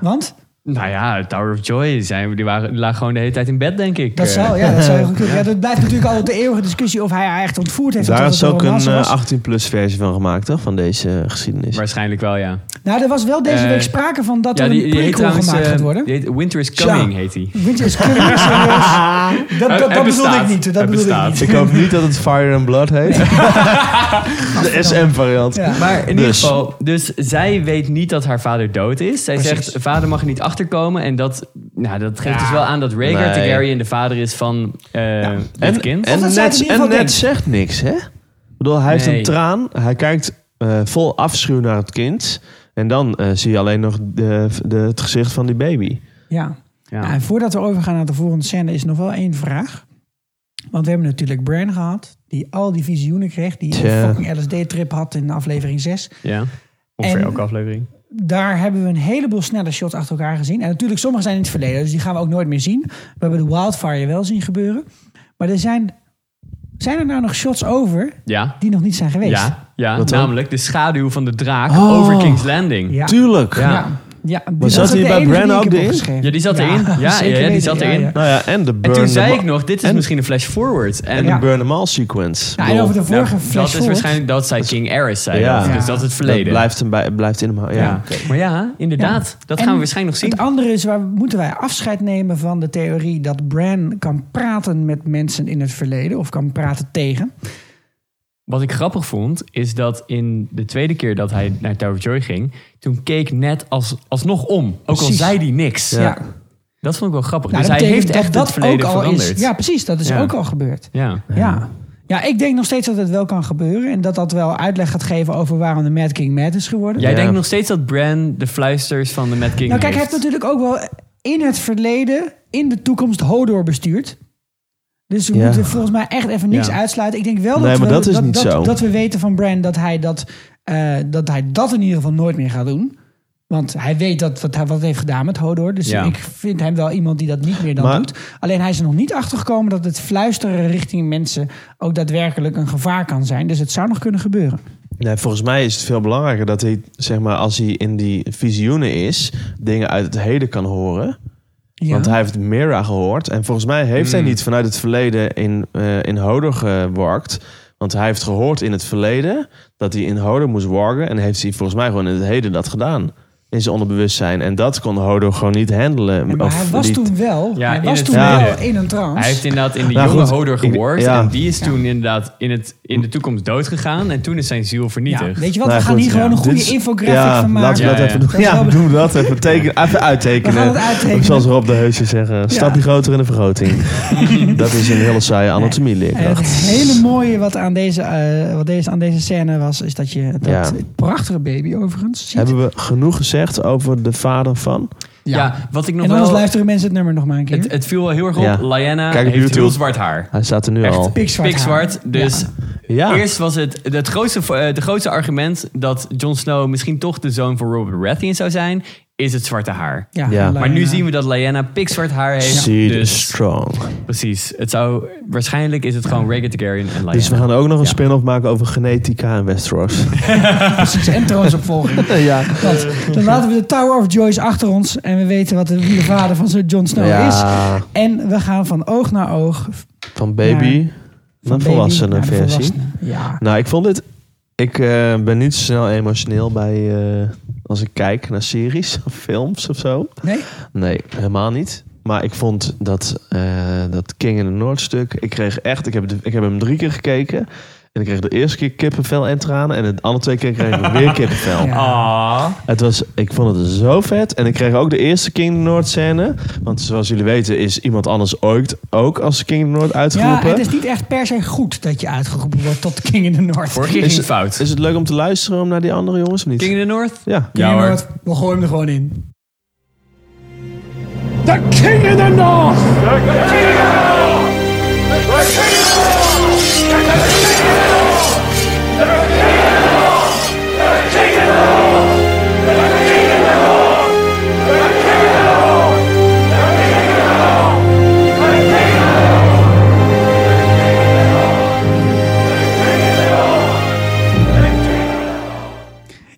S4: Want?
S2: Nou ja, Tower of Joy, zijn, die, waren, die lagen gewoon de hele tijd in bed, denk ik.
S4: Dat
S2: Eh,
S4: zou, ja, dat zou heel goed kunnen. Ja, dat blijft natuurlijk altijd de eeuwige discussie of hij haar echt ontvoerd heeft. of
S3: Daar
S4: dat
S3: is
S4: het
S3: ook
S4: een
S3: een
S4: romance
S2: eh,
S4: was.
S3: 18-plus versie van gemaakt, toch? Van deze eh, geschiedenis.
S2: Waarschijnlijk wel, ja.
S4: Nou, er was wel deze
S2: Eh,
S4: week sprake van dat
S2: ja,
S4: er
S2: die,
S4: een
S2: die heet
S4: prequel
S2: trouwens...
S4: gemaakt
S2: eh,
S4: gaat worden.
S2: die heet Winter is Coming, heet die.
S4: Weet je, is keurig, serieus. Dat, dat, dat
S2: Hij- hij
S4: bedoelde
S2: bestaat.
S4: ik niet.
S2: Hij
S4: Dat bedoelde ik
S2: bestaat.
S4: niet.
S3: Ik hoop niet dat het Fire and Blood heet. De SM-variant.
S4: Ja.
S2: Maar in ieder
S3: Dus.
S2: geval, dus zij weet niet dat haar vader dood is. Zij
S4: Precies.
S2: zegt, vader mag er niet achterkomen. En dat, nou, dat geeft dus wel aan dat Rhaegar
S3: Nee.
S2: Targaryen de vader is van eh het
S3: En,
S2: kind.
S3: en,
S4: Of dat zij het in
S3: net,
S4: ieder
S3: en
S4: geval
S3: net
S4: denkt.
S3: zegt niks, hè? Ik bedoel, hij heeft
S2: Nee.
S3: een traan. Hij kijkt eh, vol afschuw naar het kind. En dan eh, zie je alleen nog de, de, het gezicht van die baby.
S4: Ja.
S2: Ja.
S4: Nou, en voordat we overgaan naar de volgende scène is nog wel één vraag. Want we hebben natuurlijk Bran gehad, die al die visioenen kreeg, die
S3: Tja.
S4: een fucking LSD-trip had in aflevering 6.
S2: ja, ongeveer
S4: En-
S2: elke aflevering.
S4: Daar hebben we een heleboel snelle shots achter elkaar gezien. En natuurlijk, sommige zijn in het verleden, dus die gaan we ook nooit meer zien. We hebben de wildfire wel zien gebeuren. Maar er zijn, zijn er nou nog shots over
S2: Ja,
S4: die nog niet zijn geweest?
S2: ja, ja
S3: Wat dan?
S2: namelijk de schaduw van de draak
S3: Oh.
S2: over King's Landing.
S4: Ja.
S3: Tuurlijk.
S2: Ja.
S4: Ja. ja. die-
S3: Maar zat
S4: dat is
S3: die
S4: de
S3: bij
S4: enige
S3: Bran
S4: die ik
S3: ook
S4: heb
S3: erin?
S4: opgeschreven.
S2: Ja, die zat erin. Ja, ja,
S4: zeker
S2: ja, die
S4: weten.
S2: zat
S4: Ja,
S2: erin.
S4: ja.
S3: Nou ja, en de burn
S2: En toen zei
S3: them-
S2: ik nog, dit is
S3: en-
S2: misschien een flash forward. En
S3: En
S4: Ja.
S3: de burn them all sequence.
S4: Ja, en over de
S2: Nou,
S4: vorige flash
S2: dat is
S4: forward.
S2: waarschijnlijk dat zij King Aerys zei.
S3: Ja.
S2: dat. Dus
S4: Ja.
S2: dat is het
S3: dat
S2: verleden.
S3: blijft, hem bij, blijft in hem. Ja.
S2: ja. Maar ja, inderdaad. Dat
S4: En
S2: gaan we waarschijnlijk nog zien.
S4: Het andere is, waar moeten wij afscheid nemen van de theorie dat Bran kan praten met mensen in het verleden of kan praten tegen?
S2: Wat ik grappig vond, is dat in de tweede keer dat hij naar Tower of Joy ging, toen keek net als, alsnog om. Ook
S4: Precies.
S2: al zei hij niks.
S4: Ja.
S2: Dat vond ik wel grappig.
S4: Nou,
S2: dus
S4: dat
S2: hij heeft
S4: betekent
S2: echt
S4: dat
S2: het
S4: dat ook
S2: verleden
S4: al
S2: veranderd.
S4: is. Ja, precies. Dat is
S2: Ja.
S4: ook al gebeurd.
S2: ja.
S4: Ja. Ja, ik denk nog steeds dat het wel kan gebeuren. En dat dat wel uitleg gaat geven over waarom de Mad King Mad is geworden.
S2: Jij
S3: Ja.
S2: denkt nog steeds dat Bran de fluisters van de Mad King
S4: Nou, kijk, hij
S2: heeft.
S4: heeft natuurlijk ook wel in het verleden, in de toekomst, Hodor bestuurd. Dus we
S3: Ja.
S4: moeten volgens mij echt even niks
S3: Ja.
S4: uitsluiten. Ik denk wel
S3: Nee,
S4: dat,
S3: maar
S4: we,
S3: dat is niet
S4: dat,
S3: zo.
S4: dat we weten van Bran dat hij dat, eh, dat hij dat in ieder geval nooit meer gaat doen. Want hij weet dat wat hij wat heeft gedaan met Hodor. Dus
S3: Ja.
S4: ik vind hem wel iemand die dat niet meer dan
S3: Maar-
S4: doet. Alleen hij is er nog niet achtergekomen dat het fluisteren richting mensen ook daadwerkelijk een gevaar kan zijn. Dus het zou nog kunnen gebeuren.
S3: Nee, volgens mij is het veel belangrijker dat hij, zeg maar, als hij in die visioenen is, dingen uit het heden kan horen. Want hij heeft Mira gehoord. En volgens mij heeft hij
S4: Hmm.
S13: Mm.
S3: niet vanuit het verleden in, eh, in Hodor gewarkt. Want hij heeft gehoord in het verleden dat hij in Hodor moest wargen. En heeft hij volgens mij gewoon in het heden dat gedaan. In zijn onderbewustzijn. En dat kon Hodor gewoon niet handelen.
S4: Maar
S3: Of
S4: hij was
S3: die-
S4: toen wel.
S2: Ja,
S4: hij
S2: in
S4: was
S2: het
S4: toen
S3: verleden.
S4: wel in een trance.
S2: Hij heeft inderdaad in de
S3: Nou,
S2: jonge
S3: goed.
S2: Hodor
S3: Ik-
S2: geworgd.
S3: ja.
S2: En die is toen inderdaad in, het, in de toekomst doodgegaan. En toen is zijn ziel vernietigd.
S4: Ja, weet je wat, we Nou, gaan goed, hier gewoon ja. een goede Dit is- infographic
S3: Dus- Ja,
S4: van maken.
S3: laten we dat
S2: Ja, ja.
S3: even doen.
S2: Dat is
S3: Ja,
S2: wel-
S3: doen we dat even. Teken, even uittekenen.
S2: We gaan het uittekenen.
S3: Of Zoals Rob de Heusje zeggen. Stapje groter in de vergroting. dat is een hele saaie
S4: En het
S3: anatomie-leerkracht.
S4: hele mooie wat aan deze, eh, wat deze, aan deze scène was, is dat je dat
S3: Ja.
S4: prachtige baby overigens ziet.
S3: Hebben we genoeg gezegd over de vader van?
S2: Ja, wat ik nog
S4: en anders
S2: wel...
S4: luisteren mensen het nummer nog maar een keer.
S2: Het, het viel wel heel erg op.
S3: Ja.
S2: Lyanna
S3: Kijk op
S2: heeft
S3: YouTube.
S2: heel zwart haar.
S3: Hij staat er nu
S2: Echt
S3: al.
S4: pikzwart
S2: pikzwart.
S4: haar.
S2: Dus
S3: Ja.
S2: eerst was het het grootste, eh, de grootste argument dat Jon Snow misschien toch de zoon van Robert Baratheon zou zijn, is het zwarte haar.
S4: Ja, Ja.
S2: Maar nu
S4: Lyanna.
S2: zien we dat Lyanna pikzwart haar heeft.
S3: Seed
S2: Dus
S3: is strong.
S2: precies. Het zou, waarschijnlijk is het gewoon Rhaegar Targaryen en Lyanna.
S3: Dus we gaan ook nog een spin-off maken over genetica en Westeros.
S4: Precies, en troonsopvolging.
S3: ja.
S4: Want dan laten we de Tower of Joyce achter ons en we weten wat de, wie de vader van Sir Jon
S2: Nou,
S4: Snow
S3: Ja.
S4: is. En we gaan van oog naar oog.
S3: Van baby
S4: Naar-
S3: naar
S4: baby
S3: volwassene
S4: naar de
S3: versie.
S4: volwassene, ja.
S3: Nou, ik vond dit... Ik eh, ben niet zo snel emotioneel bij... eh, als ik kijk naar series of films of zo.
S4: Nee?
S3: Nee, helemaal niet. Maar ik vond dat, eh, dat King in the North stuk... Ik kreeg echt... Ik heb, de- ik heb hem drie keer gekeken. En ik kreeg de eerste keer kippenvel en tranen. En de andere twee keer kreeg ik weer
S2: Ah.
S3: kippenvel. Het was, ik vond het zo vet. En ik kreeg ook de eerste King of the North scène. Want zoals jullie weten is iemand anders ooit ook als King of the North
S4: Ja,
S3: uitgeroepen.
S4: het is niet echt per se goed dat je uitgeroepen wordt tot King in the North.
S3: Is het- Is het leuk om te luisteren om naar die andere jongens of niet? King
S2: in the North?
S3: Ja.
S4: King in the North, we gooien hem er gewoon in.
S14: The King in the North!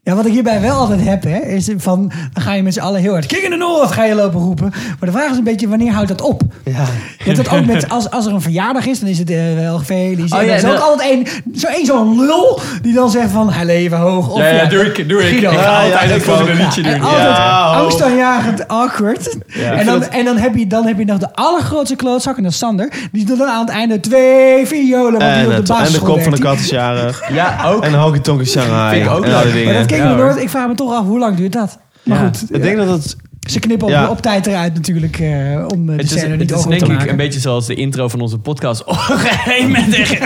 S4: Ja, wat ik hierbij wel altijd heb, hè, is van, dan ga je met z'n allen heel hard, King in the North, ga je lopen roepen. Maar de vraag is een beetje, wanneer houdt dat op? Ja. Je hebt dat ook met, als, als er een verjaardag is, dan is het eh, wel feliciteerd.
S2: Oh,
S4: en
S2: ja,
S4: er is ook
S2: dat-
S4: altijd één, zo één zo'n lul, die dan zegt van, hij leven hoog. Of,
S2: Ja, ja, doe ik- doe ik.
S4: Guido.
S2: Ik ga Ja, altijd ja, dat volgende ook. liedje
S4: Ja, en
S2: doen.
S4: altijd
S2: Ja, hoog.
S4: angstaanjagend awkward.
S2: Ja.
S4: En,
S2: Ik
S4: dan,
S2: vind
S4: en dan, heb je, dan heb je nog de allergrootste klootzak, en dat is Sander. Die doet dan aan het einde twee violen, want die
S3: En,
S4: op de
S3: het, en de
S4: basisschool
S3: kop van de
S4: werkt.
S3: kat is jarig.
S2: Ja, ook.
S3: En Honky Tonk is Shanghai.
S2: Vind ik ook
S3: en al die
S2: leuk.
S3: dingen.
S4: Maar dat King in the North, ik vraag me toch af, hoe lang duurt dat? Maar
S3: Ja.
S4: goed.
S3: Ik denk dat het...
S4: Ze knippen op,
S3: Ja.
S4: op tijd eruit natuurlijk eh, om eh, de
S2: Het is,
S4: scène niet
S2: het is
S4: over
S2: denk
S4: te
S2: ik
S4: maken.
S2: een beetje zoals de intro van onze podcast. Oh, geen met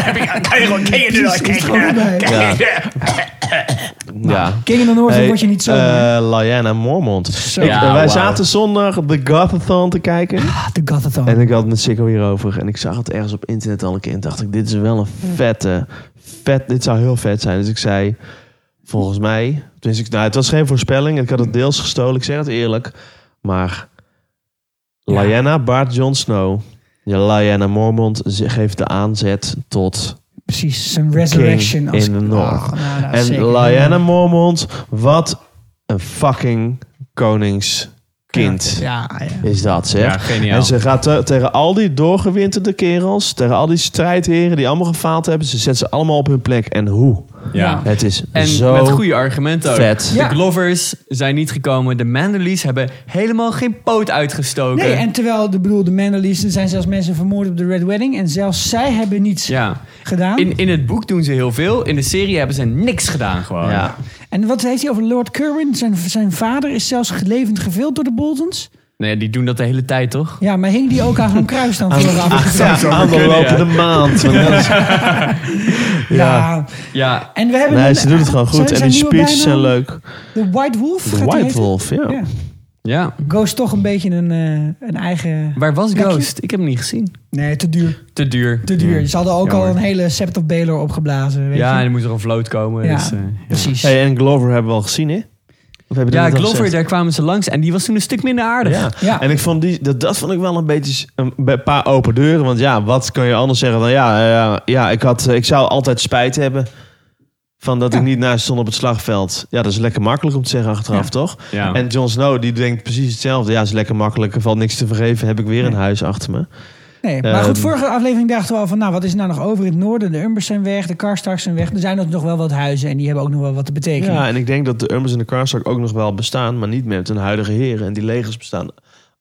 S2: kan je gewoon King in the North.
S4: Precies, het is er gewoon bij.
S3: Ja. ja.
S4: King in the North, dan word je niet zo,
S3: eh,
S4: hè?
S3: Lyanna Mormont.
S4: Zo.
S3: Ik-
S4: Ja,
S3: wij
S4: wauw.
S3: zaten zondag de Gothethon te kijken.
S4: Ah, de Gothethon.
S3: En ik had het met Sikko hierover. En ik zag het ergens op internet al een keer. En dacht ik, dit is wel een vette... Vet, dit zou heel vet zijn. Dus ik zei, volgens mij... tenminste, ik- nou, het was geen voorspelling. Ik had het deels gestolen. Ik zeg het eerlijk. Maar Lyanna Bart Jon Snow. Ja, Lyanna Mormont ze- geeft de aanzet tot
S4: Precies, een resurrection.
S3: King
S4: als-
S3: in the North.
S4: Ah, nou, nou,
S3: en
S4: zeker.
S3: Lyanna Mormont, wat een fucking koningskind
S4: Ja, ja.
S3: is dat, zeg.
S2: Ja, geniaal.
S3: En ze gaat te- tegen al die doorgewinterde kerels, tegen al die strijdheren die allemaal gefaald hebben, ze zet ze allemaal op hun plek. En hoe?
S2: Ja.
S3: Het is
S2: En
S3: zo
S2: met goede argumenten ook.
S3: vet.
S2: De Glovers zijn niet gekomen. De Manderlies hebben helemaal geen poot uitgestoken.
S4: Nee, en terwijl de, bedoel, de Mandalorians, er zijn zelfs mensen vermoord op de Red Wedding. En zelfs zij hebben niets
S2: ja.
S4: gedaan.
S2: In, in het boek doen ze heel veel. In de serie hebben ze niks gedaan gewoon. Ja.
S4: En wat heeft hij over Lord Curwen? Zijn, zijn vader is zelfs levend gevild door de Boltons.
S2: Nee, die doen dat de hele tijd, toch?
S4: Ja, maar hing die ook aan zo'n kruis dan vooraf?
S2: ja,
S3: aan de
S2: kunnen, ja.
S3: lopende maand. want dat is-
S4: Ja.
S2: Ja.
S4: En we hebben
S3: nee,
S4: een-
S3: ze doet het gewoon
S4: Zijn-
S3: goed. En
S4: zijn
S3: die
S4: nieuwe
S3: speeches zijn
S4: bijnaam?
S3: leuk.
S4: De White Wolf?
S3: De
S4: gaat die
S3: White
S4: heten?
S3: Wolf, ja.
S2: Ja.
S4: Ghost toch een beetje een, eh, een eigen...
S2: Waar was
S4: plekje.
S2: Ghost? Ik heb hem niet gezien.
S4: Nee, te duur.
S2: Te duur.
S4: Te duur.
S2: Ja.
S4: Ze hadden ook al
S2: Jammer.
S4: een hele Sept of Baylor opgeblazen. Weet
S2: Ja, en
S4: je?
S2: er moest er een vloot komen.
S4: Ja,
S2: dus, eh,
S4: precies.
S3: Hey, en Glover hebben we al gezien, hè? Of hebben
S2: Ja,
S3: we dat nog
S2: Glover,
S3: gezegd?
S2: daar kwamen ze langs en die was toen een stuk minder aardig.
S3: Ja. en ik vond die, dat, dat vond ik wel een beetje een, een paar open deuren. Want ja, wat kun je anders zeggen dan ja, eh, ja ik, had, ik zou altijd spijt hebben van dat ik niet naast stond op het slagveld. Ja, dat is lekker makkelijk om te zeggen achteraf, toch?
S2: Ja.
S3: En Jon Snow, die denkt precies hetzelfde. Ja, is lekker makkelijk, er valt niks te vergeven, heb ik weer een huis achter me.
S4: Nee, maar goed,
S3: Ehm,
S4: vorige aflevering dachten we al van... nou, wat is er nou nog over in het noorden? De Umbers zijn weg, de Karstaks zijn weg. Er zijn nog wel wat huizen en die hebben ook nog wel wat te betekenen.
S3: Ja, en ik denk dat de Umbers en de Karstark ook nog wel bestaan, maar niet meer met hun huidige heren. En die legers bestaan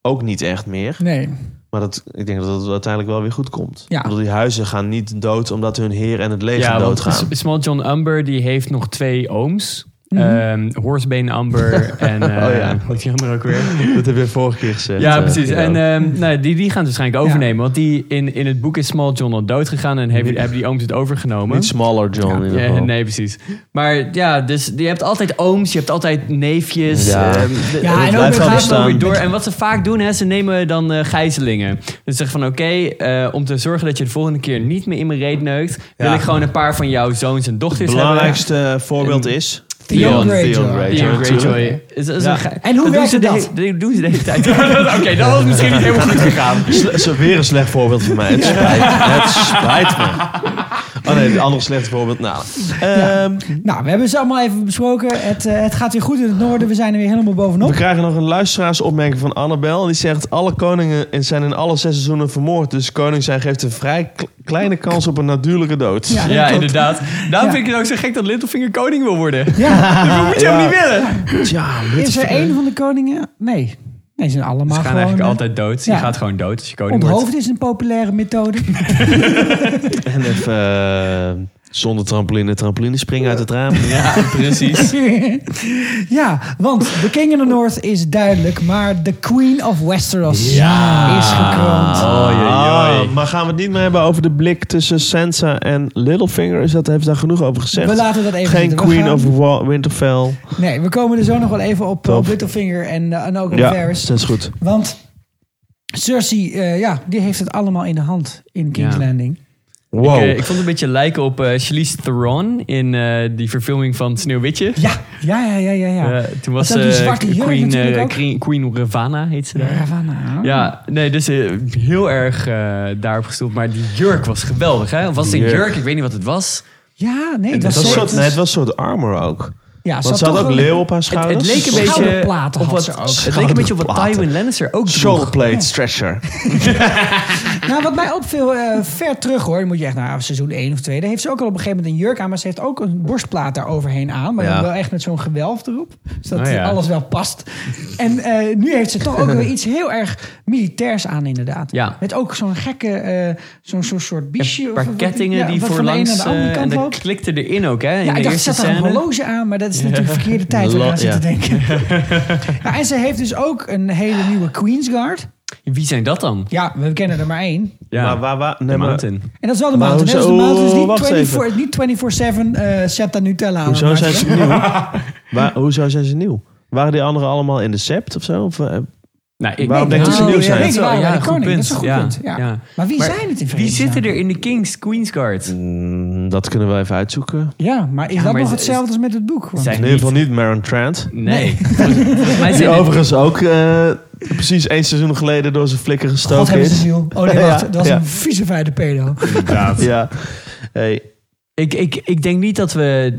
S3: ook niet echt meer.
S4: Nee.
S3: Maar dat, ik denk dat het uiteindelijk wel weer goed komt.
S4: Ja.
S3: Ik bedoel, die huizen gaan niet dood omdat hun heer en het leger
S2: Ja, want
S3: doodgaan.
S2: S- Small John Amber die heeft nog twee ooms.
S3: Mhm.
S2: Ehm, Horsebane Amber en... eh
S3: Oh ja.
S2: Hoe heet die andere ook weer?
S3: Dat heb je vorige keer gezegd.
S2: Ja,
S3: eh,
S2: precies.
S3: Jeroen.
S2: En ehm, nou, die, die gaan het waarschijnlijk overnemen. Want die, in, in het boek is Small John al dood gegaan en hebben, hebben die ooms het overgenomen.
S3: Niet Smaller John in ieder
S2: Ja,
S3: geval.
S2: nee, precies. Maar ja, dus je hebt altijd ooms, je hebt altijd neefjes.
S3: Ja.
S2: ehm,
S3: Ja,
S2: de-
S3: en
S2: het
S3: ook
S2: blijft
S3: met-
S2: altijd wel
S3: bestaan.
S2: weer door. En wat ze vaak doen, hè, ze nemen dan eh, gijzelingen. Dus zeggen van oké, eh, om te zorgen dat je de volgende keer niet meer in mijn reet neukt, wil
S3: Ja.
S2: ik gewoon een paar van jouw zoons en dochters
S3: Het
S2: hebben.
S3: belangrijkste eh, voorbeeld is... Theon
S2: Theon Theon
S3: Greyjoy.
S2: Greyjoy.
S3: natuurlijk.
S2: Is- is
S3: Ja.
S2: een ge-
S4: En hoe
S2: doen
S4: werkt
S2: ze de
S4: dat?
S2: hele- doen ze de hele tijd. Oké, dat was misschien niet helemaal goed gegaan.
S3: Sle- is weer een slecht voorbeeld van mij. Het spijt, het spijt me. Oh nee, het andere slechte voorbeeld. Nou,
S4: Nou, we hebben ze allemaal even besproken. Het, eh, het gaat weer goed in het noorden. We zijn er weer helemaal
S3: we
S4: bovenop.
S3: krijgen nog een luisteraarsopmerking van Annabel. Die zegt, alle koningen in- zijn in alle zes seizoenen vermoord. Dus koning zijn geeft een vrij k- kleine kans op een natuurlijke dood.
S2: Ja, inderdaad. Daarom vind ik het ook zo gek dat Littlefinger koning wil worden.
S4: Ja.
S2: Dat moet je
S3: Ja.
S2: hem niet willen.
S3: Ja,
S4: Is er één van de koningen? Nee. Nee, ze zijn
S2: Ze
S4: allemaal
S2: gaan
S4: gewoon...
S2: eigenlijk
S4: eh,
S2: altijd dood. Je
S4: Ja.
S2: gaat gewoon dood als je koning wordt.
S4: Onthoofd is een populaire methode.
S3: En even eh, zonder trampoline, trampoline springen uit het raam.
S2: Ja, precies.
S4: ja, want de King in the North is duidelijk, maar de Queen of Westeros is gekroond.
S2: Oh.
S3: Ah, maar gaan we het niet meer hebben over de blik tussen Sansa en Littlefinger? Is dat, heeft daar genoeg over gezegd?
S4: We laten dat even
S3: Geen
S4: zitten. We
S3: Queen
S4: gaan-
S3: of Wa- Winterfell.
S4: Nee, we komen er zo nog wel even op,
S3: Top.
S4: op Littlefinger en, eh, en ook op
S3: Ja,
S4: Varys.
S3: dat is goed.
S4: Want Cersei, eh, ja, die heeft het allemaal in de hand in King's
S2: Ja.
S4: Landing.
S2: Ik, eh, ik vond het een beetje lijken op eh Charlize Theron in eh, die verfilming van Sneeuwwitje.
S4: Ja, ja, ja, ja, ja. ja.
S2: Eh, toen was
S4: Want dan die
S2: eh,
S4: zwarte jurk
S2: Queen, eh,
S4: natuurlijk ook.
S2: Queen, Queen Ravana, heet ze daar.
S4: Ravana.
S2: Ja, nee, dus eh, heel erg eh, daarop gestoeld. Maar die jurk was geweldig, hè? Of was het een
S3: Jurk.
S2: jurk? Ik weet niet wat het was.
S4: Ja, nee,
S3: het,
S4: dat
S3: was een
S4: is
S3: soort, nee, het was een soort armor ook.
S4: Ja, ze
S3: Want
S4: had
S3: ze had
S4: toch
S3: ook
S4: wel-
S3: leeuw op haar
S4: Het- het
S3: schouders.
S2: leek een beetje
S4: Schouderplaten
S2: op
S4: had
S2: wat,
S4: ze ook.
S2: Het leek een beetje op wat
S3: Schouderplaten.
S2: Tywin Lannister ook droeg.
S3: Shoulderplate stretcher.
S4: Nou, wat mij opviel, eh, ver terug hoor, dan moet je echt naar ah, seizoen 1 of 2. Daar heeft ze ook al op een gegeven moment een jurk aan, maar ze heeft ook een borstplaat daar overheen aan. Maar
S3: Ja.
S4: dan wel echt met zo'n gewelf erop, zodat
S2: Oh ja.
S4: alles wel past. En eh, nu heeft ze toch ook weer iets heel erg militairs aan inderdaad.
S2: Ja.
S4: Met ook zo'n gekke, eh, zo'n zo'n soort biesje.
S2: Een paar
S4: of-
S2: kettingen
S4: ja,
S2: die
S4: wat van de
S2: voorlangs...
S4: ene naar de
S2: eh,
S4: andere
S2: en
S4: kant
S2: dat
S4: loopt.
S2: klikte erin ook, hè? In
S4: Ja,
S2: de
S4: ik dacht,
S2: eerste
S4: zet er een
S2: scène.
S4: horloge aan, maar dat is natuurlijk de verkeerde tijd om
S2: Lo-
S4: aan zit te
S2: ja.
S4: denken. ja, en ze heeft dus ook een hele nieuwe Queensguard.
S2: Wie zijn dat dan?
S4: Ja, we kennen er maar één.
S2: Ja.
S3: Maar waar, waar, nee,
S2: De
S3: maar-
S2: Mountain.
S4: En dat is wel de
S3: Maar
S4: mountain. hè?
S3: hoezo-
S4: Dus de
S3: oh, wacht
S4: mountain is
S3: even.
S4: niet 24- niet 24-7 eh Septa Nutella aan het
S3: Hoezo zijn ze
S4: maken.
S3: nieuw? Waar, hoezo zijn ze nieuw? Waren die anderen allemaal in de sept of zo? Of, eh,
S2: Nou, ik
S3: Waarom
S2: denk
S3: denk je dat ze nieuw zijn?
S4: Nee, die waren
S2: Ja,
S4: bij de
S2: goed
S4: koning. Dat is
S2: punt.
S4: een goed
S2: Ja,
S4: punt. Ja.
S2: ja.
S4: Maar wie
S2: Maar
S4: zijn het in
S2: Wie
S4: Verenigde
S2: zitten
S4: Staten?
S2: er in de Kings, Queensguard?
S3: Mm, dat kunnen we even uitzoeken.
S4: Ja, maar is
S2: Ja,
S4: dat
S2: maar
S4: nog
S2: is-
S4: hetzelfde als met het boek? Want-
S3: In ieder geval niet Maren Trant.
S2: Nee. Volgens mij
S3: Die
S2: zijn het-
S3: overigens ook eh, precies één seizoen geleden door zijn flikker gestoken
S4: God hebben
S3: is.
S4: ze ziel. Oh nee, wacht.
S3: Ja,
S4: Dat was
S3: ja.
S4: een vieze vuile pedo.
S3: Ja. Hey.
S2: Ik, ik, ik denk niet dat we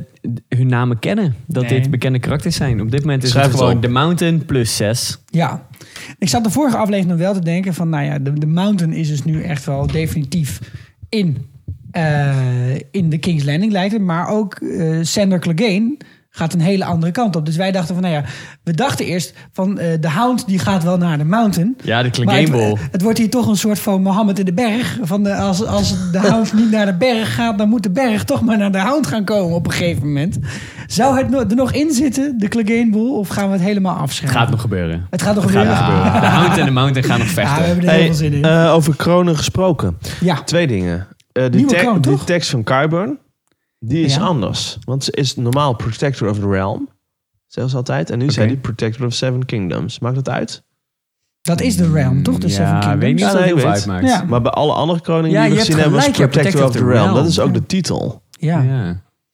S2: hun namen kennen. Dat
S4: Nee.
S2: dit bekende karakters zijn. Op dit moment is
S3: Schrijf
S2: het
S3: het
S2: gewoon
S3: op.
S2: The Mountain plus 6.
S4: Ja. Ik zat de vorige aflevering nog wel te denken van... Nou ja, de, de mountain is dus nu echt wel definitief in, eh, in de King's Landing lijkt het. Maar ook eh Sander Clegane gaat een hele andere kant op. Dus wij dachten van, nou ja... We dachten eerst van eh, de Hound die gaat wel naar de mountain...
S2: Ja, de
S4: Maar
S2: Clegane
S4: het, eh,
S2: Ball.
S4: het wordt hier toch een soort van Mohammed in de berg. Van de, als, als de hound niet naar de berg gaat, dan moet de berg toch maar naar de hound gaan komen op een gegeven moment. Zou het no- er nog in zitten, de Clegane Bowl, of gaan we het helemaal afschrijven?
S2: Gaat nog gebeuren.
S4: Het gaat nog gebeuren.
S2: De Hound en de Mountain gaan nog
S4: Ja, we
S2: vechten.
S4: hebben er heel
S3: Hey,
S4: veel zin in.
S3: eh, over kronen gesproken.
S4: Ja.
S3: Twee dingen. Eh, die,
S4: Nieuwe
S3: te-
S4: kroon,
S3: die
S4: toch?
S3: tekst van Qyburn, die is
S4: Ja.
S3: anders. Want ze is normaal protector of the realm. Zelfs altijd. En nu zei hij Protector of Seven Kingdoms. Maakt dat uit?
S4: Dat is de realm, toch? dus De Seven Kingdoms.
S2: weet niet of dat heel veel uitmaakt. Ja.
S3: Maar bij alle andere koningen
S4: Ja,
S3: die we
S4: je hebt
S3: gezien hebben was
S4: gelijk, ja,
S3: Protector, of the Realm. Dat is ook de titel.
S4: Ja.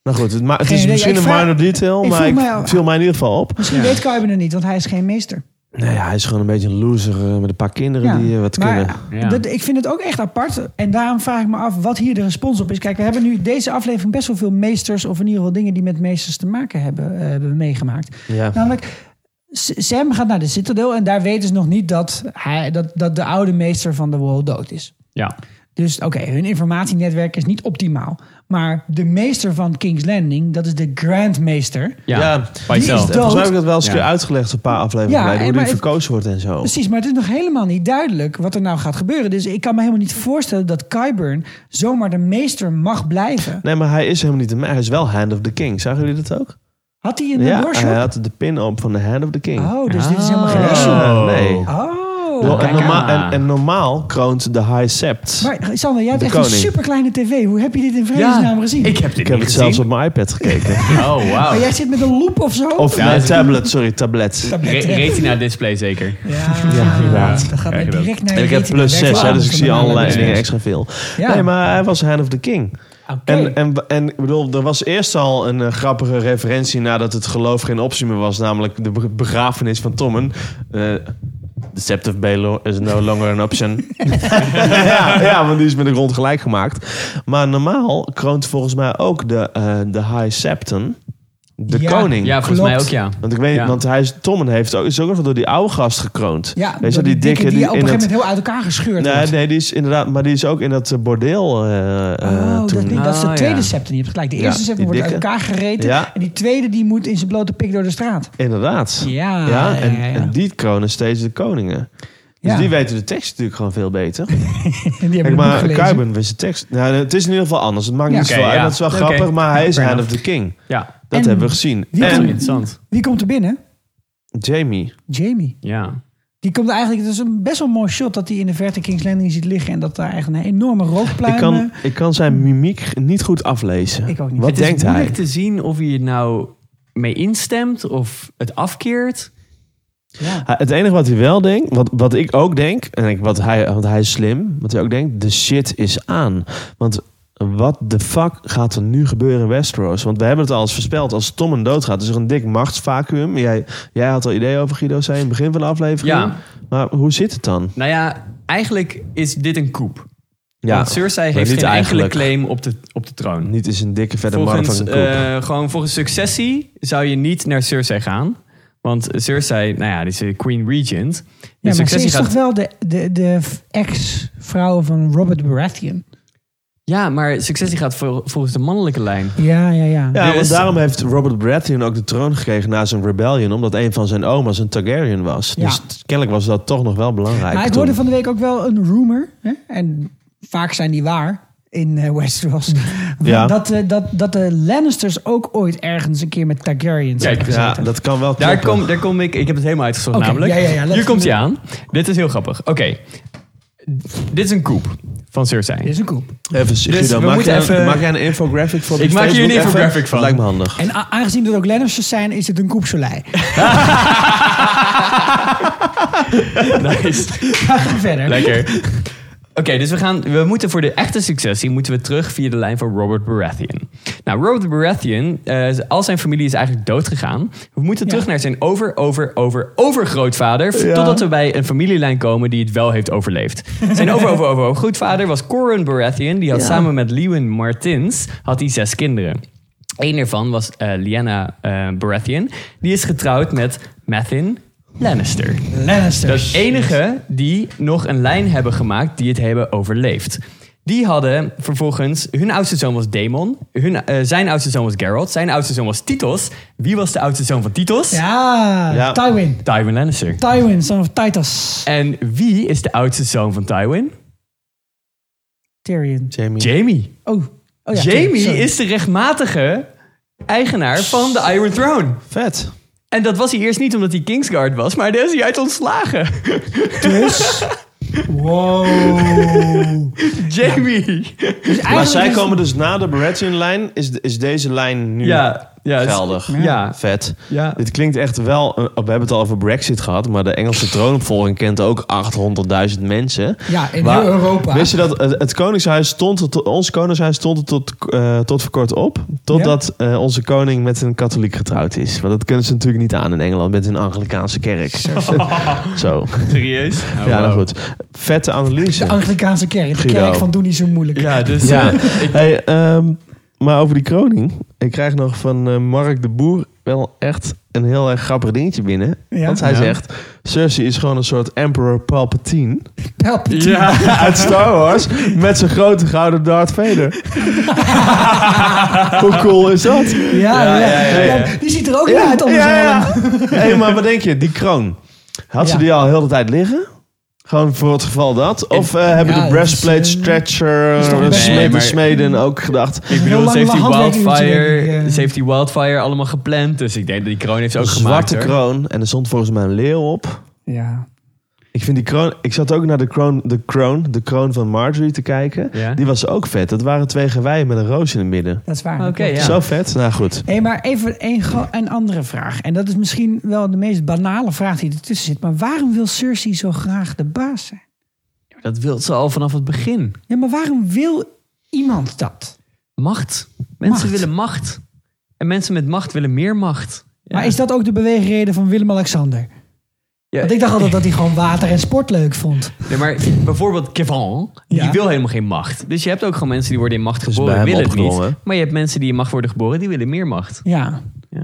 S3: Nou goed, het, ma- het
S4: Geen
S3: is
S4: idee.
S3: misschien
S4: Ik
S3: een
S4: vraag-
S3: minor detail,
S4: ik
S3: maar
S4: vroeg
S3: ik
S4: mij al-
S3: viel mij in ieder geval op.
S4: Misschien weet Kuiper het niet, want hij is geen meester.
S3: Nee, hij is gewoon een beetje een loser eh, met een paar kinderen
S4: Ja,
S3: die eh, wat
S4: maar
S3: kunnen.
S4: Dat, ik vind het ook echt apart. En daarom vraag ik me af wat hier de respons op is. Kijk, we hebben nu deze aflevering best wel veel meesters... of in ieder geval dingen die met meesters te maken hebben, eh, hebben we meegemaakt.
S3: Ja.
S4: Namelijk, S- Sam gaat naar de Citadel... en daar weten ze nog niet dat, hij, dat, dat de oude meester van de world dood is.
S2: Ja.
S4: Dus oké, hun informatienetwerk is niet optimaal. Maar de meester van King's Landing, dat is de Grandmeester...
S3: Ja,
S4: Die is Nou, dood.
S3: volgens mij heb ik dat wel eens een
S4: Ja.
S3: keer uitgelegd een paar afleveringen
S4: Ja,
S3: geleden.
S4: en
S3: Hoe die
S4: maar het-
S3: verkozen wordt en zo.
S4: Precies, maar het is nog helemaal niet duidelijk wat er nou gaat gebeuren. Dus ik kan me helemaal niet voorstellen dat Kyburn zomaar de meester mag blijven.
S3: Nee, maar hij is helemaal niet de man. Hij is wel Hand of the King. Zagen jullie dat ook?
S4: Had hij een
S3: ja,
S4: doorshop?
S3: hij had de pin op van de Hand of the King.
S4: Oh, dus dit is helemaal geen
S3: Ja,
S4: issue.
S3: Nee.
S4: Oh.
S3: en,
S4: Kijk
S3: normaal,
S4: aan.
S3: en, en normaal kroont de High Sept.
S4: Maar Sander, jij hebt
S3: De
S4: echt een
S3: koning.
S4: superkleine tv. Hoe heb je dit in vredesnaam gezien?
S2: heb dit
S3: Ik heb het zelfs op mijn iPad gekeken.
S2: Oh,
S4: Maar jij zit met een loop of zo?
S3: Of
S2: Ja,
S3: mijn
S2: dat-
S3: tablet, sorry, tablet.
S2: Re- retina display zeker.
S3: Ja, inderdaad.
S4: Dat gaat mij direct naar
S3: En
S4: je
S3: ik heb
S4: retina.
S3: plus
S4: Werkt
S3: 6,
S4: wel
S3: dus
S4: aan.
S3: ik zie allerlei dingen extra veel.
S4: Ja.
S3: Nee, maar hij was Hand of the King. En, en, en ik bedoel, er was eerst al een eh, grappige referentie nadat het geloof geen optie meer was, namelijk de be- begrafenis van Tommen. Eh the Sept of Baelor is no longer an option. ja, ja, want die is met de grond gelijk gemaakt. Maar normaal kroont volgens mij ook de, eh, de High Septon. De
S2: Ja,
S3: koning.
S2: ja, volgens Klopt. mij ook, ja.
S3: Want ik weet,
S2: Ja.
S3: want hij is, Tommen heeft ook, is ook nog door die oude gast gekroond.
S4: Ja,
S3: Weet je,
S4: die dikke die, op een
S3: in
S4: gegeven
S3: dat-
S4: moment heel uit elkaar gescheurd
S3: Nee,
S4: wordt.
S3: nee, die is inderdaad, maar die is ook in dat eh, bordeel eh, eh,
S4: Oh, dat,
S3: toen. nou
S4: niet, dat is de tweede septum. Je hebt gelijk. De
S3: Ja,
S4: eerste
S3: die
S4: septum wordt uit
S3: dikke.
S4: elkaar gereten.
S3: Ja. Dus
S4: En die tweede die moet in zijn blote pik door de straat.
S3: Inderdaad.
S4: Ja, ja,
S3: en,
S4: ja, ja.
S3: en die kronen steeds de koningen. Dus
S4: Ja.
S3: die weten de tekst natuurlijk gewoon veel beter.
S4: En die hebben
S3: Kijk, maar
S4: het boek gelezen.
S3: Kuiben wist de tekst. Nou, het is in ieder geval anders. Het maakt
S4: Ja.
S3: niet zo
S2: Oké,
S3: uit.
S2: ja.
S3: Dat is wel
S2: Oké.
S3: grappig, maar hij is
S2: Fair
S3: Hand of
S2: enough.
S3: the King.
S2: Ja.
S3: Dat
S4: En-
S3: hebben we gezien.
S4: Wie
S3: en
S4: komt-
S2: Interessant.
S4: Wie komt er binnen?
S3: Jamie.
S4: Jamie.
S2: Ja.
S4: Die komt eigenlijk, het is een best wel mooi shot dat hij in de verte Kings Landing ziet liggen en dat daar echt een enorme rookpluim...
S3: Ik kan, ik kan zijn mimiek niet goed aflezen.
S4: Ik ook niet.
S3: Wat
S2: het
S3: denkt
S2: is
S3: hij?
S2: moeilijk te zien of je het nou mee instemt of het afkeert.
S3: Hij- Het enige wat hij wel denkt, wat, wat ik ook denk, en ik, wat hij, want hij is slim, wat hij ook denkt, de shit is aan. Want wat de fuck gaat er nu gebeuren in Westeros? Want we hebben het al eens voorspeld. Als Tommen doodgaat, is er een dik machtsvacuum. Jij, jij had al idee over Guido, zei in het begin van de aflevering.
S2: Ja.
S3: Maar hoe zit het dan?
S2: Nou ja, eigenlijk is dit een koep.
S3: Ja,
S2: Want Cersei
S3: maar
S2: heeft
S3: niet
S2: geen enkele
S3: eigenlijk.
S2: claim op de, op de troon.
S3: Niet is een dikke verder
S2: volgens,
S3: marathon koep.
S2: eh, gewoon volgens successie zou je niet naar Cersei gaan. Want Cersei, nou ja, die is de Queen Regent. En
S4: Ja, maar ze
S2: successie
S4: is toch wel de, de, de ex-vrouw van Robert Baratheon.
S2: ja, maar successie gaat vol- volgens de mannelijke lijn.
S4: Ja, ja, ja.
S3: Ja,
S2: dus-
S3: want daarom heeft Robert Baratheon ook de troon gekregen na zijn rebellion. Omdat een van zijn oma's een Targaryen was.
S4: Ja.
S3: Dus kennelijk was dat toch nog wel belangrijk.
S4: Maar ik
S3: toen.
S4: hoorde van de week ook wel een rumor, hè? en vaak zijn die waar in eh, Westeros,
S3: Ja.
S4: dat, eh, dat, dat de Lannisters ook ooit ergens een keer met Targaryens
S2: Kijk,
S4: hebben
S3: ja,
S4: gezeten.
S3: dat kan wel
S2: Daar
S3: kloppen.
S2: kom, daar kom ik. Ik heb het helemaal uitgezocht
S4: Oké,
S2: namelijk.
S4: ja, ja, ja, laten
S2: Hier
S4: we
S2: komt hij
S4: doen.
S2: aan. Dit is heel grappig. Oké. Dit is een koep van Cersei.
S4: Dit is een koep.
S3: Even, Guido,
S2: Dus we
S3: maak,
S2: moeten
S3: jij,
S2: even-
S3: maak jij een infographic voor op
S2: Ik
S3: je
S2: maak hier een
S3: Facebook even?
S2: infographic van.
S3: Dat lijkt me handig.
S4: En a- aangezien er ook Lannisters zijn, is het een koepsolei.
S2: Nice.
S4: Ga verder.
S2: Lekker. Oké, dus we, gaan, we moeten voor de echte successie moeten we terug via de lijn van Robert Baratheon. Nou, Robert Baratheon, eh, al zijn familie is eigenlijk dood gegaan. We moeten terug naar zijn over, over, over, overgrootvader.
S3: Ja.
S2: Totdat we bij een familielijn komen die het wel heeft overleefd. Zijn over, over, over, over grootvader was Corin Baratheon. Die had
S3: Ja.
S2: samen met Lewin Martins had hij zes kinderen. Eén daarvan was eh Lyanna eh, Baratheon. Die is getrouwd met Mathin Lannister. Dat
S4: Lannisters.
S2: is enige die nog een lijn hebben gemaakt die het hebben overleefd. Die hadden vervolgens, hun oudste zoon was Daemon, hun, eh, zijn oudste zoon was Geralt, zijn oudste zoon was Titus. Wie was de oudste zoon van Titus?
S4: Ja,
S3: Ja.
S4: Tywin.
S2: Tywin Lannister.
S4: Tywin, son of Titus.
S2: En wie is de oudste zoon van Tywin?
S4: Tyrion.
S3: Jamie.
S2: Jamie.
S4: Oh, oh ja,
S2: Jamie
S4: Tyrion, sorry.
S2: is de rechtmatige eigenaar van de Iron Throne.
S3: Vet.
S2: En dat was hij eerst niet omdat hij Kingsguard was, maar daar is hij uit ontslagen.
S4: Dus... Wow.
S2: Jamie.
S4: Dus eigenlijk
S3: Maar zij
S4: is-
S3: komen dus na de Baratheon-lijn. Is, is deze lijn nu...
S2: Ja, Ja, het is-
S3: Geldig.
S2: ja.
S3: Vet.
S2: Ja.
S3: Dit klinkt echt wel... eh, We hebben het al over Brexit gehad, maar de Engelse troonopvolging kent ook 800.000 mensen.
S4: Ja, in heel Europa.
S3: Wist je dat het, het koningshuis stond, er tot, ons koningshuis stond er tot, eh, tot voor kort op, totdat eh, onze koning met een katholiek getrouwd is. Want dat kunnen ze natuurlijk niet aan in Engeland met een Anglikaanse kerk. Zo.
S2: Serieus?
S3: ja, nou goed. Vette analyse.
S4: De Anglikaanse kerk. De
S3: Guido.
S4: kerk van doe niet zo moeilijk.
S2: Ja, dus
S3: ja.
S2: eh,
S3: Hey, ehm, maar over die kroning. Ik krijg nog van eh, Mark de Boer wel echt een heel erg grappig dingetje binnen.
S4: Ja?
S3: Want hij
S4: Ja.
S3: zegt, Cersei is gewoon een soort Emperor Palpatine.
S4: Palpatine.
S3: Ja, uit Star Wars. Met zijn grote gouden Darth Vader. Hoe cool is dat?
S4: Ja, ja, Die ziet er ook niet uit onder zijn helm.
S3: Hé, maar wat denk je? Die kroon. Had ze
S4: Ja.
S3: die al heel de tijd liggen? Gewoon voor het geval dat? Of eh, hebben
S4: Ja,
S3: de
S4: dat
S3: breastplate
S4: is, eh,
S3: stretcher
S4: is toch
S3: smeden,
S4: best- Nee,
S2: maar-
S3: smeden ook gedacht?
S2: Ik bedoel,
S4: Heel
S2: ze
S4: lang
S2: heeft, die
S4: handwerking moet je
S2: wildfire,
S4: doen, ja.
S2: ze heeft die wildfire allemaal gepland. Dus ik denk dat die kroon heeft ze ook
S3: Een
S2: gemaakt.
S3: zwarte
S2: hoor.
S3: kroon. En er stond volgens mij een leeuw op.
S4: Ja.
S3: Ik vind die kroon... Ik zat ook naar de kroon, de kroon, de kroon van Marjorie te kijken.
S2: Ja.
S3: Die was ook vet. Dat waren twee geweien met een roos in het midden.
S4: Dat is waar. dat
S2: Oké,
S4: klopt.
S2: ja.
S3: Zo vet. Nou goed.
S4: Hé, maar even een, gro- een andere vraag. En dat is misschien wel de meest banale vraag die ertussen zit. Maar waarom wil Cersei zo graag de baas zijn?
S2: Dat wil ze al vanaf het begin.
S4: Ja, maar waarom wil iemand dat?
S2: Macht. Mensen
S4: Macht.
S2: willen macht. En mensen met macht willen meer macht. Ja.
S4: Maar is dat ook de beweegreden van Willem-Alexander?
S2: Ja.
S4: Want ik dacht altijd dat hij gewoon water en sport leuk vond.
S2: Nee, maar bijvoorbeeld Kevin, die
S4: Ja.
S2: wil helemaal geen macht. Dus je hebt ook gewoon mensen die worden in macht
S3: is
S2: geboren,
S3: bij hem
S2: willen het niet.
S3: opgedrongen.
S2: Maar je hebt mensen die in macht worden geboren, die willen meer macht.
S4: Ja.
S2: Ja.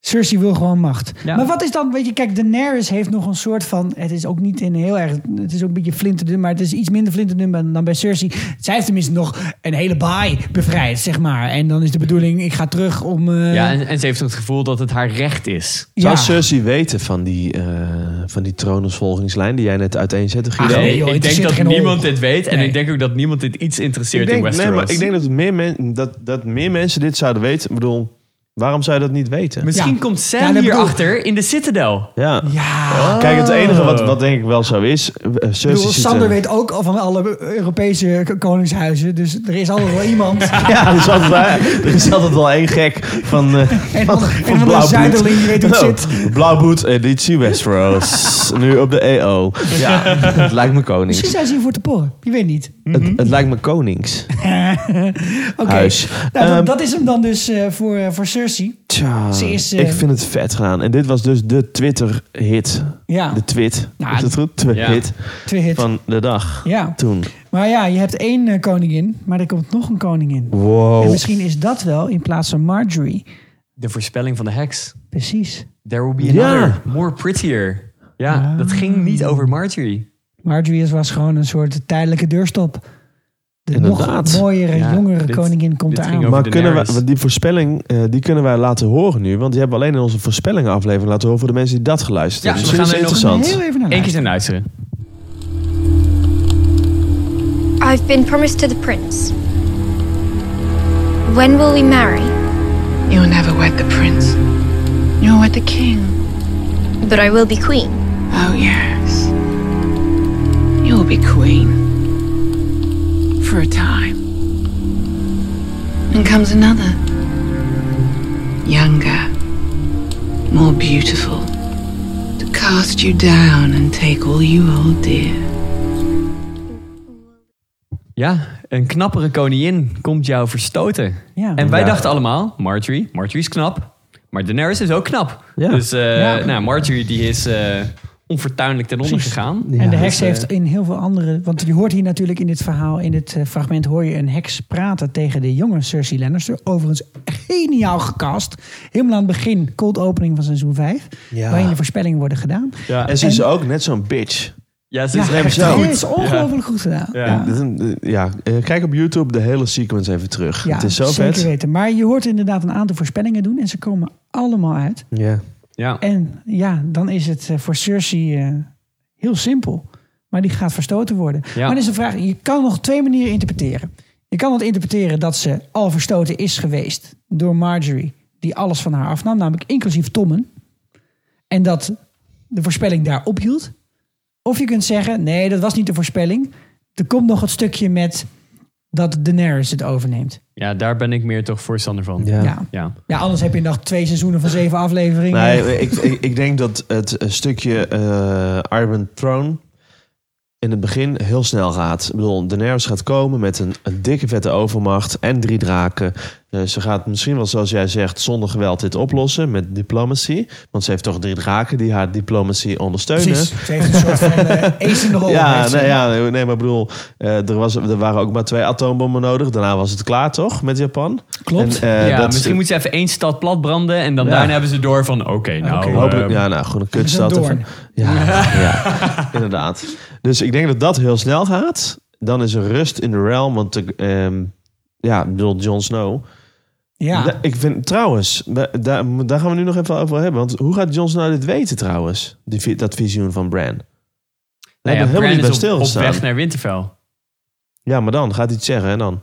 S4: Cersei wil gewoon macht.
S2: Ja.
S4: Maar wat is dan, weet je, kijk, Daenerys heeft nog een soort van. Het is ook niet een heel erg. Het is ook een beetje flinterdun, maar het is iets minder flinterdun dan- dan bij Cersei. Zij heeft tenminste nog een hele baai bevrijd, zeg maar. En dan is de bedoeling, ik ga terug om. eh,
S2: Ja, en, en ze heeft het gevoel dat het haar recht is.
S3: Zou
S4: ja.
S3: Cersei weten van die, eh van die troonsvolgingslijn die jij net uiteenzette, Guido?
S4: Ach, nee, Ah, joh,
S2: ik denk
S4: interesseert
S2: dat
S4: geen hol.
S2: niemand dit weet. En
S4: Nee.
S2: ik denk ook dat niemand dit iets interesseert
S3: ik denk,
S2: in Westeros.
S3: nee, maar ik denk dat meer, men, dat, dat meer mensen dit zouden weten. Ik bedoel, waarom zou je dat niet weten?
S2: Misschien
S4: Ja.
S2: komt
S4: Ja,
S2: Sam
S4: dat bedoel-
S2: hierachter in de Citadel.
S3: Ja.
S4: Ja.
S3: Kijk, het enige wat, wat denk ik wel zo is... eh, Cersei
S4: Ik bedoel,
S3: Oh, zit
S4: Sander
S3: er-
S4: weet ook al van alle Europese k- koningshuizen. Dus er is altijd wel iemand.
S3: Ja, er is, altijd, wel- er is altijd wel één gek van, eh
S4: En
S3: van,
S4: dan- en dan een
S3: Blauwbloed.
S4: zuiderling die weet hoe het
S3: Nou, Blauwbloed editie Westeros. nu op de EO. Ja, het lijkt me
S4: Misschien
S3: konings.
S4: zijn ze hier voor te porren. Je weet niet.
S3: Het, het lijkt me konings.
S4: Oké.
S3: Huis.
S4: Nou,
S3: Ehm,
S4: dat, dat is hem dan dus eh, voor, eh, voor Cersei.
S3: Tja,
S4: Ze is, eh,
S3: ik vind het vet gedaan. En dit was dus de Twitter-hit.
S4: Ja.
S3: De twit.
S4: Nou,
S3: is dat goed?
S2: ja.
S3: Twit.
S4: Twee hits.
S3: Van de dag.
S4: Ja.
S3: Toen.
S4: Maar ja, je hebt één eh, koningin, maar er komt nog een koningin. En
S3: Wow.
S4: misschien is dat wel in plaats van Marjorie.
S2: De voorspelling van de heks.
S4: Precies.
S2: There will be
S3: Ja.
S2: another, more prettier. Ja, dat ging niet over Marjorie.
S4: Marjorie is- was gewoon een soort tijdelijke deurstop. De
S3: Inderdaad.
S4: nog mooiere,
S2: Ja,
S4: jongere
S2: dit-
S4: koningin komt
S2: dit
S4: eraan.
S2: ging over-
S3: Maar kunnen wij,
S2: Daenerys.
S3: want die voorspelling, eh, die kunnen wij laten horen nu. Want die hebben we alleen in onze voorspellingenaflevering laten horen voor de mensen die dat geluisterd
S2: Ja,
S3: hebben.
S2: we
S3: Misschien is het
S2: gaan er nog
S3: interessant.
S4: Heel even naar
S2: Eén keer zijn luisteren.
S12: I've been promised to the prince. When will we marry?
S10: You'll never wed the prince. You'll wed the king.
S12: But I will be queen.
S10: Oh, yes. You'll be queen. For a time. And comes another. Younger. More beautiful. To cast you down and take all you hold dear.
S2: Ja, een knappere koningin komt jou verstoten.
S4: Ja.
S2: En wij
S3: Ja.
S2: dachten allemaal, Marjorie, Marjorie is knap. Maar Daenerys is ook knap.
S3: Ja.
S2: Dus eh,
S4: Ja.
S2: nou, Marjorie die is eh onfortuinlijk ten onder
S4: Precies.
S2: gegaan.
S4: en de
S3: Ja,
S4: heks
S2: dus, eh,
S4: heeft in heel veel andere... Want je hoort hier natuurlijk in dit verhaal, in dit eh, fragment... hoor je een heks praten tegen de jonge Cersei Lannister. Overigens geniaal gecast. Helemaal aan het begin, cold opening van seizoen 5.
S3: Ja.
S4: Waarin de voorspellingen worden gedaan.
S2: Ja,
S3: En ze is ook net zo'n bitch.
S2: ja, ze is
S3: Ja, echt
S2: zo.
S3: goed.
S4: Het is ongelooflijk goed gedaan.
S2: Ja.
S3: Ja. ja, eh, kijk op YouTube de hele sequence even terug.
S4: Ja,
S3: het is zo
S4: zeker
S3: vet.
S4: weten. Maar je hoort inderdaad een aantal voorspellingen doen en ze komen allemaal uit.
S3: Ja.
S2: Ja.
S4: En ja, dan is het eh, voor Cersei eh, heel simpel. Maar die gaat verstoten worden.
S2: Ja.
S4: Maar dan is de vraag, je kan nog twee manieren interpreteren. Je kan het interpreteren dat ze al verstoten is geweest door Marjorie. Die alles van haar afnam, namelijk inclusief Tommen. En dat de voorspelling daar ophield. Of je kunt zeggen, nee, dat was niet de voorspelling. Er komt nog het stukje met dat Daenerys het overneemt.
S2: Ja, daar ben ik meer toch voorstander van.
S4: Ja.
S2: ja.
S4: Ja, anders heb je nog twee seizoenen van zeven afleveringen.
S3: Nee, ik, ik, ik denk dat het eh, stukje eh Iron Throne in het begin heel snel gaat. Ik bedoel, Daenerys gaat komen met een, een dikke vette overmacht en drie draken. Eh, ze gaat misschien wel, zoals jij zegt, zonder geweld dit oplossen met diplomacy. Want ze heeft toch drie draken die haar diplomacy ondersteunen.
S4: Precies. Ze heeft een soort van eh, ace in de rol.
S3: Ja,
S4: heeft ze.
S3: nee, ja, nee, nee, maar ik bedoel, eh, er, was, er waren ook maar twee atoombommen nodig. Daarna was het klaar, toch, met Japan?
S2: Klopt.
S3: En, eh,
S2: ja,
S3: dat-
S2: misschien moeten ze even één stad platbranden en dan
S3: Ja.
S2: daarna hebben ze door van oké, nou...
S3: Oké,
S2: eh,
S3: hopelijk, ja, nou, gewoon een
S2: is een
S3: kutstad. of
S2: doorn.
S3: ja, ja, inderdaad. Dus ik denk dat dat heel snel gaat. Dan is er rust in de realm, want de, ehm, ja, ik bedoel, Jon Snow.
S4: Ja.
S3: Da- ik vind, trouwens, da- daar, mo- daar gaan we nu nog even over hebben. Want hoe gaat Jon Snow dit weten trouwens? Die, vi- dat visioen van Bran. Daar
S2: nou ja,
S3: hebben we helemaal
S2: Bran
S3: niet bij
S2: is op, op
S3: stilgestaan.
S2: weg naar Winterfell.
S3: Ja, maar dan gaat hij het zeggen en dan?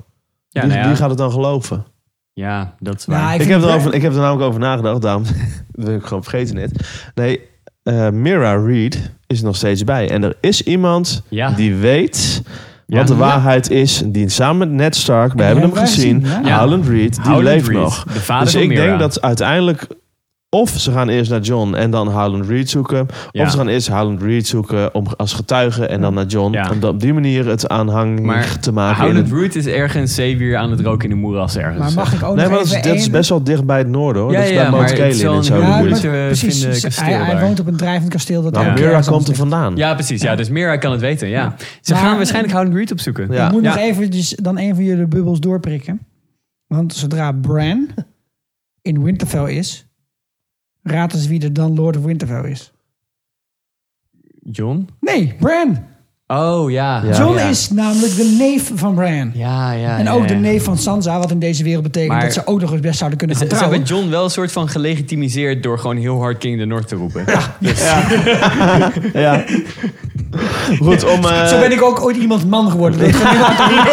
S2: Ja,
S3: wie,
S2: nou ja.
S3: wie gaat het dan geloven?
S2: Ja, dat is waar.
S3: ik, heb er over, ik heb er namelijk over nagedacht, daarom dat ben ik gewoon vergeten net. Nee, eh Mira Reed is er nog steeds bij. En er is iemand
S2: Ja.
S3: die weet
S2: Ja.
S3: wat de
S2: Ja.
S3: waarheid is. Die samen met Ned Stark, we hebben hem
S2: hebben wij
S3: gezien,
S2: gezien, ja.
S3: Howland Reed, die
S2: Howland
S3: leeft
S2: Reed,
S3: nog.
S2: de vader
S3: dus
S2: van
S3: ik
S2: Mira.
S3: denk dat uiteindelijk... Of ze gaan eerst naar John en dan Howland Reed zoeken.
S2: Ja.
S3: Of ze gaan eerst Howland Reed zoeken om, als getuige en dan naar John. Om dat op die manier het aanhang
S2: Maar
S3: te maken. in
S2: Howland
S3: het-
S2: Root is ergens zeewier aan het roken in de moeras ergens.
S4: Maar mag ik ook
S3: Nee,
S4: Oh, nog
S3: maar dat is,
S4: even
S3: dat is
S4: één-
S3: best wel dicht bij het noorden hoor.
S2: Ja,
S3: dat is
S2: ja,
S3: bij
S2: maar
S3: Mount
S2: het
S3: Caleb
S2: is wel
S3: en
S2: een-
S3: zo.
S2: Ja,
S3: de buurt.
S2: maar- te
S4: Precies,
S2: vinden
S4: ze-
S2: kasteel
S4: hij, hij
S2: daar.
S4: woont op een drijvend kasteel. Dat
S3: Nou,
S4: elk jaar
S3: Mira
S4: zo
S3: komt er
S4: is.
S3: vandaan.
S2: Ja, precies. Ja, dus Mira kan het weten, ja. Ze
S4: Maar-
S2: gaan waarschijnlijk Howland Reed opzoeken.
S4: Ik moet nog
S2: Ja.
S4: eventjes dan een van jullie bubbels doorprikken. Want zodra Bran in Winterfell is, raad eens wie er dan Lord of Winterfell is.
S2: John?
S4: Nee, Bran.
S2: Oh, ja. ja
S4: e- John
S2: ja.
S4: is namelijk de neef van Bran.
S2: Ja, ja.
S4: en ook
S2: ja,
S4: de
S2: ja.
S4: neef van Sansa, wat in deze wereld betekent
S2: Maar-
S4: dat ze ook nog eens best zouden kunnen
S2: Ze,
S4: gaan
S2: ze hebben
S4: trouwen.
S2: John wel een soort van gelegitimiseerd door gewoon heel hard King the North te roepen.
S3: Ja. Goed, om... eh,
S4: Zo ben ik ook ooit iemand man geworden. Dat ik van iemand-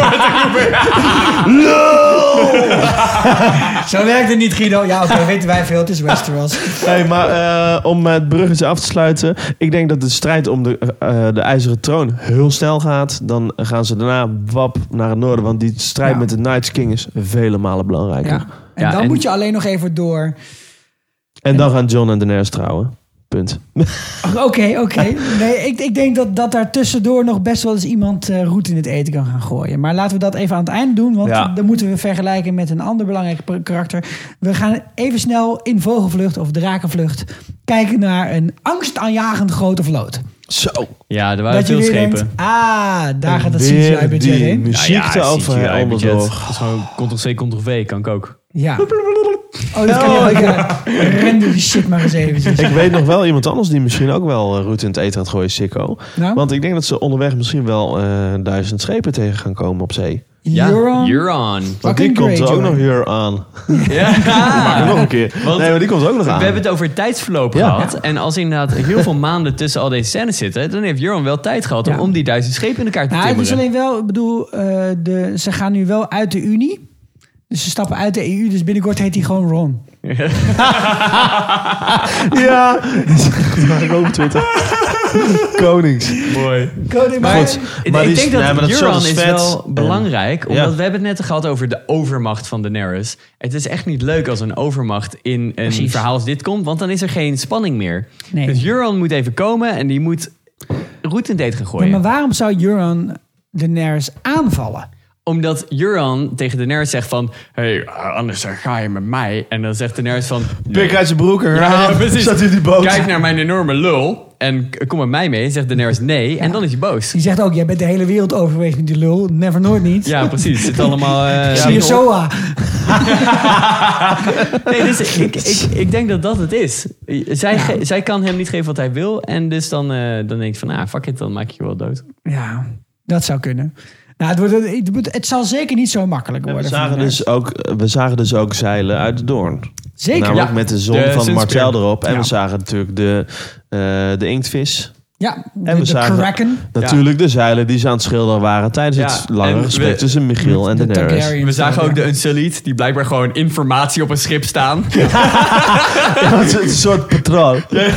S4: Zo werkt het niet, Guido. Ja, oké, weten wij veel. Het is Westeros.
S3: hey, maar eh, om het bruggetje af te sluiten. Ik denk dat de strijd om de, eh, eh, de IJzeren Troon heel snel gaat. Dan gaan ze daarna wap naar het noorden. Want die strijd
S4: Ja.
S3: met de Night's King is vele malen belangrijker.
S4: Ja. En dan moet je alleen nog even door.
S3: En dan gaan John en Daenerys trouwen. Punt.
S4: Oké, oké. Nee, ik, ik denk dat, dat daar tussendoor nog best wel eens iemand eh, roet in het eten kan gaan gooien. Maar laten we dat even aan het eind doen. Want
S3: Ja.
S4: dan moeten we vergelijken met een ander belangrijk per- karakter. We gaan even snel in vogelvlucht of drakenvlucht kijken naar een angstaanjagend grote vloot.
S3: Zo.
S2: Ja, er waren
S4: Dat
S2: veel
S4: jullie
S2: schepen.
S4: denkt, ah, daar gaat dat
S3: Weer
S4: CGI-budget
S3: die
S4: in.
S3: muziek
S2: Nou ja,
S3: erover
S2: CGI
S3: en
S2: budget.
S3: onderdoor.
S2: Dat is gewoon Ctrl-C, Ctrl-V, kan ik ook.
S4: Ja. Oh, dat kan je ook, ja. Render die shit maar eens eventjes.
S3: Ik weet nog wel iemand anders die misschien ook wel eh, route in het eten gaat gooien, Sikko.
S4: Nou?
S3: Want ik denk dat ze onderweg misschien wel eh, duizend schepen tegen gaan komen op zee.
S2: Ja,
S4: Euron? Nou,
S2: Euron.
S3: Want die
S4: Fucking
S3: komt er
S4: great,
S3: ook
S4: jongen.
S3: nog hier aan.
S2: Ja.
S3: Nog een keer.
S2: Ah. Want-
S3: nee, maar die komt er ook nog
S2: We
S3: aan.
S2: hebben het over tijdsverloop
S3: Ja.
S2: gehad. En als inderdaad heel veel maanden tussen al deze scènes zitten, dan heeft Euron wel tijd gehad om,
S4: Ja.
S2: om die duizend schepen in elkaar te
S4: Nou, het is
S2: timmeren.
S4: alleen wel, ik bedoel, eh, de, ze gaan nu wel uit de Unie. Dus ze stappen uit de EU, dus binnenkort heet hij gewoon Ron.
S3: Ja, dat maak ik ook op Twitter. Konings.
S2: Mooi.
S4: Koning
S3: Maar goed,
S2: Ik-
S3: maar
S2: ik
S3: die-
S2: denk dat
S3: nee, maar dat is
S2: Euron
S3: wel
S2: is
S3: vet.
S2: wel
S3: En-
S2: belangrijk, omdat
S3: Ja.
S2: we hebben het net gehad over de overmacht van Daenerys. Het is echt niet leuk als een overmacht in een
S4: Precies.
S2: verhaal als dit komt, want dan is er geen spanning meer.
S4: Nee.
S2: Dus Euron moet even komen en die moet roet in het eten gaan gooien.
S4: Ja, maar waarom zou Euron Daenerys aanvallen?
S2: Omdat Euron tegen Daenerys zegt van... Hé, hey, anders ga je met mij. En dan zegt Daenerys van...
S3: Pik uit zijn broek.
S2: Ja,
S3: Ja,
S2: ja, precies.
S3: Zat in die boot.
S2: Kijk naar mijn enorme lul. En k- kom met mij mee. Zegt Daenerys nee. En dan is hij boos.
S4: Die zegt ook, jij bent de hele wereld overweegd met die lul. Never nooit niet.
S2: Ja, precies. Het allemaal... eh,
S4: Zie je Soa.
S2: Nee, dus ik, ik, ik denk dat dat het is. Zij, ge- zij kan hem niet geven wat hij wil. En dus dan, eh dan denk ik van... Ah, fuck it. Dan maak ik je wel dood.
S4: Ja, dat zou kunnen. Nou, het, wordt, het, wordt- het zal zeker niet zo makkelijk
S3: We
S4: worden. voor
S3: zagen,
S4: Daenerys.
S3: dus ook, we zagen dus ook zeilen uit de doorn.
S4: Zeker.
S3: Namelijk
S2: Ja.
S3: met de zon
S2: De
S3: van
S2: sunspear.
S3: Martel erop. En
S4: Ja.
S3: we zagen natuurlijk de, eh, de inktvis.
S4: ja, de,
S3: En we
S4: de
S3: zagen
S4: Kraken.
S3: natuurlijk de zeilen die ze aan het schilderen waren tijdens
S2: Ja,
S3: het lange
S2: en we-
S3: gesprek tussen Michiel en
S4: de
S3: Daenerys.
S4: Targaryens.
S2: We zagen ook de Unsullied. Die blijkbaar gewoon informatie op een schip staan.
S3: Het is een soort patroon.
S2: En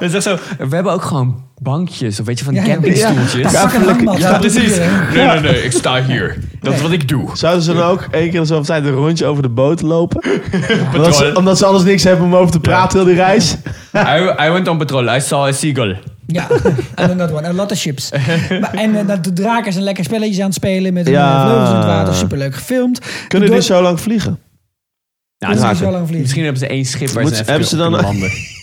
S2: zegt Dus zo... We hebben ook gewoon bankjes of weet je, van die
S4: Ja, ja.
S2: campingstoeltjes.
S4: Ja, fucking hangmat.
S2: Ja, precies.
S11: Nee, nee, nee, ik sta hier. Dat is wat ik doe.
S3: Zouden ze dan ook één keer in de zoveel tijd een rondje over de boot lopen? omdat, ze, omdat ze anders niks hebben om over te praten, heel die reis.
S11: I, I went on patrol. I saw a seagull.
S4: Ja, en dat one. A lot of chips. Maar, en eh, dat de draken zijn lekker spelletjes aan het spelen met hun
S3: Ja.
S4: eh, vleugels in het water. Superleuk gefilmd.
S3: Kunnen
S4: De
S3: die
S4: dor-
S3: zo lang vliegen?
S4: Kunnen die zo lang vliegen?
S2: Misschien hebben ze één schip waar
S3: Moet-
S2: ze even
S3: hebben ze
S2: kunnen-
S3: dan-
S2: kunnen landen.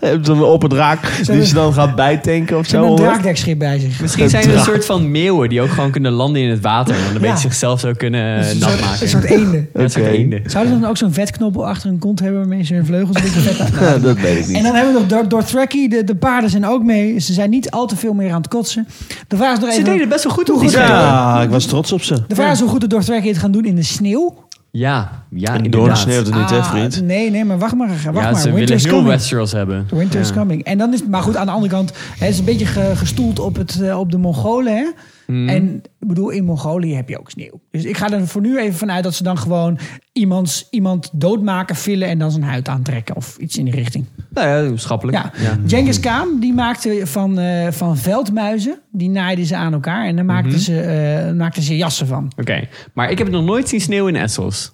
S3: Hebben ze dan een open draak die ze dan gaat bijtanken of
S4: Ze hebben
S3: zo?
S4: een
S3: hoor?
S4: draakdekschip bij zich.
S2: Misschien zijn er een soort van meeuwen die ook gewoon kunnen landen in het water. En dan
S4: Ja.
S2: een beetje zichzelf zo kunnen
S4: Dus een
S2: nat
S4: soort-
S2: maken.
S4: een soort eenden.
S2: Ja, een soort
S3: Oké.
S2: eenden.
S4: Zouden ze dan ook zo'n vetknobbel achter hun kont hebben waarmee ze hun vleugels een beetje vet uitlaten?
S3: Ja, dat weet ik
S4: En
S3: niet.
S4: dan hebben we nog Dor- Dothraki. De, de paarden zijn ook mee. Ze zijn niet al te veel meer aan het kotsen. De vraag is nog
S2: Ze
S4: even...
S2: deden het best wel goed op
S4: hoe
S2: die
S4: goed-
S3: Ja, ik was trots op ze.
S4: De vraag is hoe goed de Dothraki het gaan doen in de sneeuw.
S2: Ja, ja
S3: En
S2: inderdaad.
S3: door de sneeuw doet het niet, hè,
S4: Ah,
S3: vriend?
S4: Nee, nee, maar wacht maar. Wacht
S2: ja,
S4: maar.
S2: ze
S4: Winter
S2: willen
S4: is
S2: heel
S4: coming.
S2: Westeros hebben.
S4: The winter is
S2: Ja.
S4: coming. En dan is, maar goed, aan de andere kant, het is een beetje ge- gestoeld op, het, eh, op de Mongolen. Hè?
S3: Hmm.
S4: En ik bedoel, in Mongolië heb je ook sneeuw. Dus ik ga er voor nu even vanuit dat ze dan gewoon iemands, iemand doodmaken, villen en dan zijn huid aantrekken. Of iets in die richting.
S2: Nou ja, schappelijk.
S4: Ja. Genghis Khan, die maakte van, eh, van veldmuizen, die naaiden ze aan elkaar en daar maakten,
S2: Mhm.
S4: ze, eh, maakten ze jassen van.
S2: Oké, maar ik heb nog nooit zien sneeuw in Essos.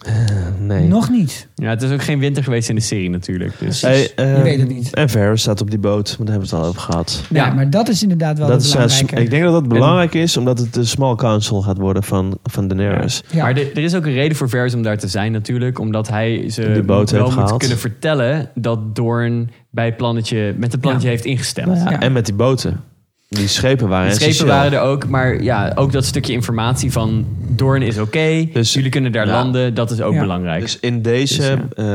S3: Nee.
S4: Nog niet.
S2: Ja, het is ook geen winter geweest in de serie natuurlijk. Dus.
S3: Hey,
S4: Je
S3: ehm,
S4: weet het niet.
S3: En Varys staat op die boot, maar daar hebben we het al over gehad.
S4: Nee, maar dat is inderdaad wel
S3: Dat
S4: dat
S3: is, eh,
S4: belangrijke.
S3: ik denk dat dat belangrijk is, omdat het de small council gaat worden van, van Daenerys.
S4: Ja.
S2: Maar de- er is ook een reden voor Varys om daar te zijn natuurlijk. Omdat hij ze
S3: De boot
S2: wel
S3: heeft
S2: moet
S3: gehaald.
S2: kunnen vertellen dat Doorn bij plannetje, met het plannetje heeft ingestemd.
S3: Ja, En met die boten. Die schepen waren
S2: De schepen
S3: essentieel.
S2: waren er ook, maar ja, ook dat stukje informatie van Doorn is oké, jullie kunnen daar
S3: Dus- ja.
S2: landen, dat is ook
S4: Ja.
S2: belangrijk.
S3: Dus in deze eh,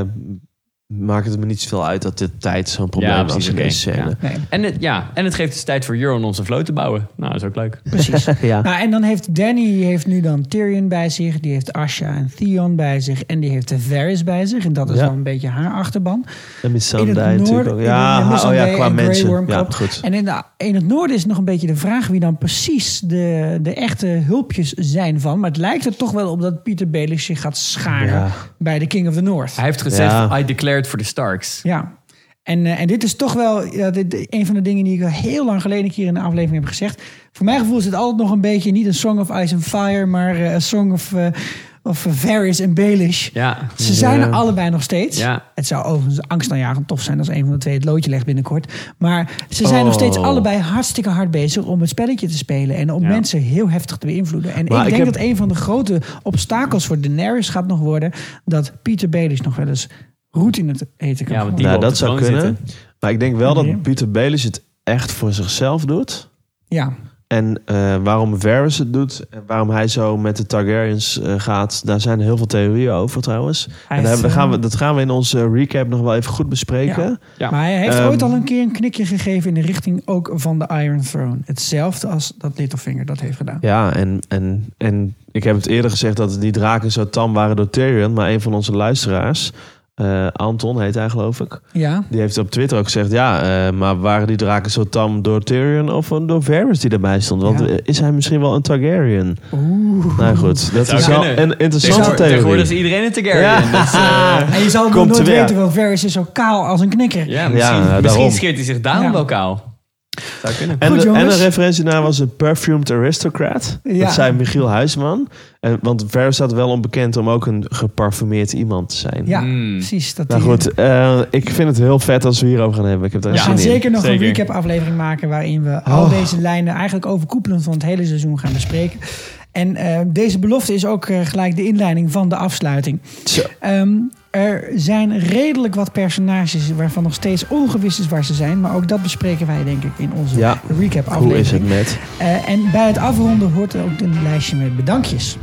S3: maakt het me niet zoveel uit dat dit tijd zo'n probleem
S2: ja,
S3: was
S2: precies,
S3: in
S2: oké.
S3: deze
S2: Ja.
S3: scène.
S4: Nee.
S2: En, het, ja, en het geeft dus tijd voor Euron onze vloot te bouwen. Nou, dat is ook leuk.
S4: Precies.
S3: Ja.
S4: Nou, en dan heeft Danny heeft nu dan Tyrion bij zich, die heeft Asha en Theon bij zich en die heeft de Varys bij zich. En dat is
S3: Ja.
S4: wel een beetje haar achterban.
S3: En
S4: in
S3: Missandei
S4: het
S3: natuurlijk
S4: noorden,
S3: ook.
S4: in- in
S3: Ja, oh
S4: Missandei
S3: ja, qua
S4: en dus Grey
S3: mensen.
S4: Worm
S3: Ja,
S4: klopt.
S3: goed.
S4: En
S3: Nou,
S4: in, de, in het noorden is nog een beetje de vraag wie dan precies de, de echte hulpjes zijn van. Maar het lijkt er toch wel op dat Peter Baelish zich gaat scharen
S3: Ja.
S4: bij de King of the North.
S2: Hij heeft gezegd,
S3: Ja.
S2: I declared for the Starks.
S4: Ja. En, eh, en dit is toch wel ja, dit- dit- een van de dingen die ik al heel lang geleden een keer in een aflevering heb gezegd. Voor mijn gevoel is het altijd nog een beetje niet een Song of Ice and Fire, maar eh, een Song of, eh, of Varys en Baelish.
S2: Ja.
S4: Ze zijn er
S3: Ja.
S4: allebei nog steeds.
S2: Ja.
S4: Het zou overigens angstaanjagend tof zijn als een van de twee het loodje legt binnenkort. Maar ze zijn nog steeds
S3: Oh.
S4: allebei hartstikke hard bezig om het spelletje te spelen. En om
S2: Ja.
S4: mensen heel heftig te beïnvloeden. En
S3: Maar
S4: ik
S3: ik
S4: denk
S3: heb-
S4: dat een van de grote obstakels voor Daenerys gaat nog worden... dat Peter Baelish nog wel eens roet in het eten kan
S2: Ja, want
S4: gooien.
S2: die
S3: Nou,
S2: wil op
S3: dat
S2: de
S3: zou
S2: troon
S3: kunnen. Maar ik denk wel
S4: Ja.
S3: dat Peter Baelish het echt voor zichzelf doet.
S4: Ja,
S3: En eh, waarom Varys het doet en waarom hij zo met de Targaryens eh, gaat, daar zijn heel veel theorieën over trouwens. En daar
S4: heeft,
S3: hebben, daar gaan
S4: eh,
S3: we, dat gaan we in onze recap nog wel even goed bespreken.
S4: Ja.
S2: Ja.
S4: maar hij heeft
S3: Ehm,
S4: ooit al een keer een knikje gegeven in de richting ook van de Iron Throne. Hetzelfde als dat Littlefinger dat heeft gedaan.
S3: Ja, en, en, en ik heb het eerder gezegd dat die draken zo tam waren door Tyrion. Maar een van onze luisteraars, eh, Anton heet hij geloof ik.
S4: Ja,
S3: Die heeft op Twitter ook gezegd, ja, eh, maar waren die draken zo tam door Tyrion of door Varys die erbij stond? Want
S4: Ja.
S3: eh, is hij misschien wel een Targaryen? Nou goed, dat
S2: zou
S3: is wel
S2: kunnen.
S3: een interessante theorie.
S2: Tegenwoordig- Tegenwoordig is iedereen een Targaryen.
S3: Ja.
S2: dus, eh,
S4: en je zal nog
S3: Komt
S4: nooit
S3: er weer.
S4: weten, want Varys is zo kaal als een knikker.
S2: ja, misschien,
S3: nou, daarom.
S2: misschien scheert hij zich daarom
S4: Ja.
S2: lokaal. Zou kunnen.
S3: En,
S4: Goed,
S3: de, en
S4: jongens.
S3: een referentie naar was een Perfumed Aristocrat.
S4: Ja.
S3: Dat zei Michiel Huisman. En, want Varys staat wel onbekend om ook een geparfumeerd iemand te zijn.
S4: Ja,
S2: Hmm.
S4: precies. Dat
S3: Nou
S4: die-
S3: goed, eh, ik vind het heel vet als we hierover gaan hebben. Ik heb daar
S4: We
S3: zin
S4: gaan
S3: in.
S4: zeker nog
S2: Zeker.
S4: een recap-aflevering maken waarin we al
S3: Oh.
S4: deze lijnen eigenlijk overkoepelend van het hele seizoen gaan bespreken. En eh, deze belofte is ook eh, gelijk de inleiding van de afsluiting.
S3: Zo.
S4: Ehm, er zijn redelijk wat personages waarvan nog steeds ongewis is waar ze zijn. Maar ook dat bespreken wij denk ik in onze
S3: Ja.
S4: recap-aflevering.
S3: Hoe is het met?
S4: Eh, en bij het afronden hoort er ook een lijstje met bedankjes.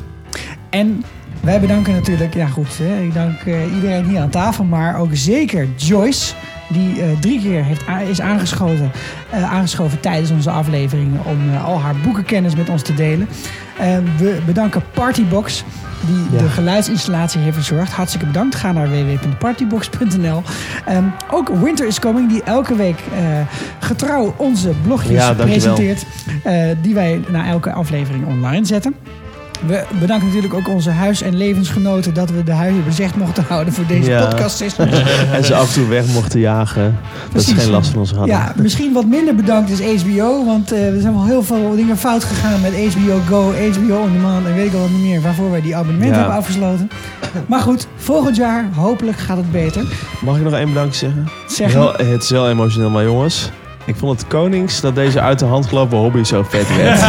S4: En wij bedanken natuurlijk, ja goed, hè, ik dank eh, iedereen hier aan tafel, maar ook zeker Joyce, die eh, drie keer heeft a- is aangeschoten, eh, aangeschoven tijdens onze afleveringen om eh, al haar boekenkennis met ons te delen. Eh, we bedanken Partybox, die
S3: Ja.
S4: de geluidsinstallatie heeft verzorgd. Hartstikke bedankt. Ga naar www.partybox.nl. Ehm, ook Winter is Coming, die elke week eh, getrouw onze blogjes
S3: Ja, dankjewel.
S4: presenteert. eh, die wij na elke aflevering online zetten. We bedanken natuurlijk ook onze huis- en levensgenoten dat we de huizen bezet mochten houden voor deze
S3: Ja.
S4: podcast. Is
S3: en ze af en toe weg mochten jagen. Dat ze
S4: Precies.
S3: geen last van ons hadden.
S4: Ja, misschien wat minder bedankt is HBO, want eh, er zijn wel heel veel dingen fout gegaan met HBO Go, HBO On Demand en weet ik al wat niet meer waarvoor wij die abonnementen
S3: Ja.
S4: hebben afgesloten. Maar goed, volgend jaar hopelijk gaat het beter.
S3: Mag ik nog één bedankt zeggen?
S4: Zeg
S3: Heel- het is heel emotioneel, maar jongens. Ik vond het konings dat deze uit de hand gelopen hobby zo vet werd.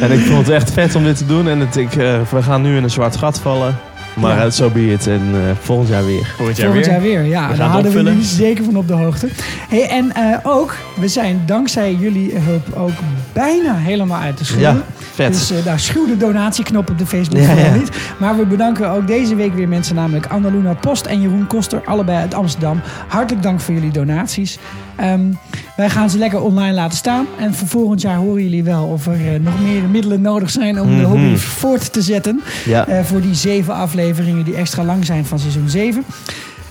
S3: En ik vond het echt vet om dit te doen. En het, ik, eh, we gaan nu in een zwart gat vallen. Maar
S4: Ja.
S3: het zo be it. En eh, volgend jaar weer.
S2: Volgend
S4: Volgend jaar weer,
S3: We
S4: ja.
S3: gaan
S4: daar
S3: het
S4: houden we
S3: opvullen.
S4: jullie zeker van op de hoogte. Hey, en eh, ook, we zijn dankzij jullie hulp ook bijna helemaal uit de schulden.
S3: Ja, vet.
S4: Dus eh, daar schuw de donatieknop op de Facebook
S3: Ja,
S4: vooral
S3: ja.
S4: niet. Maar we bedanken ook deze week weer mensen, namelijk Annaluna Post en Jeroen Koster, allebei uit Amsterdam. Hartelijk dank voor jullie donaties. Ehm, wij gaan ze lekker online laten staan. En voor volgend jaar horen jullie wel of er eh, nog meer middelen nodig zijn om de
S3: Mhm.
S4: hobby voort te zetten.
S3: Ja.
S4: Eh, voor die zeven afleveringen die extra lang zijn van seizoen 7.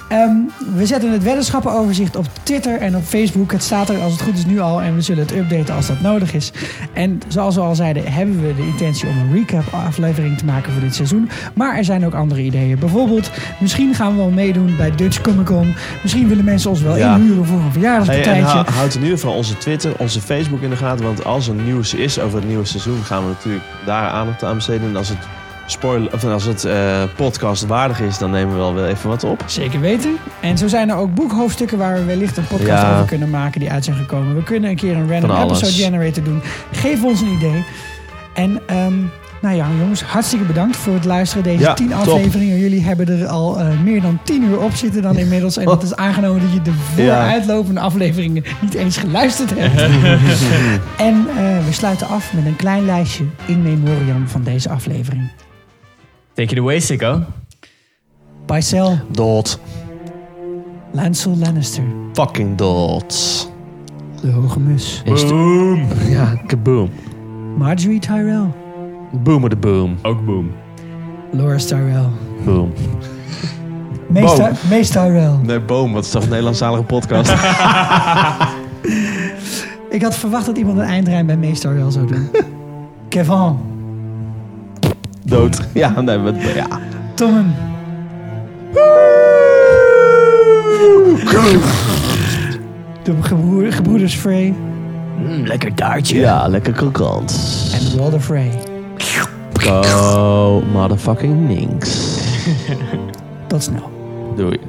S4: Ehm, we zetten het weddenschappenoverzicht op Twitter en op Facebook. Het staat er als het goed is nu al en we zullen het updaten als dat nodig is. En zoals we al zeiden, hebben we de intentie om een recap-aflevering te maken voor dit seizoen. Maar er zijn ook andere ideeën. Bijvoorbeeld, misschien gaan we wel meedoen bij Dutch Comic Con. Misschien willen mensen ons wel
S3: Ja.
S4: inhuren voor een
S3: Hey,
S4: verjaardagspartijtje.
S3: en hou- houd in ieder geval onze Twitter, onze Facebook in de gaten. Want als er nieuws is over het nieuwe seizoen, gaan we natuurlijk daar aandacht aan besteden. En als het, spoiler, of als het eh, podcast waardig is, dan nemen we wel weer even wat op.
S4: Zeker weten. En zo zijn er ook boekhoofdstukken waar we wellicht een podcast
S3: Ja.
S4: over kunnen maken die uit zijn gekomen. We kunnen een keer een random
S3: Van alles.
S4: episode generator doen. Geef ons een idee. En ehm, nou ja, jongens, hartstikke bedankt voor het luisteren. Deze
S3: Ja,
S4: 10
S3: top.
S4: afleveringen. Jullie hebben er al eh, meer dan 10 uur op zitten dan inmiddels. En dat is aangenomen dat je de vooruitlopende afleveringen niet eens geluisterd hebt. En eh, we sluiten af met een klein lijstje in memoriam van deze aflevering.
S2: Take it away, sicko.
S4: Pycelle,
S3: Dood.
S4: Lancel Lannister,
S3: Fucking dood.
S4: de Hoge Mus,
S3: Boom. Ja, kaboom.
S4: Marjorie Tyrell,
S3: Boomer de boom.
S2: Ook boom.
S4: Loris Tyrell,
S3: Boom.
S4: Mees
S3: Boom.
S4: Ty- Mees Tyrell.
S3: Nee, boom. Wat is toch een Nederlandstalige podcast?
S4: Ik had verwacht dat iemand een eindrijm bij Mees Tyrell zou doen. Kevin,
S3: Dood. Ja, nee, wat, ja.
S4: Tommen, de gebroer- gebroeders Frey
S3: lekker taartje. Ja, lekker krokant.
S4: en Walder Frey.
S3: Oh, motherfucking ninks.
S4: Tot snel.
S3: Doei.